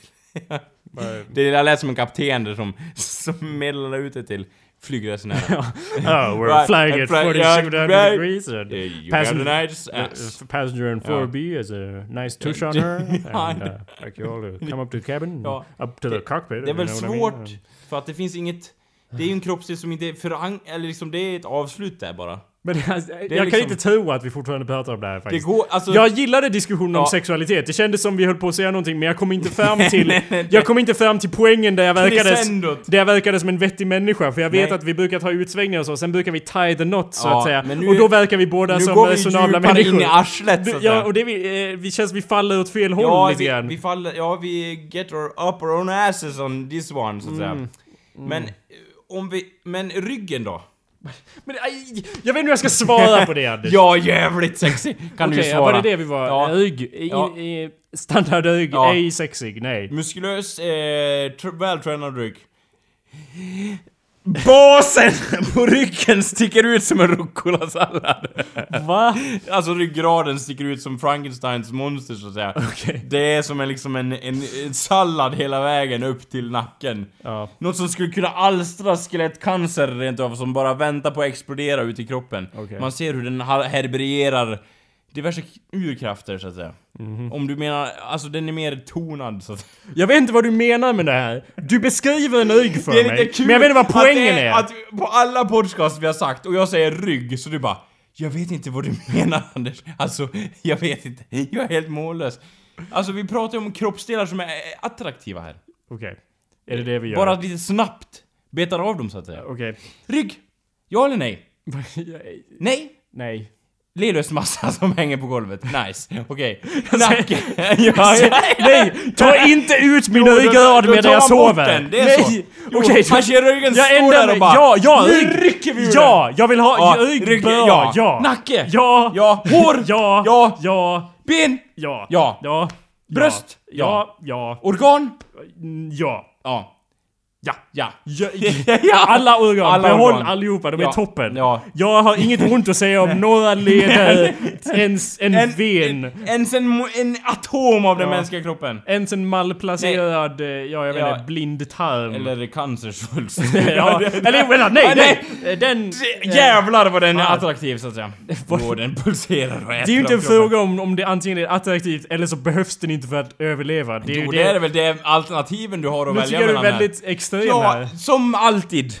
[SPEAKER 2] det är lät som en kapten där som, som meddelar ut det till flygresenärer.
[SPEAKER 1] Oh, we're
[SPEAKER 2] Right,
[SPEAKER 1] flying at
[SPEAKER 2] right,
[SPEAKER 1] 47
[SPEAKER 2] yeah, right.
[SPEAKER 1] degrees. And
[SPEAKER 2] Yeah, you
[SPEAKER 1] passenger,
[SPEAKER 2] got a nice
[SPEAKER 1] uh,
[SPEAKER 2] ass.
[SPEAKER 1] f- passenger in 4B has a nice tush on her. and uh, like you all uh, come up to the cabin,
[SPEAKER 2] Ja,
[SPEAKER 1] up to the cockpit.
[SPEAKER 2] Det är
[SPEAKER 1] you
[SPEAKER 2] väl
[SPEAKER 1] know what I mean?
[SPEAKER 2] svårt, för att det finns inget... Det är ju en kroppsdel som inte är förank... Eller liksom, det är ett avslut där bara.
[SPEAKER 1] Men det, alltså, jag kan
[SPEAKER 2] liksom-
[SPEAKER 1] inte tro att vi fortfarande pratar om det här
[SPEAKER 2] Det
[SPEAKER 1] faktiskt.
[SPEAKER 2] går, alltså...
[SPEAKER 1] Jag gillade diskussionen om
[SPEAKER 2] Ja.
[SPEAKER 1] sexualitet. Det kändes som vi höll på att säga någonting men jag kom inte fram till... jag kom inte fram till poängen där jag verkades...
[SPEAKER 2] Crescendot.
[SPEAKER 1] Där jag verkade som en vettig människa. För jag vet
[SPEAKER 2] Nej.
[SPEAKER 1] att vi brukar ta utsvängningar och så, sen brukar vi tie the knot så
[SPEAKER 2] Ja,
[SPEAKER 1] att säga.
[SPEAKER 2] men nu
[SPEAKER 1] och då
[SPEAKER 2] är-
[SPEAKER 1] verkar vi båda
[SPEAKER 2] nu
[SPEAKER 1] som
[SPEAKER 2] går vi
[SPEAKER 1] resonabla
[SPEAKER 2] djupare
[SPEAKER 1] människor.
[SPEAKER 2] in i arslet så att
[SPEAKER 1] Ja,
[SPEAKER 2] säga.
[SPEAKER 1] och det vi, eh, vi känns vi faller åt fel håll
[SPEAKER 2] Ja,
[SPEAKER 1] lite
[SPEAKER 2] vi,
[SPEAKER 1] grann.
[SPEAKER 2] vi faller... Ja, vi get our up our own asses on this one, så att
[SPEAKER 1] Mm.
[SPEAKER 2] säga. Men... eh, Om vi... Men ryggen då?
[SPEAKER 1] Men aj, jag vet inte hur jag ska svara på det Anders.
[SPEAKER 2] Ja, jävligt sexy! Kan du
[SPEAKER 1] Okej,
[SPEAKER 2] ju
[SPEAKER 1] ja, var
[SPEAKER 2] svara.
[SPEAKER 1] det det vi var?
[SPEAKER 2] Ja.
[SPEAKER 1] Ög? I,
[SPEAKER 2] Ja.
[SPEAKER 1] i, standardög?
[SPEAKER 2] Ja.
[SPEAKER 1] Ej sexig? Nej.
[SPEAKER 2] Muskulös, eh, tr- vältränad rygg. Basen på ryggen sticker ut som en rucolasallad.
[SPEAKER 1] Va?
[SPEAKER 2] Alltså ryggraden sticker ut som Frankensteins monster så att säga.
[SPEAKER 1] Okej.
[SPEAKER 2] Det är som en, liksom en, en, en sallad hela vägen upp till nacken.
[SPEAKER 1] Ja.
[SPEAKER 2] Något som skulle kunna alstra skelettcancer rent av, som bara väntar på att explodera ut i kroppen.
[SPEAKER 1] Okej.
[SPEAKER 2] Man ser hur den har- härbärgerar diverse k- urkrafter så att säga. Om du menar, alltså den är mer tonad så att säga.
[SPEAKER 1] Jag vet inte vad du menar med det här. Du beskriver en ög för
[SPEAKER 2] Det är
[SPEAKER 1] mig.
[SPEAKER 2] lite kul
[SPEAKER 1] men jag vet inte vad poängen
[SPEAKER 2] att
[SPEAKER 1] är.
[SPEAKER 2] Att på alla podcasts vi har sagt, och jag säger rygg, så du bara Jag vet inte vad du menar Anders. Alltså, jag vet inte. Jag är helt mållös. Alltså vi pratar ju om kroppsdelar som är eh, attraktiva här.
[SPEAKER 1] Okej. Är det det vi gör?
[SPEAKER 2] Bara lite snabbt betar av dem så att säga.
[SPEAKER 1] Okej.
[SPEAKER 2] Rygg! Ja eller nej? Nej?
[SPEAKER 1] Nej.
[SPEAKER 2] Lilus massa som hänger på golvet. Nice. Okej. Nacke. Ja, ja.
[SPEAKER 1] Nej! Ta inte ut min
[SPEAKER 2] då-
[SPEAKER 1] ögrad
[SPEAKER 2] då
[SPEAKER 1] medan
[SPEAKER 2] tar
[SPEAKER 1] jag
[SPEAKER 2] man bort
[SPEAKER 1] sover!
[SPEAKER 2] den, det är så.
[SPEAKER 1] Nej!
[SPEAKER 2] Jo,
[SPEAKER 1] Okej,
[SPEAKER 2] han ser ryggen
[SPEAKER 1] jag
[SPEAKER 2] stå
[SPEAKER 1] ändrar
[SPEAKER 2] där och
[SPEAKER 1] mig.
[SPEAKER 2] bara,
[SPEAKER 1] Ja, ja!
[SPEAKER 2] "Nu rycker vi ur
[SPEAKER 1] Ja! Jag vill ha
[SPEAKER 2] Ja,
[SPEAKER 1] ög,
[SPEAKER 2] rygg-
[SPEAKER 1] bör,
[SPEAKER 2] ja.
[SPEAKER 1] ja!
[SPEAKER 2] Nacke.
[SPEAKER 1] Ja!
[SPEAKER 2] Ja. Hår.
[SPEAKER 1] Ja!
[SPEAKER 2] Ja.
[SPEAKER 1] Ja!
[SPEAKER 2] Ben.
[SPEAKER 1] Ja!
[SPEAKER 2] Ja.
[SPEAKER 1] Ja!
[SPEAKER 2] Bröst.
[SPEAKER 1] Ja! Ja!
[SPEAKER 2] Organ.
[SPEAKER 1] Mm, Ja!
[SPEAKER 2] Ja.
[SPEAKER 1] Ja!
[SPEAKER 2] Ja.
[SPEAKER 1] Ja,
[SPEAKER 2] ja.
[SPEAKER 1] Alla organ,
[SPEAKER 2] Alla
[SPEAKER 1] behåll
[SPEAKER 2] organ.
[SPEAKER 1] allihopa, de är
[SPEAKER 2] Ja.
[SPEAKER 1] toppen.
[SPEAKER 2] Ja.
[SPEAKER 1] Jag har inget ont att säga om några leder, ens en,
[SPEAKER 2] En-
[SPEAKER 1] ven,
[SPEAKER 2] Ens en, mo- en atom av den
[SPEAKER 1] Ja.
[SPEAKER 2] mänskliga kroppen.
[SPEAKER 1] ens en malplacerad, eh, ja jag vet
[SPEAKER 2] Ja.
[SPEAKER 1] inte, blind tarm.
[SPEAKER 2] Eller cancersvulst.
[SPEAKER 1] ja, eller well, nej,
[SPEAKER 2] Ja,
[SPEAKER 1] nej,
[SPEAKER 2] nej.
[SPEAKER 1] Den... eh,
[SPEAKER 2] Jävlar vad den alltså, är
[SPEAKER 1] Ja.
[SPEAKER 2] attraktiv så att säga. Vad den pulserar och
[SPEAKER 1] Det är ju inte en fråga om, om det antingen är attraktivt eller så behövs den inte för att överleva. Det är ju
[SPEAKER 2] Jo,
[SPEAKER 1] det.
[SPEAKER 2] det är väl det alternativen du har att
[SPEAKER 1] nu
[SPEAKER 2] välja
[SPEAKER 1] tycker jag du är
[SPEAKER 2] mellan här.
[SPEAKER 1] väldigt extrem
[SPEAKER 2] Ja,
[SPEAKER 1] här.
[SPEAKER 2] som alltid.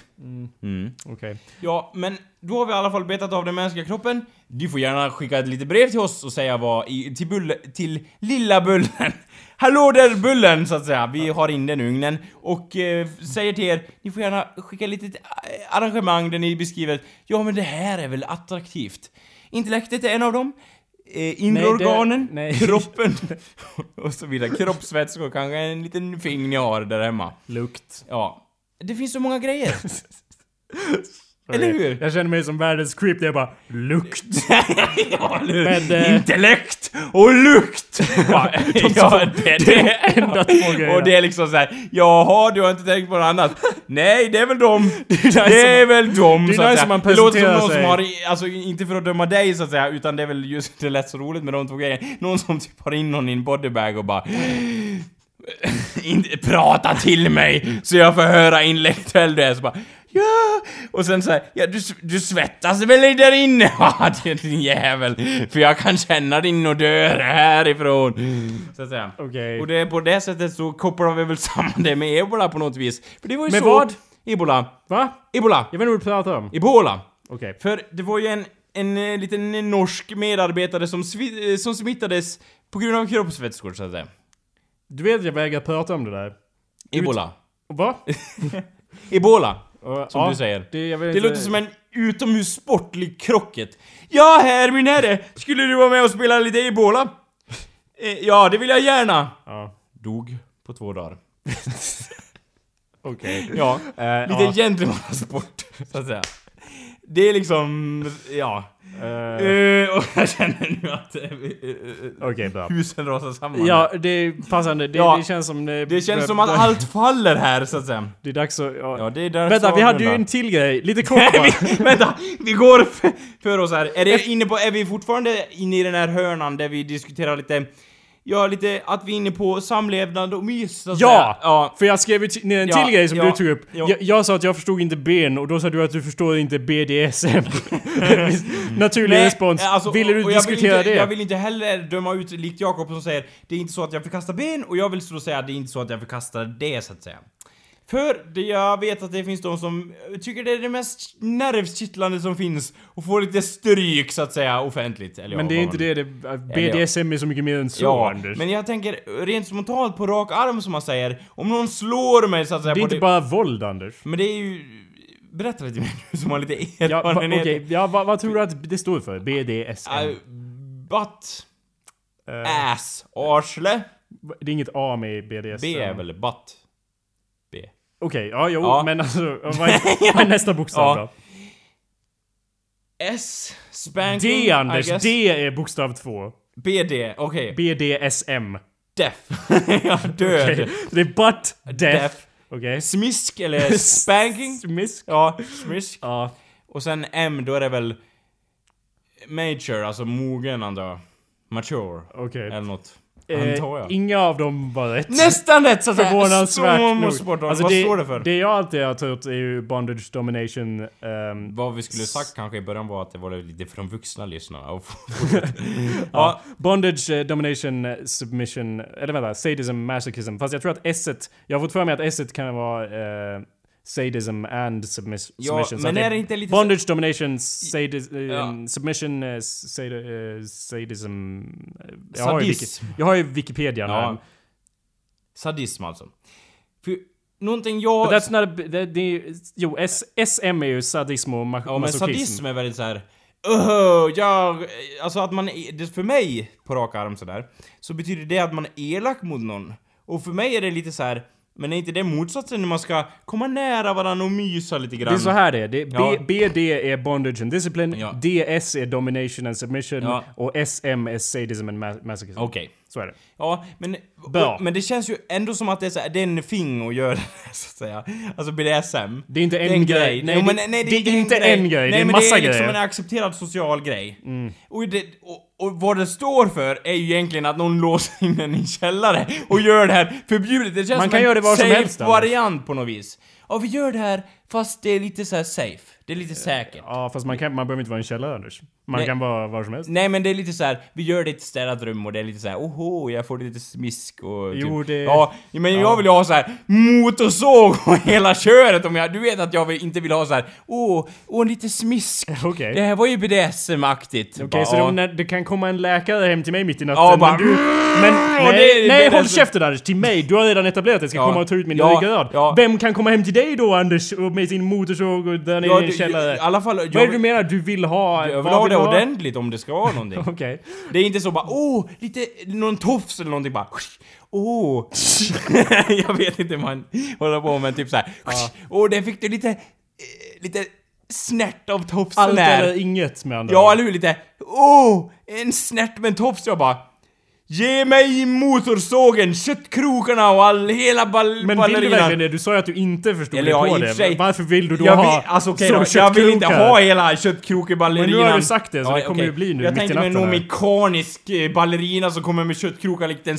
[SPEAKER 1] Okej.
[SPEAKER 2] Ja, men då har vi i alla fall betat av den mänskliga kroppen. Du får gärna skicka ett litet brev till oss och säga vad i, till, bull, till lilla Bullen. Hallå där Bullen, så att säga. Vi har in den i ugnen. Och eh, säger till er, ni får gärna skicka ett litet eh, arrangemang där ni beskriver ja men det här är väl attraktivt. Intellektet är en av dem. Eh, inre
[SPEAKER 1] Nej, det-
[SPEAKER 2] organen,
[SPEAKER 1] nej.
[SPEAKER 2] kroppen och så vidare. Kroppsvätskor, kanske en liten fing ni har där hemma.
[SPEAKER 1] Lukt.
[SPEAKER 2] Ja. Det finns så många grejer. Eller
[SPEAKER 1] Okej.
[SPEAKER 2] hur?
[SPEAKER 1] Jag känner mig som världens creep, det är bara lukt.
[SPEAKER 2] ja, nu.
[SPEAKER 1] Men, eh,
[SPEAKER 2] Intellekt och lukt! ja, ja, det, det.
[SPEAKER 1] enda två grejerna.
[SPEAKER 2] Och det är liksom såhär, jaha du har inte tänkt på något annat? Nej, det är väl dem. Det är,
[SPEAKER 1] som-
[SPEAKER 2] väl dem
[SPEAKER 1] det är
[SPEAKER 2] så att
[SPEAKER 1] nice
[SPEAKER 2] säga.
[SPEAKER 1] om man
[SPEAKER 2] Det låter som
[SPEAKER 1] presenterar
[SPEAKER 2] någon
[SPEAKER 1] sig.
[SPEAKER 2] som har, i- alltså inte för att döma dig så att säga, utan det är väl just, det lät så roligt med de två grejerna. Någon som typ har in någon i en bodybag och bara in, prata till mig så jag får höra intellektuell du är. Så bara, ja! Och sen så här, ja du, s- du svettas väl där inne? Ja, det- din jävel. För jag kan känna din odör härifrån. Så att säga.
[SPEAKER 1] Okej.
[SPEAKER 2] Och det är på det sättet så kopplar vi väl samman det med ebola på något vis. För det var ju
[SPEAKER 1] Med
[SPEAKER 2] så...
[SPEAKER 1] vad?
[SPEAKER 2] Ebola.
[SPEAKER 1] Va?
[SPEAKER 2] Ebola.
[SPEAKER 1] Jag vet inte vad du pratar om.
[SPEAKER 2] Ebola.
[SPEAKER 1] Okej.
[SPEAKER 2] För det var ju en, en eh, liten norsk medarbetare som, svi- eh, som smittades på grund av kroppsvätskor så att säga.
[SPEAKER 1] Du vet att jag vägrar prata om det där.
[SPEAKER 2] Ebola.
[SPEAKER 1] Va?
[SPEAKER 2] Ebola.
[SPEAKER 1] Och,
[SPEAKER 2] Som du säger.
[SPEAKER 1] Det, jag vet
[SPEAKER 2] Det
[SPEAKER 1] inte-
[SPEAKER 2] låter som en utomhussportlig krocket. Ja, här min herre! Skulle du vara med och spela lite ebola? Eh, ja, det vill jag gärna!
[SPEAKER 1] Ja.
[SPEAKER 2] Dog på två dagar.
[SPEAKER 1] Okej.
[SPEAKER 2] Ja,
[SPEAKER 1] Eh,
[SPEAKER 2] lite
[SPEAKER 1] ja.
[SPEAKER 2] Eh, gentlemannasport, så att säga. Det är liksom, ja.
[SPEAKER 1] Eh,
[SPEAKER 2] Eh, och jag känner nu att eh, eh, eh,
[SPEAKER 1] Okej, bra.
[SPEAKER 2] husen rasar samman.
[SPEAKER 1] Ja, det är passande. Det,
[SPEAKER 2] Ja.
[SPEAKER 1] det känns som...
[SPEAKER 2] Det känns som att allt faller här så att säga.
[SPEAKER 1] Det är dags att... Ja.
[SPEAKER 2] Ja, det är där
[SPEAKER 1] Vänta,
[SPEAKER 2] så
[SPEAKER 1] vi hade ju
[SPEAKER 2] avrunda.
[SPEAKER 1] en till grej. Lite kort bara.
[SPEAKER 2] vi, vänta, vi går f- för oss här. Är, det inne på, är vi fortfarande inne i den här hörnan där vi diskuterar lite, ja lite att vi är inne på samlevnad och mys så att
[SPEAKER 1] Ja!
[SPEAKER 2] säga. ja!
[SPEAKER 1] För jag skrev ju ti- ner en
[SPEAKER 2] Ja,
[SPEAKER 1] till grej som
[SPEAKER 2] ja,
[SPEAKER 1] du tog upp.
[SPEAKER 2] ja.
[SPEAKER 1] Jag, jag sa att jag förstod inte ben och då sa du att du förstår inte BDSM. Naturlig
[SPEAKER 2] Nej,
[SPEAKER 1] respons.
[SPEAKER 2] alltså,
[SPEAKER 1] Ville du
[SPEAKER 2] och jag
[SPEAKER 1] diskutera
[SPEAKER 2] vill inte,
[SPEAKER 1] det?
[SPEAKER 2] Jag vill inte heller döma ut likt Jakob som säger Det är inte så att jag förkastar ben och jag vill så säga det är inte så att jag förkastar det så att säga. För det, jag vet att det finns de som tycker det är det mest nervkittlande som finns och får lite stryk så att säga offentligt. Eller
[SPEAKER 1] Men
[SPEAKER 2] ja,
[SPEAKER 1] det är
[SPEAKER 2] vad
[SPEAKER 1] inte
[SPEAKER 2] man-
[SPEAKER 1] det, det BDSM är så mycket mer än så,
[SPEAKER 2] Ja,
[SPEAKER 1] Anders.
[SPEAKER 2] men jag tänker rent spontant på rak arm som man säger. Om någon slår mig så att säga
[SPEAKER 1] det är
[SPEAKER 2] på
[SPEAKER 1] inte
[SPEAKER 2] det...
[SPEAKER 1] bara våld, Anders.
[SPEAKER 2] Men det är ju... Berätta lite mer nu som har lite
[SPEAKER 1] Ja, va,
[SPEAKER 2] erfarenhet.
[SPEAKER 1] okej, ja, va, vad tror du att det står för? BDSM?
[SPEAKER 2] I- butt.
[SPEAKER 1] Eh,
[SPEAKER 2] Ass. Arsle.
[SPEAKER 1] det är inget A med i BDSM?
[SPEAKER 2] B är väl butt. B.
[SPEAKER 1] Okej, ja, jo,
[SPEAKER 2] Ja.
[SPEAKER 1] men alltså... Vad är, vad är nästa bokstav
[SPEAKER 2] Ja.
[SPEAKER 1] då?
[SPEAKER 2] S. Spanking.
[SPEAKER 1] D,
[SPEAKER 2] I
[SPEAKER 1] Anders.
[SPEAKER 2] guess.
[SPEAKER 1] D är bokstav två.
[SPEAKER 2] BD. Okej.
[SPEAKER 1] BDSM.
[SPEAKER 2] Deaf. ja, död.
[SPEAKER 1] Okej, Det är butt, death.
[SPEAKER 2] Deaf.
[SPEAKER 1] Okej.
[SPEAKER 2] Smisk eller spanking.
[SPEAKER 1] Smisk.
[SPEAKER 2] Ja, smisk.
[SPEAKER 1] Ja.
[SPEAKER 2] Och sen M, då är det väl... Mature, alltså mogen antar jag. Mature.
[SPEAKER 1] Okej.
[SPEAKER 2] Eller något. Antar
[SPEAKER 1] Typ. Eh,
[SPEAKER 2] jag.
[SPEAKER 1] inga av dem var rätt.
[SPEAKER 2] Nästan rätt så att säga!
[SPEAKER 1] Förvånansvärt
[SPEAKER 2] Så
[SPEAKER 1] nog.
[SPEAKER 2] måste bort dem.
[SPEAKER 1] Alltså,
[SPEAKER 2] Vad
[SPEAKER 1] det,
[SPEAKER 2] står det för?
[SPEAKER 1] Det jag alltid har trott är ju bondage domination. ehm,
[SPEAKER 2] Vad vi skulle sagt kanske i början var att det var lite för de vuxna lyssnarna. Och ja,
[SPEAKER 1] bondage eh, domination eh, submission. Eller vänta, sadism masochism. Fast jag tror att S jag har fått för mig att S kan vara eh, sadism and submis-
[SPEAKER 2] Ja,
[SPEAKER 1] submission. Så
[SPEAKER 2] men
[SPEAKER 1] att
[SPEAKER 2] är det inte lite så-
[SPEAKER 1] Bondage domination, sadis, eh,
[SPEAKER 2] Ja.
[SPEAKER 1] submission, eh, sad, eh, sadism... eh, Jag har, ju
[SPEAKER 2] sadism.
[SPEAKER 1] Wiki, jag har ju Wikipedia
[SPEAKER 2] Ja.
[SPEAKER 1] nu.
[SPEAKER 2] Sadism alltså. För någonting jag...
[SPEAKER 1] But that's not a, b- det, det, jo, S, SM är ju sadism och ma-
[SPEAKER 2] ja, men
[SPEAKER 1] masochism.
[SPEAKER 2] sadism är väldigt så här. "Öh, jag... Alltså att man... är- Det, för mig, på rak arm sådär, så betyder det att man är elak mot någon. Och för mig är det lite så här. Men är inte det motsatsen när man ska komma nära varandra och mysa lite grann?
[SPEAKER 1] Det är så här det är. Det, är B,
[SPEAKER 2] Ja.
[SPEAKER 1] BD är bondage and discipline,
[SPEAKER 2] Ja.
[SPEAKER 1] DS är domination and submission
[SPEAKER 2] Ja.
[SPEAKER 1] och SM är sadism and ma- masochism.
[SPEAKER 2] Okej.
[SPEAKER 1] Så är det.
[SPEAKER 2] Ja, men,
[SPEAKER 1] Bra.
[SPEAKER 2] och, men det känns ju ändå som att det är, så här, det är en thing att göra så att säga. Alltså BDSM.
[SPEAKER 1] Det är inte en grej. Nej,
[SPEAKER 2] Nej, jo,
[SPEAKER 1] det-
[SPEAKER 2] men, nej, det,
[SPEAKER 1] det är
[SPEAKER 2] är
[SPEAKER 1] inte en grej, det är
[SPEAKER 2] Nej,
[SPEAKER 1] en
[SPEAKER 2] men
[SPEAKER 1] massa
[SPEAKER 2] det är liksom
[SPEAKER 1] grejer. Mm.
[SPEAKER 2] en accepterad social grej. Och, det, och, och vad det står för är ju egentligen att någon låser in en i en källare och gör det här förbjudet. Det känns
[SPEAKER 1] Man
[SPEAKER 2] som
[SPEAKER 1] kan
[SPEAKER 2] en
[SPEAKER 1] göra det var som
[SPEAKER 2] safe
[SPEAKER 1] helst, Anders.
[SPEAKER 2] variant på något vis. Ja, vi gör det här fast det är lite så här safe. Det är lite säkert.
[SPEAKER 1] Ja, fast man, kan, man behöver inte vara en källare Anders. Man
[SPEAKER 2] Nej.
[SPEAKER 1] kan vara var som helst.
[SPEAKER 2] Nej men det är lite så här. vi gör det i ett städat rum och det är lite så här. oho, jag får lite smisk och typ."
[SPEAKER 1] Jo, det-
[SPEAKER 2] Ja, men jag vill ju ha så här motorsåg och hela köret om jag... Du vet att jag vill- inte vill ha så här. åh, åh lite smisk.
[SPEAKER 1] Okej.
[SPEAKER 2] Det här var ju BDSM-aktigt.
[SPEAKER 1] Okej, så det, när, det kan komma en läkare hem till mig mitt i natten,
[SPEAKER 2] Ja,
[SPEAKER 1] men
[SPEAKER 2] bara-
[SPEAKER 1] du... Men
[SPEAKER 2] och
[SPEAKER 1] nej,
[SPEAKER 2] det-
[SPEAKER 1] nej
[SPEAKER 2] det-
[SPEAKER 1] håll
[SPEAKER 2] det-
[SPEAKER 1] käften Anders! Till mig! Du har redan etablerat att jag ska
[SPEAKER 2] Ja,
[SPEAKER 1] komma och ta ut min
[SPEAKER 2] ja,
[SPEAKER 1] ryggrad.
[SPEAKER 2] ja.
[SPEAKER 1] Vem kan komma hem till dig då Anders? Och med sin motorsåg och där nere i din källare?
[SPEAKER 2] I alla fall, jag
[SPEAKER 1] Vad är det du
[SPEAKER 2] vill-
[SPEAKER 1] menar? Du vill ha...
[SPEAKER 2] Jag vill
[SPEAKER 1] vad
[SPEAKER 2] ha det
[SPEAKER 1] du
[SPEAKER 2] ordentligt om det ska vara någonting.
[SPEAKER 1] Okej.
[SPEAKER 2] Det är inte så bara åh, lite någon tofs eller någonting bara åh. jag vet inte man håller på med typ så här. Åh, där fick du lite, eh, lite snärt av tofsen
[SPEAKER 1] Allt
[SPEAKER 2] där.
[SPEAKER 1] eller inget med andra
[SPEAKER 2] Ja,
[SPEAKER 1] ord.
[SPEAKER 2] eller hur? Lite åh, en snärt med en tofs. Jag bara Ge mig motorsågen, köttkrokarna och all, hela ball,
[SPEAKER 1] Men vill du
[SPEAKER 2] ballerinan.
[SPEAKER 1] verkligen det? Du sa ju att du inte förstod
[SPEAKER 2] Eller
[SPEAKER 1] dig
[SPEAKER 2] ja,
[SPEAKER 1] på
[SPEAKER 2] i och
[SPEAKER 1] det.
[SPEAKER 2] för sig.
[SPEAKER 1] Varför vill du då
[SPEAKER 2] jag
[SPEAKER 1] ha
[SPEAKER 2] vill, alltså, okej
[SPEAKER 1] som
[SPEAKER 2] då, Jag vill inte
[SPEAKER 1] köttkrokar?
[SPEAKER 2] ha hela köttkrokeballerinan.
[SPEAKER 1] Men nu har du sagt det, så det kommer
[SPEAKER 2] okej.
[SPEAKER 1] ju bli nu,
[SPEAKER 2] Jag
[SPEAKER 1] mitt i
[SPEAKER 2] tänkte mig
[SPEAKER 1] natten
[SPEAKER 2] någon
[SPEAKER 1] här.
[SPEAKER 2] mekanisk eh, ballerina som kommer med köttkrokar likt en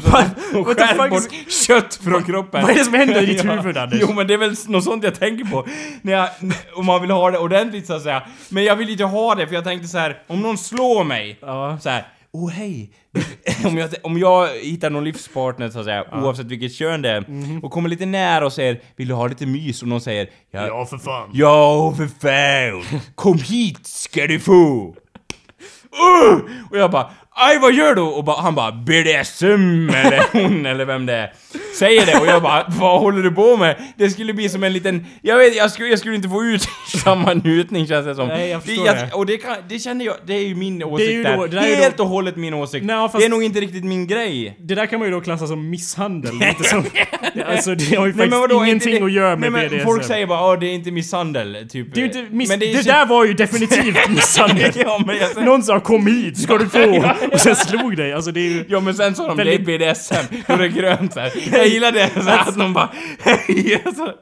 [SPEAKER 2] som och
[SPEAKER 1] what the
[SPEAKER 2] skär
[SPEAKER 1] fuck
[SPEAKER 2] bort kött från kroppen.
[SPEAKER 1] vad är det som händer i ditt huvud, Anders?
[SPEAKER 2] Jo men det är väl s- något sånt jag tänker på. När jag, om man vill ha det ordentligt så att säga. Men jag vill inte ha det för jag tänkte så här. om någon slår mig.
[SPEAKER 1] Ja.
[SPEAKER 2] Så här. Åh hej! om, jag, om jag hittar någon livspartner så att säga, oavsett vilket kön det är,
[SPEAKER 1] Mhm.
[SPEAKER 2] och kommer lite nära och säger 'Vill du ha lite mys?' och någon säger 'Jag
[SPEAKER 1] Ja, för fan.
[SPEAKER 2] Ja, för fan! Kom hit ska du få! Uh! Och jag bara, aj vad gör du? Och ba, han bara, BDSM eller hon eller vem det är. säger det och jag bara Vad håller du på med? Det skulle bli som en liten... Jag vet, jag skulle, jag skulle inte få ut samma njutning känns det som.
[SPEAKER 1] Nej, jag förstår det.
[SPEAKER 2] Och det, kan, det känner jag, det är ju min
[SPEAKER 1] är ju
[SPEAKER 2] åsikt
[SPEAKER 1] då-
[SPEAKER 2] där.
[SPEAKER 1] det där är ju då-
[SPEAKER 2] Helt och hållet min åsikt.
[SPEAKER 1] Nej, fast-
[SPEAKER 2] Det är nog inte riktigt min grej.
[SPEAKER 1] Det där kan man ju då klassa som misshandel. inte som, alltså det har ju
[SPEAKER 2] Nej,
[SPEAKER 1] faktiskt
[SPEAKER 2] är inte
[SPEAKER 1] ingenting
[SPEAKER 2] det-
[SPEAKER 1] att göra med
[SPEAKER 2] Nej, men
[SPEAKER 1] BDSM.
[SPEAKER 2] Folk säger bara åh det är inte misshandel, typ.
[SPEAKER 1] det är ju inte miss-
[SPEAKER 2] Men
[SPEAKER 1] det,
[SPEAKER 2] är ju-
[SPEAKER 1] där var ju definitivt misshandel.
[SPEAKER 2] ja, men jag säger,
[SPEAKER 1] Någon sa 'Kom hit, ska du få!' och sen slog dig. Alltså det är ju...
[SPEAKER 2] ja men sen sa de
[SPEAKER 1] Väldigt-
[SPEAKER 2] det är BDSM, då är det grönt såhär. Jag gillar det såhär att någon bara hej! Alltså.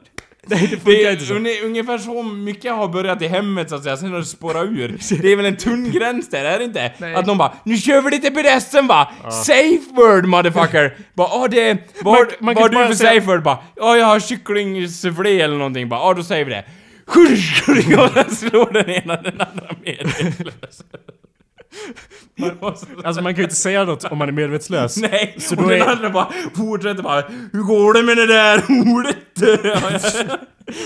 [SPEAKER 2] Det
[SPEAKER 1] funkar inte
[SPEAKER 2] är
[SPEAKER 1] så.
[SPEAKER 2] un- ungefär så mycket jag har börjat i hemmet så att säga, sen har det spårat ur. Det är väl en tunn gräns där, är det inte? Att någon bara 'Nu kör vi lite BDSM va! Safe word motherfucker!' Bara 'Åh det... Vad
[SPEAKER 1] Man- man
[SPEAKER 2] vad
[SPEAKER 1] kan
[SPEAKER 2] har
[SPEAKER 1] inte bara
[SPEAKER 2] du för
[SPEAKER 1] säga-
[SPEAKER 2] safe word?' Bara 'Ja jag har kycklingsfilé eller någonting' Bara 'Ja då säger vi det' Och sen slår den ena den andra medvetslös. Det var så-
[SPEAKER 1] Alltså man kan ju inte säga något om man är medvetslös.
[SPEAKER 2] Nej!
[SPEAKER 1] Så
[SPEAKER 2] och
[SPEAKER 1] då
[SPEAKER 2] den
[SPEAKER 1] är-
[SPEAKER 2] andra bara fortsätter bara 'Hur går det med det där ordet?' Ja, jag-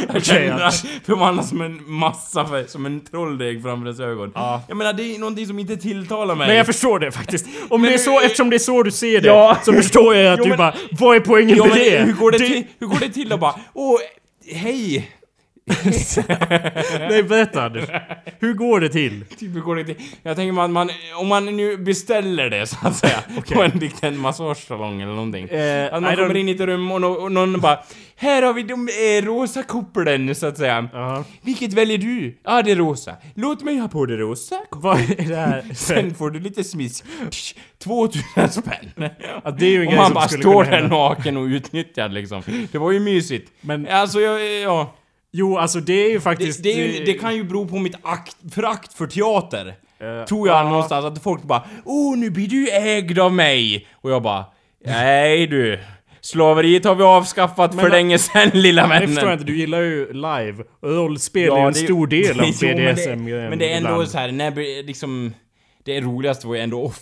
[SPEAKER 2] jag
[SPEAKER 1] Okej,
[SPEAKER 2] känner
[SPEAKER 1] ja.
[SPEAKER 2] att de andra som en massa, för, som en trolldeg framför ens ögon. Jag menar det är någonting som inte tilltalar mig.
[SPEAKER 1] Men jag förstår det faktiskt. Om det är
[SPEAKER 2] hur-
[SPEAKER 1] så, eftersom det är så du ser det,
[SPEAKER 2] Ja.
[SPEAKER 1] så förstår jag att
[SPEAKER 2] Jo,
[SPEAKER 1] du
[SPEAKER 2] men-
[SPEAKER 1] bara Vad är poängen
[SPEAKER 2] ja,
[SPEAKER 1] med
[SPEAKER 2] men,
[SPEAKER 1] det?
[SPEAKER 2] hur, går det
[SPEAKER 1] Du-
[SPEAKER 2] till, hur går det till att bara 'Åh, hej'
[SPEAKER 1] Nej, berätta Anders. Hur går det till?
[SPEAKER 2] Typ hur går det till? Jag tänker man, man, om man nu beställer det så att säga på en liten massagesalong eller någonting.
[SPEAKER 1] Eh,
[SPEAKER 2] att
[SPEAKER 1] I
[SPEAKER 2] man
[SPEAKER 1] don't-
[SPEAKER 2] kommer in i ett rum och, no, och någon bara Här har vi de eh, rosa kopplen så att säga.
[SPEAKER 1] Ja.
[SPEAKER 2] Vilket väljer du? Ja, ah, det rosa. Låt mig ha på det rosa.
[SPEAKER 1] Vad är det här?
[SPEAKER 2] Sen får du lite smisk. Psh, 2000 spänn.
[SPEAKER 1] Ja, det är ju en
[SPEAKER 2] Om
[SPEAKER 1] grej
[SPEAKER 2] man
[SPEAKER 1] som
[SPEAKER 2] bara
[SPEAKER 1] skulle kunna
[SPEAKER 2] står där
[SPEAKER 1] hända.
[SPEAKER 2] naken och utnyttjad liksom. Det var ju mysigt.
[SPEAKER 1] Men-
[SPEAKER 2] Alltså, jag, ja.
[SPEAKER 1] Jo, alltså det är ju
[SPEAKER 2] Det,
[SPEAKER 1] faktiskt...
[SPEAKER 2] det, är ju, det kan ju bero på mitt akt, förakt för teater.
[SPEAKER 1] Eh,
[SPEAKER 2] tror jag någonstans att folk bara Oh, nu blir du ägd av mig! Och jag bara Nej du. Slaveriet har vi avskaffat för
[SPEAKER 1] va-
[SPEAKER 2] länge sedan lilla
[SPEAKER 1] Jag förstår
[SPEAKER 2] vännen.
[SPEAKER 1] inte, du gillar ju live. Och Rollspel är ju
[SPEAKER 2] Ja,
[SPEAKER 1] en
[SPEAKER 2] det-
[SPEAKER 1] stor del av
[SPEAKER 2] Jo, men det-
[SPEAKER 1] BDSM-grejen.
[SPEAKER 2] Men det är ändå
[SPEAKER 1] eh, ibland.
[SPEAKER 2] så här, när blir- liksom... Det roligaste var ju ändå off.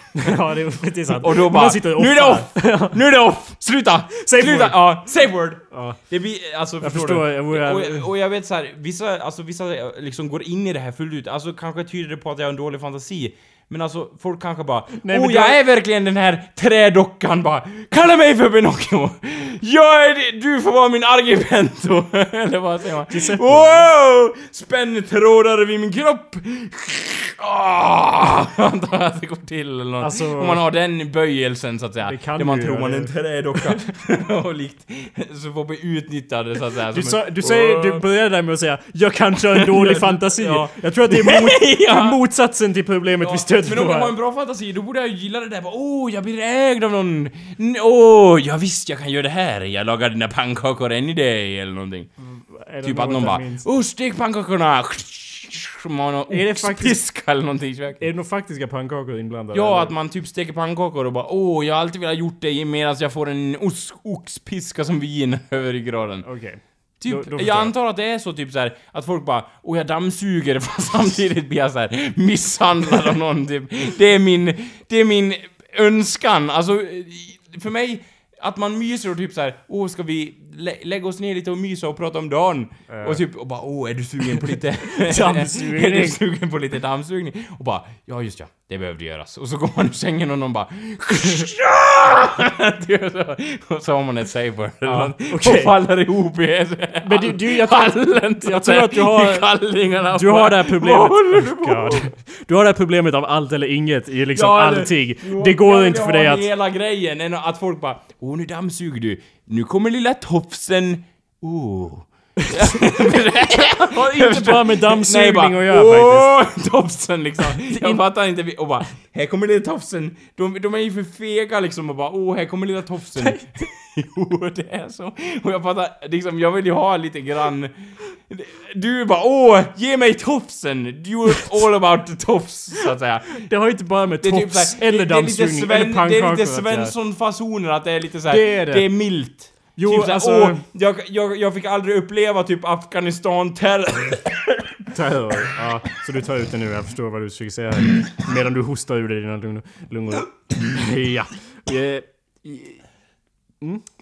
[SPEAKER 1] ja, det är, det är sant.
[SPEAKER 2] Och då
[SPEAKER 1] Man
[SPEAKER 2] bara
[SPEAKER 1] sitter och
[SPEAKER 2] Nu är det
[SPEAKER 1] offrar.
[SPEAKER 2] off! Nu är det off! Sluta!
[SPEAKER 1] Safe
[SPEAKER 2] Sluta!
[SPEAKER 1] word.
[SPEAKER 2] Ja, safe word!
[SPEAKER 1] Ja.
[SPEAKER 2] Det blir, alltså
[SPEAKER 1] Jag
[SPEAKER 2] förstår,
[SPEAKER 1] förstår,
[SPEAKER 2] du?
[SPEAKER 1] jag vore-
[SPEAKER 2] och, och jag vet så här, vissa, alltså vissa eh, liksom går in i det här fullt ut, alltså kanske tyder det på att jag har en dålig fantasi men alltså folk kanske bara
[SPEAKER 1] Nej, men
[SPEAKER 2] Åh
[SPEAKER 1] då-
[SPEAKER 2] jag är verkligen den här trädockan bara Kalla mig för Pinocchio! Jag är det, du får vara min argumento! Eller vad säger man?
[SPEAKER 1] Giuseppe.
[SPEAKER 2] Wow! Spänn trådar vid min kropp! Ah! Antar jag att det går till eller något.
[SPEAKER 1] Alltså-
[SPEAKER 2] Om man har den böjelsen så att säga.
[SPEAKER 1] Det kan
[SPEAKER 2] där man
[SPEAKER 1] ju
[SPEAKER 2] tror
[SPEAKER 1] göra
[SPEAKER 2] man är en
[SPEAKER 1] det.
[SPEAKER 2] trädocka. och likt så får vi utnyttja det så att säga.
[SPEAKER 1] Du,
[SPEAKER 2] som
[SPEAKER 1] sa,
[SPEAKER 2] en-
[SPEAKER 1] du, säger, du började där med att säga 'Jag kanske har en dålig fantasi'
[SPEAKER 2] Ja.
[SPEAKER 1] Jag tror att det är mot,
[SPEAKER 2] Ja.
[SPEAKER 1] motsatsen till problemet vi stöter
[SPEAKER 2] Men om
[SPEAKER 1] på
[SPEAKER 2] jag har en
[SPEAKER 1] här.
[SPEAKER 2] bra fantasi, då borde jag ju gilla det där. Bara, Åh, jag blir ägd av någon. N- Åh, ja, visst jag kan göra det här. Jag lagar dina pannkakor any day eller någonting.
[SPEAKER 1] Är det
[SPEAKER 2] Typ att någon
[SPEAKER 1] jag
[SPEAKER 2] bara,
[SPEAKER 1] minns?
[SPEAKER 2] åh, stek pannkakorna. Man har
[SPEAKER 1] Är det
[SPEAKER 2] oxpiska
[SPEAKER 1] faktiskt-
[SPEAKER 2] eller någonting i köket.
[SPEAKER 1] Är det nog faktiska pannkakor inblandade?
[SPEAKER 2] Ja,
[SPEAKER 1] eller?
[SPEAKER 2] att man typ steker pannkakor och bara åh, jag har alltid velat gjort det medan jag får en os- oxpiska som vin över ryggraden.
[SPEAKER 1] Okej.
[SPEAKER 2] Typ,
[SPEAKER 1] Då- då förstår
[SPEAKER 2] jag
[SPEAKER 1] jag.
[SPEAKER 2] antar att det är så typ så här att folk bara åh jag dammsuger fast samtidigt blir jag så här misshandlad av någon typ. Det är min, det är min önskan. Alltså, i- för mig, att man myser och typ så här åh ska vi lä- lägga oss ner lite och mysa och prata om dagen? Och typ, och bara åh är du sugen på lite
[SPEAKER 1] Dammsugning.
[SPEAKER 2] Är du sugen på lite dammsugning? Och bara ja just ja, det behövde göras. Och så går man ur sängen och någon bara och så har man ett safe word.
[SPEAKER 1] Ja,
[SPEAKER 2] Och
[SPEAKER 1] okej.
[SPEAKER 2] faller ihop i
[SPEAKER 1] Men du, du jag,
[SPEAKER 2] hallen.
[SPEAKER 1] jag tror att du
[SPEAKER 2] I
[SPEAKER 1] har...
[SPEAKER 2] kallingarna.
[SPEAKER 1] Du har det här
[SPEAKER 2] Vad håller du
[SPEAKER 1] problemet... Oh,
[SPEAKER 2] på
[SPEAKER 1] God. Du har det här problemet av allt eller inget i liksom
[SPEAKER 2] Ja, eller-
[SPEAKER 1] allting.
[SPEAKER 2] Jo,
[SPEAKER 1] Det går
[SPEAKER 2] jag
[SPEAKER 1] inte för
[SPEAKER 2] har
[SPEAKER 1] dig att...
[SPEAKER 2] Hela grejen är att folk bara Åh nu dammsuger du. Nu kommer lilla tofsen. Oh.
[SPEAKER 1] har inte bara med dammsugning
[SPEAKER 2] Nej, bara,
[SPEAKER 1] att göra faktiskt.
[SPEAKER 2] Åh, tofsen liksom. Jag fattar inte. vi- Och bara, här kommer lilla tofsen. De, de är ju för fega liksom och bara, åh, här kommer lilla tofsen. jo, det är så. Och jag fattar, liksom, jag vill ju ha lite grann... Du bara, åh, ge mig tofsen. You're all about the tofs, så att säga.
[SPEAKER 1] Det har ju inte bara med
[SPEAKER 2] Det är typ
[SPEAKER 1] tofs
[SPEAKER 2] såhär,
[SPEAKER 1] eller
[SPEAKER 2] det är lite
[SPEAKER 1] dammsugning
[SPEAKER 2] Sven-
[SPEAKER 1] eller
[SPEAKER 2] Det är
[SPEAKER 1] pannkakor
[SPEAKER 2] lite
[SPEAKER 1] att göra.
[SPEAKER 2] Svensson-fasoner, att det är lite såhär,
[SPEAKER 1] Det är det.
[SPEAKER 2] det är milt.
[SPEAKER 1] Jo,
[SPEAKER 2] typ såhär,
[SPEAKER 1] alltså-
[SPEAKER 2] åh, jag, jag, jag fick aldrig uppleva typ Afghanistan-terror.
[SPEAKER 1] Terror. Ja, så du tar ut det nu, jag förstår vad du försöker säga. Medan du hostar ur dig dina lungor. lungor. Ja. Eh,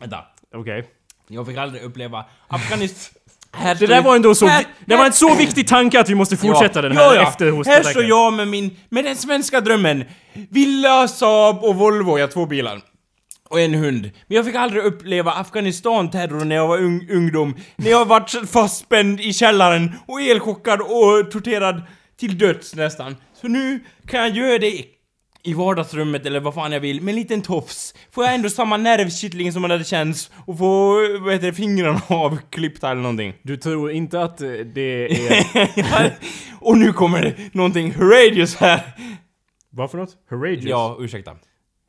[SPEAKER 2] Vänta.
[SPEAKER 1] Okej.
[SPEAKER 2] Jag fick aldrig uppleva Afghanistan... Här
[SPEAKER 1] Det
[SPEAKER 2] står
[SPEAKER 1] där
[SPEAKER 2] jag-
[SPEAKER 1] var ändå så...
[SPEAKER 2] Här-
[SPEAKER 1] vi- Det var en så viktig tanke att vi måste fortsätta den här efter
[SPEAKER 2] Här står
[SPEAKER 1] hostattacken.
[SPEAKER 2] jag med min, med den svenska drömmen. Villa, Saab och Volvo, jag har två bilar. Och en hund. Men jag fick aldrig uppleva Afghanistan-terrorn när jag var ung, ungdom. När jag var fastspänd i källaren och elchockad och torterad till döds nästan. Så nu kan jag göra det i vardagsrummet eller vad fan jag vill med en liten tofs. Får jag ändå samma nervkittling som man hade känts och får, vad heter det, fingrarna avklippta eller någonting.
[SPEAKER 1] Du tror inte att eh, det är...
[SPEAKER 2] och nu kommer det någonting horrendous här.
[SPEAKER 1] Vad för något? Horrageous?
[SPEAKER 2] Ja, ursäkta.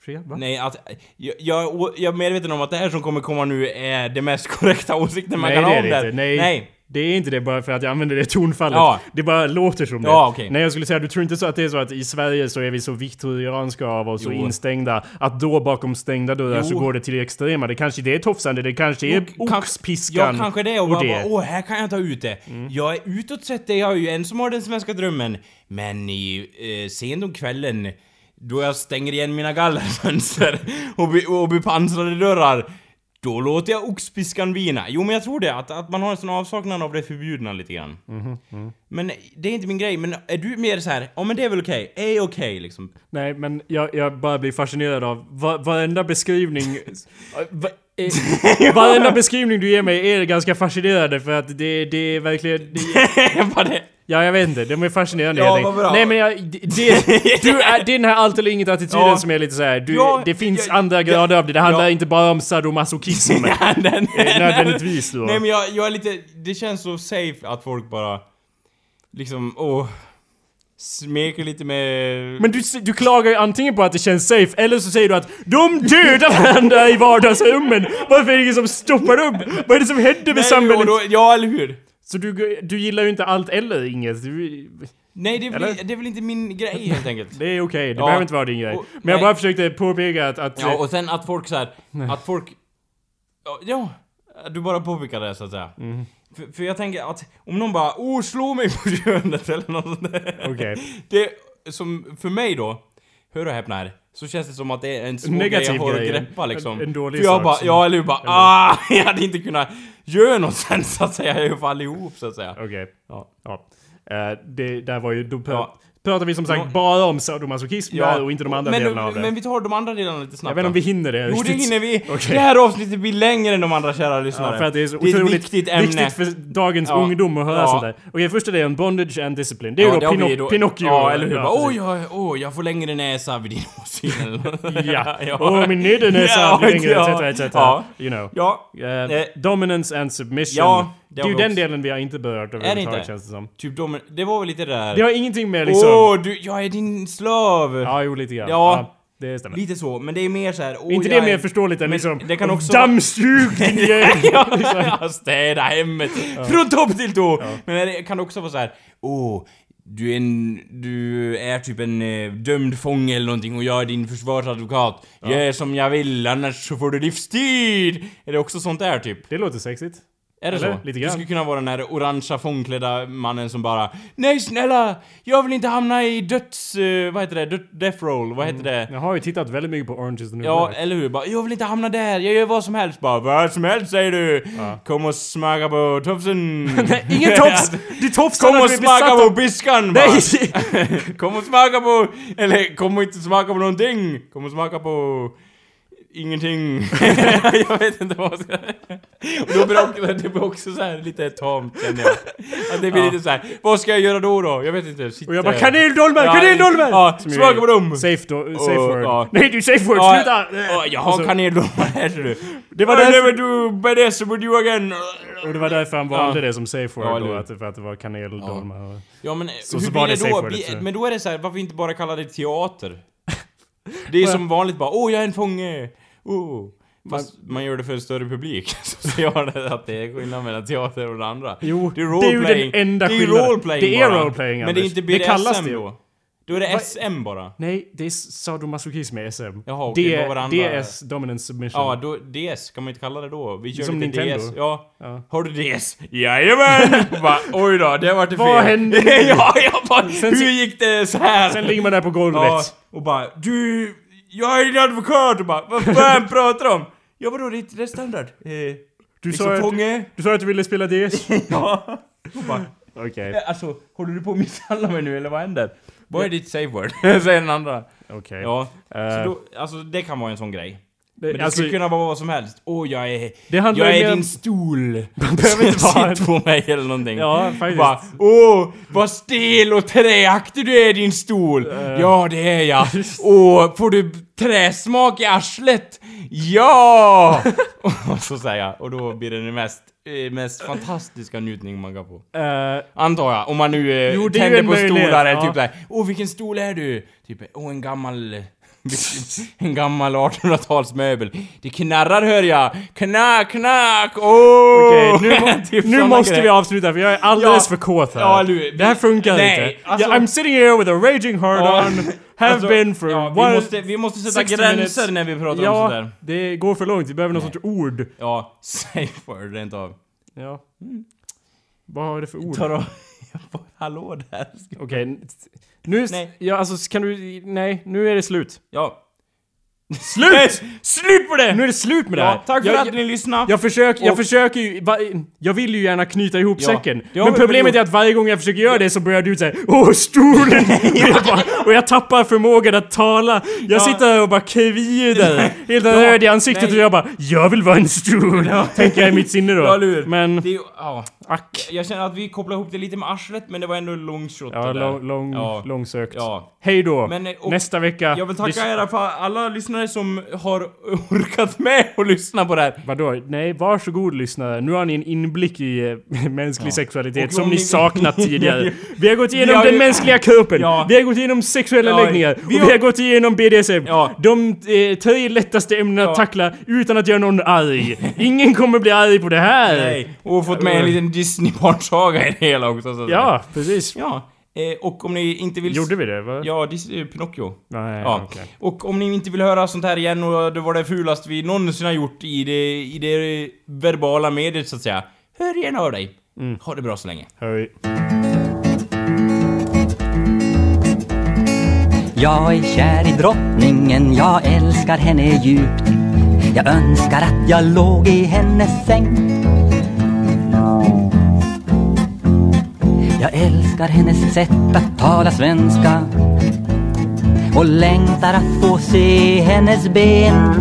[SPEAKER 1] Fria, va?
[SPEAKER 2] Nej, att, jag, jag, jag är medveten om att det här som kommer komma nu är det mest korrekta åsikten man
[SPEAKER 1] Nej,
[SPEAKER 2] kan
[SPEAKER 1] det
[SPEAKER 2] ha
[SPEAKER 1] är
[SPEAKER 2] om
[SPEAKER 1] det inte. Nej.
[SPEAKER 2] Nej.
[SPEAKER 1] Det är inte det bara för att jag använder det tonfallet.
[SPEAKER 2] Ja.
[SPEAKER 1] Det bara låter som det.
[SPEAKER 2] Ja, okej.
[SPEAKER 1] Nej, jag skulle säga, du tror inte så att det är så att i Sverige så är vi så viktorianska av oss och
[SPEAKER 2] Jo.
[SPEAKER 1] instängda att då bakom stängda dörrar så
[SPEAKER 2] Jo.
[SPEAKER 1] går det till det extrema. Det kanske det är tofsande, det kanske är
[SPEAKER 2] Jo, kanske-
[SPEAKER 1] oxpiskan
[SPEAKER 2] Ja, kanske det. Och,
[SPEAKER 1] och
[SPEAKER 2] jag
[SPEAKER 1] det.
[SPEAKER 2] bara, åh, här kan jag ta ut det. Jag är utåt sett är jag ju en som har den svenska drömmen. Men i eh, sent om kvällen, då jag stänger igen mina gallerfönster och, be, och bepansrade dörrar, då låter jag oxpiskan vina. Jo, men jag tror det. Att, att man har en sån avsaknad av det förbjudna lite grann. Men det är inte min grej. Men är du mer så här, ja men det är väl okej, är okej liksom.
[SPEAKER 1] Nej, men jag, jag bara blir fascinerad av va, varenda beskrivning... va, eh, varenda beskrivning du ger mig är ganska fascinerande för att det, det är verkligen... Det,
[SPEAKER 2] Vad det?
[SPEAKER 1] Ja, jag vet inte. De är fascinerande
[SPEAKER 2] Ja,
[SPEAKER 1] helt enkelt.
[SPEAKER 2] vad bra.
[SPEAKER 1] Nej, men jag, det, det- du är, det är den här allt eller inget-attityden
[SPEAKER 2] Ja.
[SPEAKER 1] som är lite så här. Du,
[SPEAKER 2] Ja,
[SPEAKER 1] det finns
[SPEAKER 2] jag-
[SPEAKER 1] andra
[SPEAKER 2] jag-
[SPEAKER 1] grader av det. Det handlar
[SPEAKER 2] ja.
[SPEAKER 1] inte bara om sadomasochism.
[SPEAKER 2] Nej, nej, nej.
[SPEAKER 1] eh, nödvändigtvis då.
[SPEAKER 2] Nej men jag, jag är lite, det känns så safe att folk bara liksom, åh, smeker lite med...
[SPEAKER 1] Men du, s- du klagar ju antingen på att det känns safe, eller så säger du att de dödar varandra i vardagsrummen! Varför är det ingen som stoppar upp? Vad är det som händer med
[SPEAKER 2] och
[SPEAKER 1] samhället?
[SPEAKER 2] då, ja eller hur?
[SPEAKER 1] Så du, du gillar ju inte allt eller inget. Du,
[SPEAKER 2] Nej det är, väl,
[SPEAKER 1] Eller?
[SPEAKER 2] det är väl inte min grej helt enkelt.
[SPEAKER 1] det är okej, det
[SPEAKER 2] Ja.
[SPEAKER 1] behöver inte vara din grej.
[SPEAKER 2] Och-
[SPEAKER 1] Men jag
[SPEAKER 2] nej.
[SPEAKER 1] bara försökte påpeka att... att
[SPEAKER 2] Ja och sen att folk så här, att folk, ja, ja, du bara påpekar det så att säga.
[SPEAKER 1] Mm.
[SPEAKER 2] För, för jag tänker att om någon bara, åh slå mig på könet eller något sånt där.
[SPEAKER 1] Okej.
[SPEAKER 2] Det, som för mig då, hör och häpna här, så känns det som att det är en svår
[SPEAKER 1] Negativ
[SPEAKER 2] grej jag har
[SPEAKER 1] grej,
[SPEAKER 2] att greppa liksom.
[SPEAKER 1] en- en dålig
[SPEAKER 2] för jag
[SPEAKER 1] sak
[SPEAKER 2] bara,
[SPEAKER 1] som-
[SPEAKER 2] ja eller hur, bara ah, jag hade inte kunnat göra något sen så att säga, jag är ju för allihop så att säga.
[SPEAKER 1] Okej.
[SPEAKER 2] Ja.
[SPEAKER 1] Ja. Eh, det där var ju... Då pr-
[SPEAKER 2] Ja.
[SPEAKER 1] pratar vi som sagt
[SPEAKER 2] Ja.
[SPEAKER 1] bara om sadomasochism där och inte de andra
[SPEAKER 2] men,
[SPEAKER 1] delarna av det.
[SPEAKER 2] Men vi tar de andra delarna lite snabbt
[SPEAKER 1] jag vet inte om vi hinner det
[SPEAKER 2] Jo det
[SPEAKER 1] riktigt.
[SPEAKER 2] hinner vi!
[SPEAKER 1] Okej.
[SPEAKER 2] Det här avsnittet blir längre än de andra kära lyssnare.
[SPEAKER 1] Ja, för att det är så
[SPEAKER 2] ett
[SPEAKER 1] otroligt
[SPEAKER 2] viktigt ämne.
[SPEAKER 1] för dagens
[SPEAKER 2] Ja.
[SPEAKER 1] ungdom att höra
[SPEAKER 2] Ja.
[SPEAKER 1] sånt där. Okej, första delen, Bondage and Discipline. Det är ju
[SPEAKER 2] Ja,
[SPEAKER 1] då,
[SPEAKER 2] har
[SPEAKER 1] Pinoc-
[SPEAKER 2] vi
[SPEAKER 1] Pinocchio.
[SPEAKER 2] Ja, eller hur? Ja,
[SPEAKER 1] precis.
[SPEAKER 2] oj, jag, oj, jag får längre näsa vid din åsyn eller
[SPEAKER 1] Ja, och min nederläsare
[SPEAKER 2] Ja,
[SPEAKER 1] blir längre,
[SPEAKER 2] ja.
[SPEAKER 1] etc, etc.
[SPEAKER 2] Ja.
[SPEAKER 1] You know.
[SPEAKER 2] Ja,
[SPEAKER 1] Eh,
[SPEAKER 2] Eh.
[SPEAKER 1] dominance and submission.
[SPEAKER 2] Ja, det
[SPEAKER 1] det är
[SPEAKER 2] har
[SPEAKER 1] ju
[SPEAKER 2] vi
[SPEAKER 1] den
[SPEAKER 2] också.
[SPEAKER 1] delen vi har inte berört överhuvudtaget
[SPEAKER 2] inte?
[SPEAKER 1] känns det som.
[SPEAKER 2] typ de... Det var väl lite det där...
[SPEAKER 1] Det har ingenting med liksom...
[SPEAKER 2] Åh, du, jag är din slav!
[SPEAKER 1] Ja, jo lite grann.
[SPEAKER 2] Ja.
[SPEAKER 1] det stämmer.
[SPEAKER 2] Lite så, men det är mer så här. åh,
[SPEAKER 1] inte
[SPEAKER 2] jag
[SPEAKER 1] det mer
[SPEAKER 2] är-
[SPEAKER 1] förståeligt än
[SPEAKER 2] Oh, Men
[SPEAKER 1] liksom...
[SPEAKER 2] det kan också vara-
[SPEAKER 1] Dammsug din jävel! Liksom.
[SPEAKER 2] Ja, städa hemmet från topp till tå! Men det kan också vara så här. åh, du är en... Du är typ en eh, dömd fånge eller någonting och jag är din försvarsadvokat. Gör som jag vill, annars så får du livstid! Är det också sånt där typ?
[SPEAKER 1] Det låter sexigt.
[SPEAKER 2] Är det
[SPEAKER 1] Eller?
[SPEAKER 2] så?
[SPEAKER 1] Lite
[SPEAKER 2] Du
[SPEAKER 1] grann.
[SPEAKER 2] skulle kunna vara den här orangea fångklädda mannen som bara Nej snälla! Jag vill inte hamna i döds... eh, vad heter det? Dö- death roll? Vad heter det?
[SPEAKER 1] Jag har ju tittat väldigt mycket på Orange is the new
[SPEAKER 2] Ja,
[SPEAKER 1] black.
[SPEAKER 2] eller hur? Bara, jag vill inte hamna där, jag gör vad som helst. Bara, vad som helst säger du! Kom och smaka på tofsen!
[SPEAKER 1] Nej, ingen tofs! Du tofsar
[SPEAKER 2] Kom
[SPEAKER 1] när
[SPEAKER 2] och
[SPEAKER 1] du är
[SPEAKER 2] smaka
[SPEAKER 1] besatt
[SPEAKER 2] på
[SPEAKER 1] av...
[SPEAKER 2] biskan! bara.
[SPEAKER 1] Nej!
[SPEAKER 2] kom och smaka på... Eller kom och inte smaka på någonting! Kom och smaka på... Ingenting. jag vet inte vad jag ska... Och då blir också- det blir också så här lite tamt känner jag. Att det blir lite så här. vad ska jag göra då då? Jag vet inte. Sitta...
[SPEAKER 1] Och jag bara kaneldolmar,
[SPEAKER 2] Ja,
[SPEAKER 1] kaneldolmar!
[SPEAKER 2] ja,
[SPEAKER 1] Som ju
[SPEAKER 2] smaka
[SPEAKER 1] är
[SPEAKER 2] på dem.
[SPEAKER 1] Safe, do- safe
[SPEAKER 2] Och,
[SPEAKER 1] word.
[SPEAKER 2] ja.
[SPEAKER 1] Nej, du safe word,
[SPEAKER 2] Ja,
[SPEAKER 1] sluta!
[SPEAKER 2] ja, jag
[SPEAKER 1] Och
[SPEAKER 2] har
[SPEAKER 1] så-
[SPEAKER 2] kaneldomar här ser du.
[SPEAKER 1] Det var
[SPEAKER 2] I
[SPEAKER 1] därför-
[SPEAKER 2] never do badass with you again.
[SPEAKER 1] Och det var därför han valde
[SPEAKER 2] Ja.
[SPEAKER 1] det som safe
[SPEAKER 2] Ja,
[SPEAKER 1] word
[SPEAKER 2] eller
[SPEAKER 1] då,
[SPEAKER 2] hur?
[SPEAKER 1] att, för att det var kaneldolmar. och-
[SPEAKER 2] Ja men eh, hur
[SPEAKER 1] så
[SPEAKER 2] blir
[SPEAKER 1] var det
[SPEAKER 2] det
[SPEAKER 1] safe
[SPEAKER 2] då?
[SPEAKER 1] wordet, så.
[SPEAKER 2] Blir, men då är det så här, varför inte bara kalla det teater? Det är som vanligt bara åh jag är en fånge! Oh. Fast man, gör det för en större publik. Så ser jag det att det är skillnad mellan teater och det andra.
[SPEAKER 1] Jo,
[SPEAKER 2] det är
[SPEAKER 1] det är ju
[SPEAKER 2] roleplaying.
[SPEAKER 1] den enda
[SPEAKER 2] Det är ju
[SPEAKER 1] skillnaden.
[SPEAKER 2] roleplaying
[SPEAKER 1] Det är
[SPEAKER 2] bara.
[SPEAKER 1] roleplaying,
[SPEAKER 2] Men det är
[SPEAKER 1] Anders.
[SPEAKER 2] inte
[SPEAKER 1] Det
[SPEAKER 2] BDSM
[SPEAKER 1] kallas det.
[SPEAKER 2] då. Då är det SM bara.
[SPEAKER 1] Nej, det är sadomasochism med SM.
[SPEAKER 2] Jaha, okej,
[SPEAKER 1] det
[SPEAKER 2] vad var det
[SPEAKER 1] är
[SPEAKER 2] andra?
[SPEAKER 1] DS, dominance submission.
[SPEAKER 2] Ja, då, DS kan man inte kalla det då. Vi kör
[SPEAKER 1] Som
[SPEAKER 2] lite
[SPEAKER 1] Nintendo.
[SPEAKER 2] DS. Ja.
[SPEAKER 1] Ja.
[SPEAKER 2] Har du DS? Jajamän! Va, oj då, det vart det fel.
[SPEAKER 1] Vad hände nu?
[SPEAKER 2] ja, jag bara,
[SPEAKER 1] Sen så-
[SPEAKER 2] hur gick det så här?
[SPEAKER 1] Sen ligger man där på golvet.
[SPEAKER 2] ja, och bara, du, jag är din advokat! Och bara, vad fan pratar du om? Ja vadå, det är inte det standard? Eh,
[SPEAKER 1] du,
[SPEAKER 2] liksom
[SPEAKER 1] sa att,
[SPEAKER 2] fånge?
[SPEAKER 1] du sa att du ville spela DS.
[SPEAKER 2] Ja. Och bara,
[SPEAKER 1] Okej,
[SPEAKER 2] eh, alltså, håller du på att misshandla mig nu eller vad händer? Vad är ditt safe word? Säger den andra.
[SPEAKER 1] okej.
[SPEAKER 2] Ja,
[SPEAKER 1] Eh.
[SPEAKER 2] så då, alltså det kan vara en sån grej.
[SPEAKER 1] Det,
[SPEAKER 2] Men det skulle kunna vara vad som helst. Åh, jag är...
[SPEAKER 1] Det handlar
[SPEAKER 2] jag
[SPEAKER 1] ju
[SPEAKER 2] är
[SPEAKER 1] mer-
[SPEAKER 2] din stol.
[SPEAKER 1] behöver inte vara
[SPEAKER 2] Sitt på mig eller någonting.
[SPEAKER 1] Ja, faktiskt.
[SPEAKER 2] Bara, Åh, vad stel och träaktig du är din stol.
[SPEAKER 1] Eh.
[SPEAKER 2] Ja, det är jag. Åh, får du träsmak i arslet? Ja! och så säger jag, och då blir det den mest, eh, mest fantastiska njutning man kan få.
[SPEAKER 1] eh,
[SPEAKER 2] Antar jag. Om man nu eh,
[SPEAKER 1] Jo, det är ju
[SPEAKER 2] tänder
[SPEAKER 1] en
[SPEAKER 2] på
[SPEAKER 1] möjlighet,
[SPEAKER 2] stolar eller
[SPEAKER 1] ja.
[SPEAKER 2] typ såhär. Åh vilken stol är du? Typ, åh en gammal... en gammal 1800-talsmöbel. Det knarrar hör jag! Knack, knack! Åh!
[SPEAKER 1] Okej, nu, må,
[SPEAKER 2] Typ
[SPEAKER 1] Oh. nu
[SPEAKER 2] såna
[SPEAKER 1] måste
[SPEAKER 2] grejer.
[SPEAKER 1] vi avsluta för jag är alldeles för
[SPEAKER 2] Ja.
[SPEAKER 1] kåt här.
[SPEAKER 2] Ja, du, vi-
[SPEAKER 1] det här funkar
[SPEAKER 2] nej,
[SPEAKER 1] inte.
[SPEAKER 2] alltså-
[SPEAKER 1] yeah, I'm sitting here with a raging hard
[SPEAKER 2] Ja,
[SPEAKER 1] on, have
[SPEAKER 2] alltså,
[SPEAKER 1] been for
[SPEAKER 2] ja,
[SPEAKER 1] one,
[SPEAKER 2] vi, måste, vi måste sätta
[SPEAKER 1] 60
[SPEAKER 2] gränser
[SPEAKER 1] minutes.
[SPEAKER 2] när vi pratar om sånt
[SPEAKER 1] Ja,
[SPEAKER 2] där.
[SPEAKER 1] det går för långt. Vi behöver något sorts ord.
[SPEAKER 2] Ja, safe word rent av.
[SPEAKER 1] Ja. Vad är det för ord?
[SPEAKER 2] Tar
[SPEAKER 1] Okej,
[SPEAKER 2] av... Hallå där.
[SPEAKER 1] n- nu...
[SPEAKER 2] Nej.
[SPEAKER 1] Ja, alltså kan du... Nej, nu är det slut.
[SPEAKER 2] Ja.
[SPEAKER 1] Slut!
[SPEAKER 2] Slut på det!
[SPEAKER 1] nu är det slut med det här.
[SPEAKER 2] Eh. Ja, tack för
[SPEAKER 1] jag,
[SPEAKER 2] att
[SPEAKER 1] jag,
[SPEAKER 2] ni lyssnade.
[SPEAKER 1] jag försöker, jag
[SPEAKER 2] Och-
[SPEAKER 1] försöker ju, va, jag vill ju gärna knyta ihop
[SPEAKER 2] Ja,
[SPEAKER 1] säcken.
[SPEAKER 2] det har
[SPEAKER 1] Men
[SPEAKER 2] vi väl
[SPEAKER 1] problemet är
[SPEAKER 2] gjort.
[SPEAKER 1] att varje gång jag försöker göra det så börjar du säga Åh, stolen! och, jag bara, och jag tappar förmågan att tala. Jag sitter här och bara kvider. Helt röd i ansiktet
[SPEAKER 2] nej.
[SPEAKER 1] och jag bara Jag vill vara en stol! Tänker jag i mitt sinne då.
[SPEAKER 2] Ja, eller hur?
[SPEAKER 1] Men,
[SPEAKER 2] Det är ju... Ja.
[SPEAKER 1] ack.
[SPEAKER 2] Jag känner att vi kopplar ihop det lite med arslet men det var ändå long shot
[SPEAKER 1] Ja,
[SPEAKER 2] det där.
[SPEAKER 1] lång, lång,
[SPEAKER 2] Ja.
[SPEAKER 1] långsökt.
[SPEAKER 2] Ja.
[SPEAKER 1] Hej då!
[SPEAKER 2] Men, eh, och-
[SPEAKER 1] Nästa vecka.
[SPEAKER 2] Jag vill
[SPEAKER 1] Lys-
[SPEAKER 2] tacka er för alla lyssnare som har orkat med och lyssna på det här.
[SPEAKER 1] Vadå? Nej, varsågod lyssnare. Nu har ni en inblick i eh, mänsklig sexualitet
[SPEAKER 2] Och
[SPEAKER 1] som
[SPEAKER 2] om
[SPEAKER 1] ni
[SPEAKER 2] ni-
[SPEAKER 1] saknat tidigare. Vi har gått igenom
[SPEAKER 2] Vi har
[SPEAKER 1] den
[SPEAKER 2] ju-
[SPEAKER 1] mänskliga kroppen.
[SPEAKER 2] Ja.
[SPEAKER 1] Vi har gått igenom sexuella
[SPEAKER 2] Ja,
[SPEAKER 1] läggningar.
[SPEAKER 2] vi
[SPEAKER 1] och vi
[SPEAKER 2] har-
[SPEAKER 1] har gått igenom BDSM.
[SPEAKER 2] Ja.
[SPEAKER 1] De eh, tre lättaste ämnena
[SPEAKER 2] Ja.
[SPEAKER 1] att tackla utan att göra någon arg. Ingen kommer bli arg på det här.
[SPEAKER 2] Och fått med en liten Disney-barnsaga i det hela också. Så att säga.
[SPEAKER 1] Ja, precis.
[SPEAKER 2] Ja. Eh, och om ni inte vill...
[SPEAKER 1] Gjorde vi det? Va?
[SPEAKER 2] Ja, Disney, Pinocchio.
[SPEAKER 1] Nej,
[SPEAKER 2] Ja.
[SPEAKER 1] okej.
[SPEAKER 2] Och om ni inte vill höra sånt här igen och det var det fulaste vi någonsin har gjort i det, i det verbala mediet så att säga. Hör gärna av dig.
[SPEAKER 1] Mm.
[SPEAKER 2] Ha det bra så länge.
[SPEAKER 1] Hej.
[SPEAKER 3] Jag är kär i drottningen, jag älskar henne djupt Jag önskar att jag låg i hennes säng Jag älskar hennes sätt att tala svenska och längtar att få se hennes ben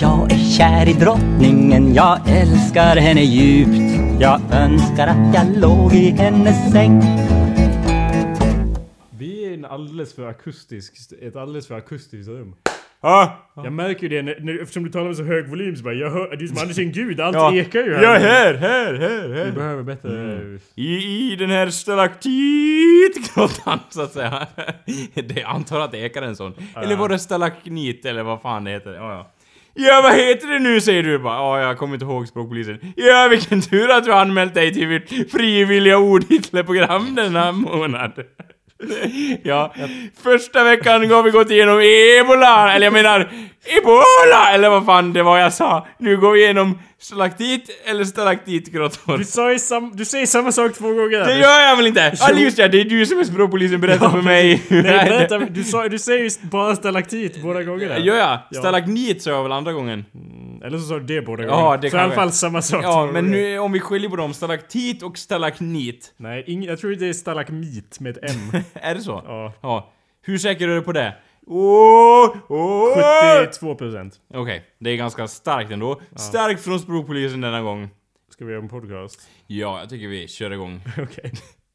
[SPEAKER 3] Jag är kär i drottningen, jag älskar henne djupt Jag önskar att jag låg i hennes säng
[SPEAKER 1] Vi är i en alldeles för akustisk, ett alldeles för akustiskt rum.
[SPEAKER 2] Ja.
[SPEAKER 1] Jag märker ju det när, när, eftersom du talar med så hög volym så bara jag hör, det är som Anders en gud, allt
[SPEAKER 2] Ja.
[SPEAKER 1] ekar ju
[SPEAKER 2] Ja, här, här, här, här.
[SPEAKER 1] Vi behöver bättre...
[SPEAKER 2] Mm. I, i den här stalaktitgrottan så att säga. Det, jag antar att det ekar en sån. Eller var det stalaknit eller vad fan det heter. Ja, ja. Ja vad heter det nu säger du bara. Ja jag kommer inte ihåg språkpolisen. Ja vilken tur att du har anmält dig till vårt frivilliga ordhitlerprogram denna månad. Ja, första veckan har vi gått igenom ebola, eller jag menar ebola, eller vad fan det var jag sa. Nu går vi igenom stalaktit eller stalaktitgrottor.
[SPEAKER 1] Du, sa ju sam, du säger samma sak två gånger!
[SPEAKER 2] Det gör jag väl inte? Ja just det, det är du som är språkpolisen, berätta för mig hur det
[SPEAKER 1] Nej,
[SPEAKER 2] är.
[SPEAKER 1] vänta, du, sa, du säger ju bara stalaktit båda gångerna.
[SPEAKER 2] Gör jag?
[SPEAKER 1] Ja.
[SPEAKER 2] Stalagnit sa jag väl andra gången?
[SPEAKER 1] Eller så sa du det båda
[SPEAKER 2] Ja,
[SPEAKER 1] gångerna.
[SPEAKER 2] det
[SPEAKER 1] så i alla
[SPEAKER 2] kanske.
[SPEAKER 1] fall samma sak två
[SPEAKER 2] Ja, men
[SPEAKER 1] gånger.
[SPEAKER 2] nu om vi skiljer på dem, stalaktit och stalaknit.
[SPEAKER 1] Nej, ing, jag tror det är stalagmit med ett M.
[SPEAKER 2] Är det så?
[SPEAKER 1] Ja.
[SPEAKER 2] Hur säker är du på det? Åh, åh.
[SPEAKER 1] 72%
[SPEAKER 2] Okej, det är ganska starkt ändå. Starkt från språkpolisen denna gång.
[SPEAKER 1] Ska vi göra en podcast?
[SPEAKER 2] Ja, jag tycker vi kör igång.
[SPEAKER 1] Okej.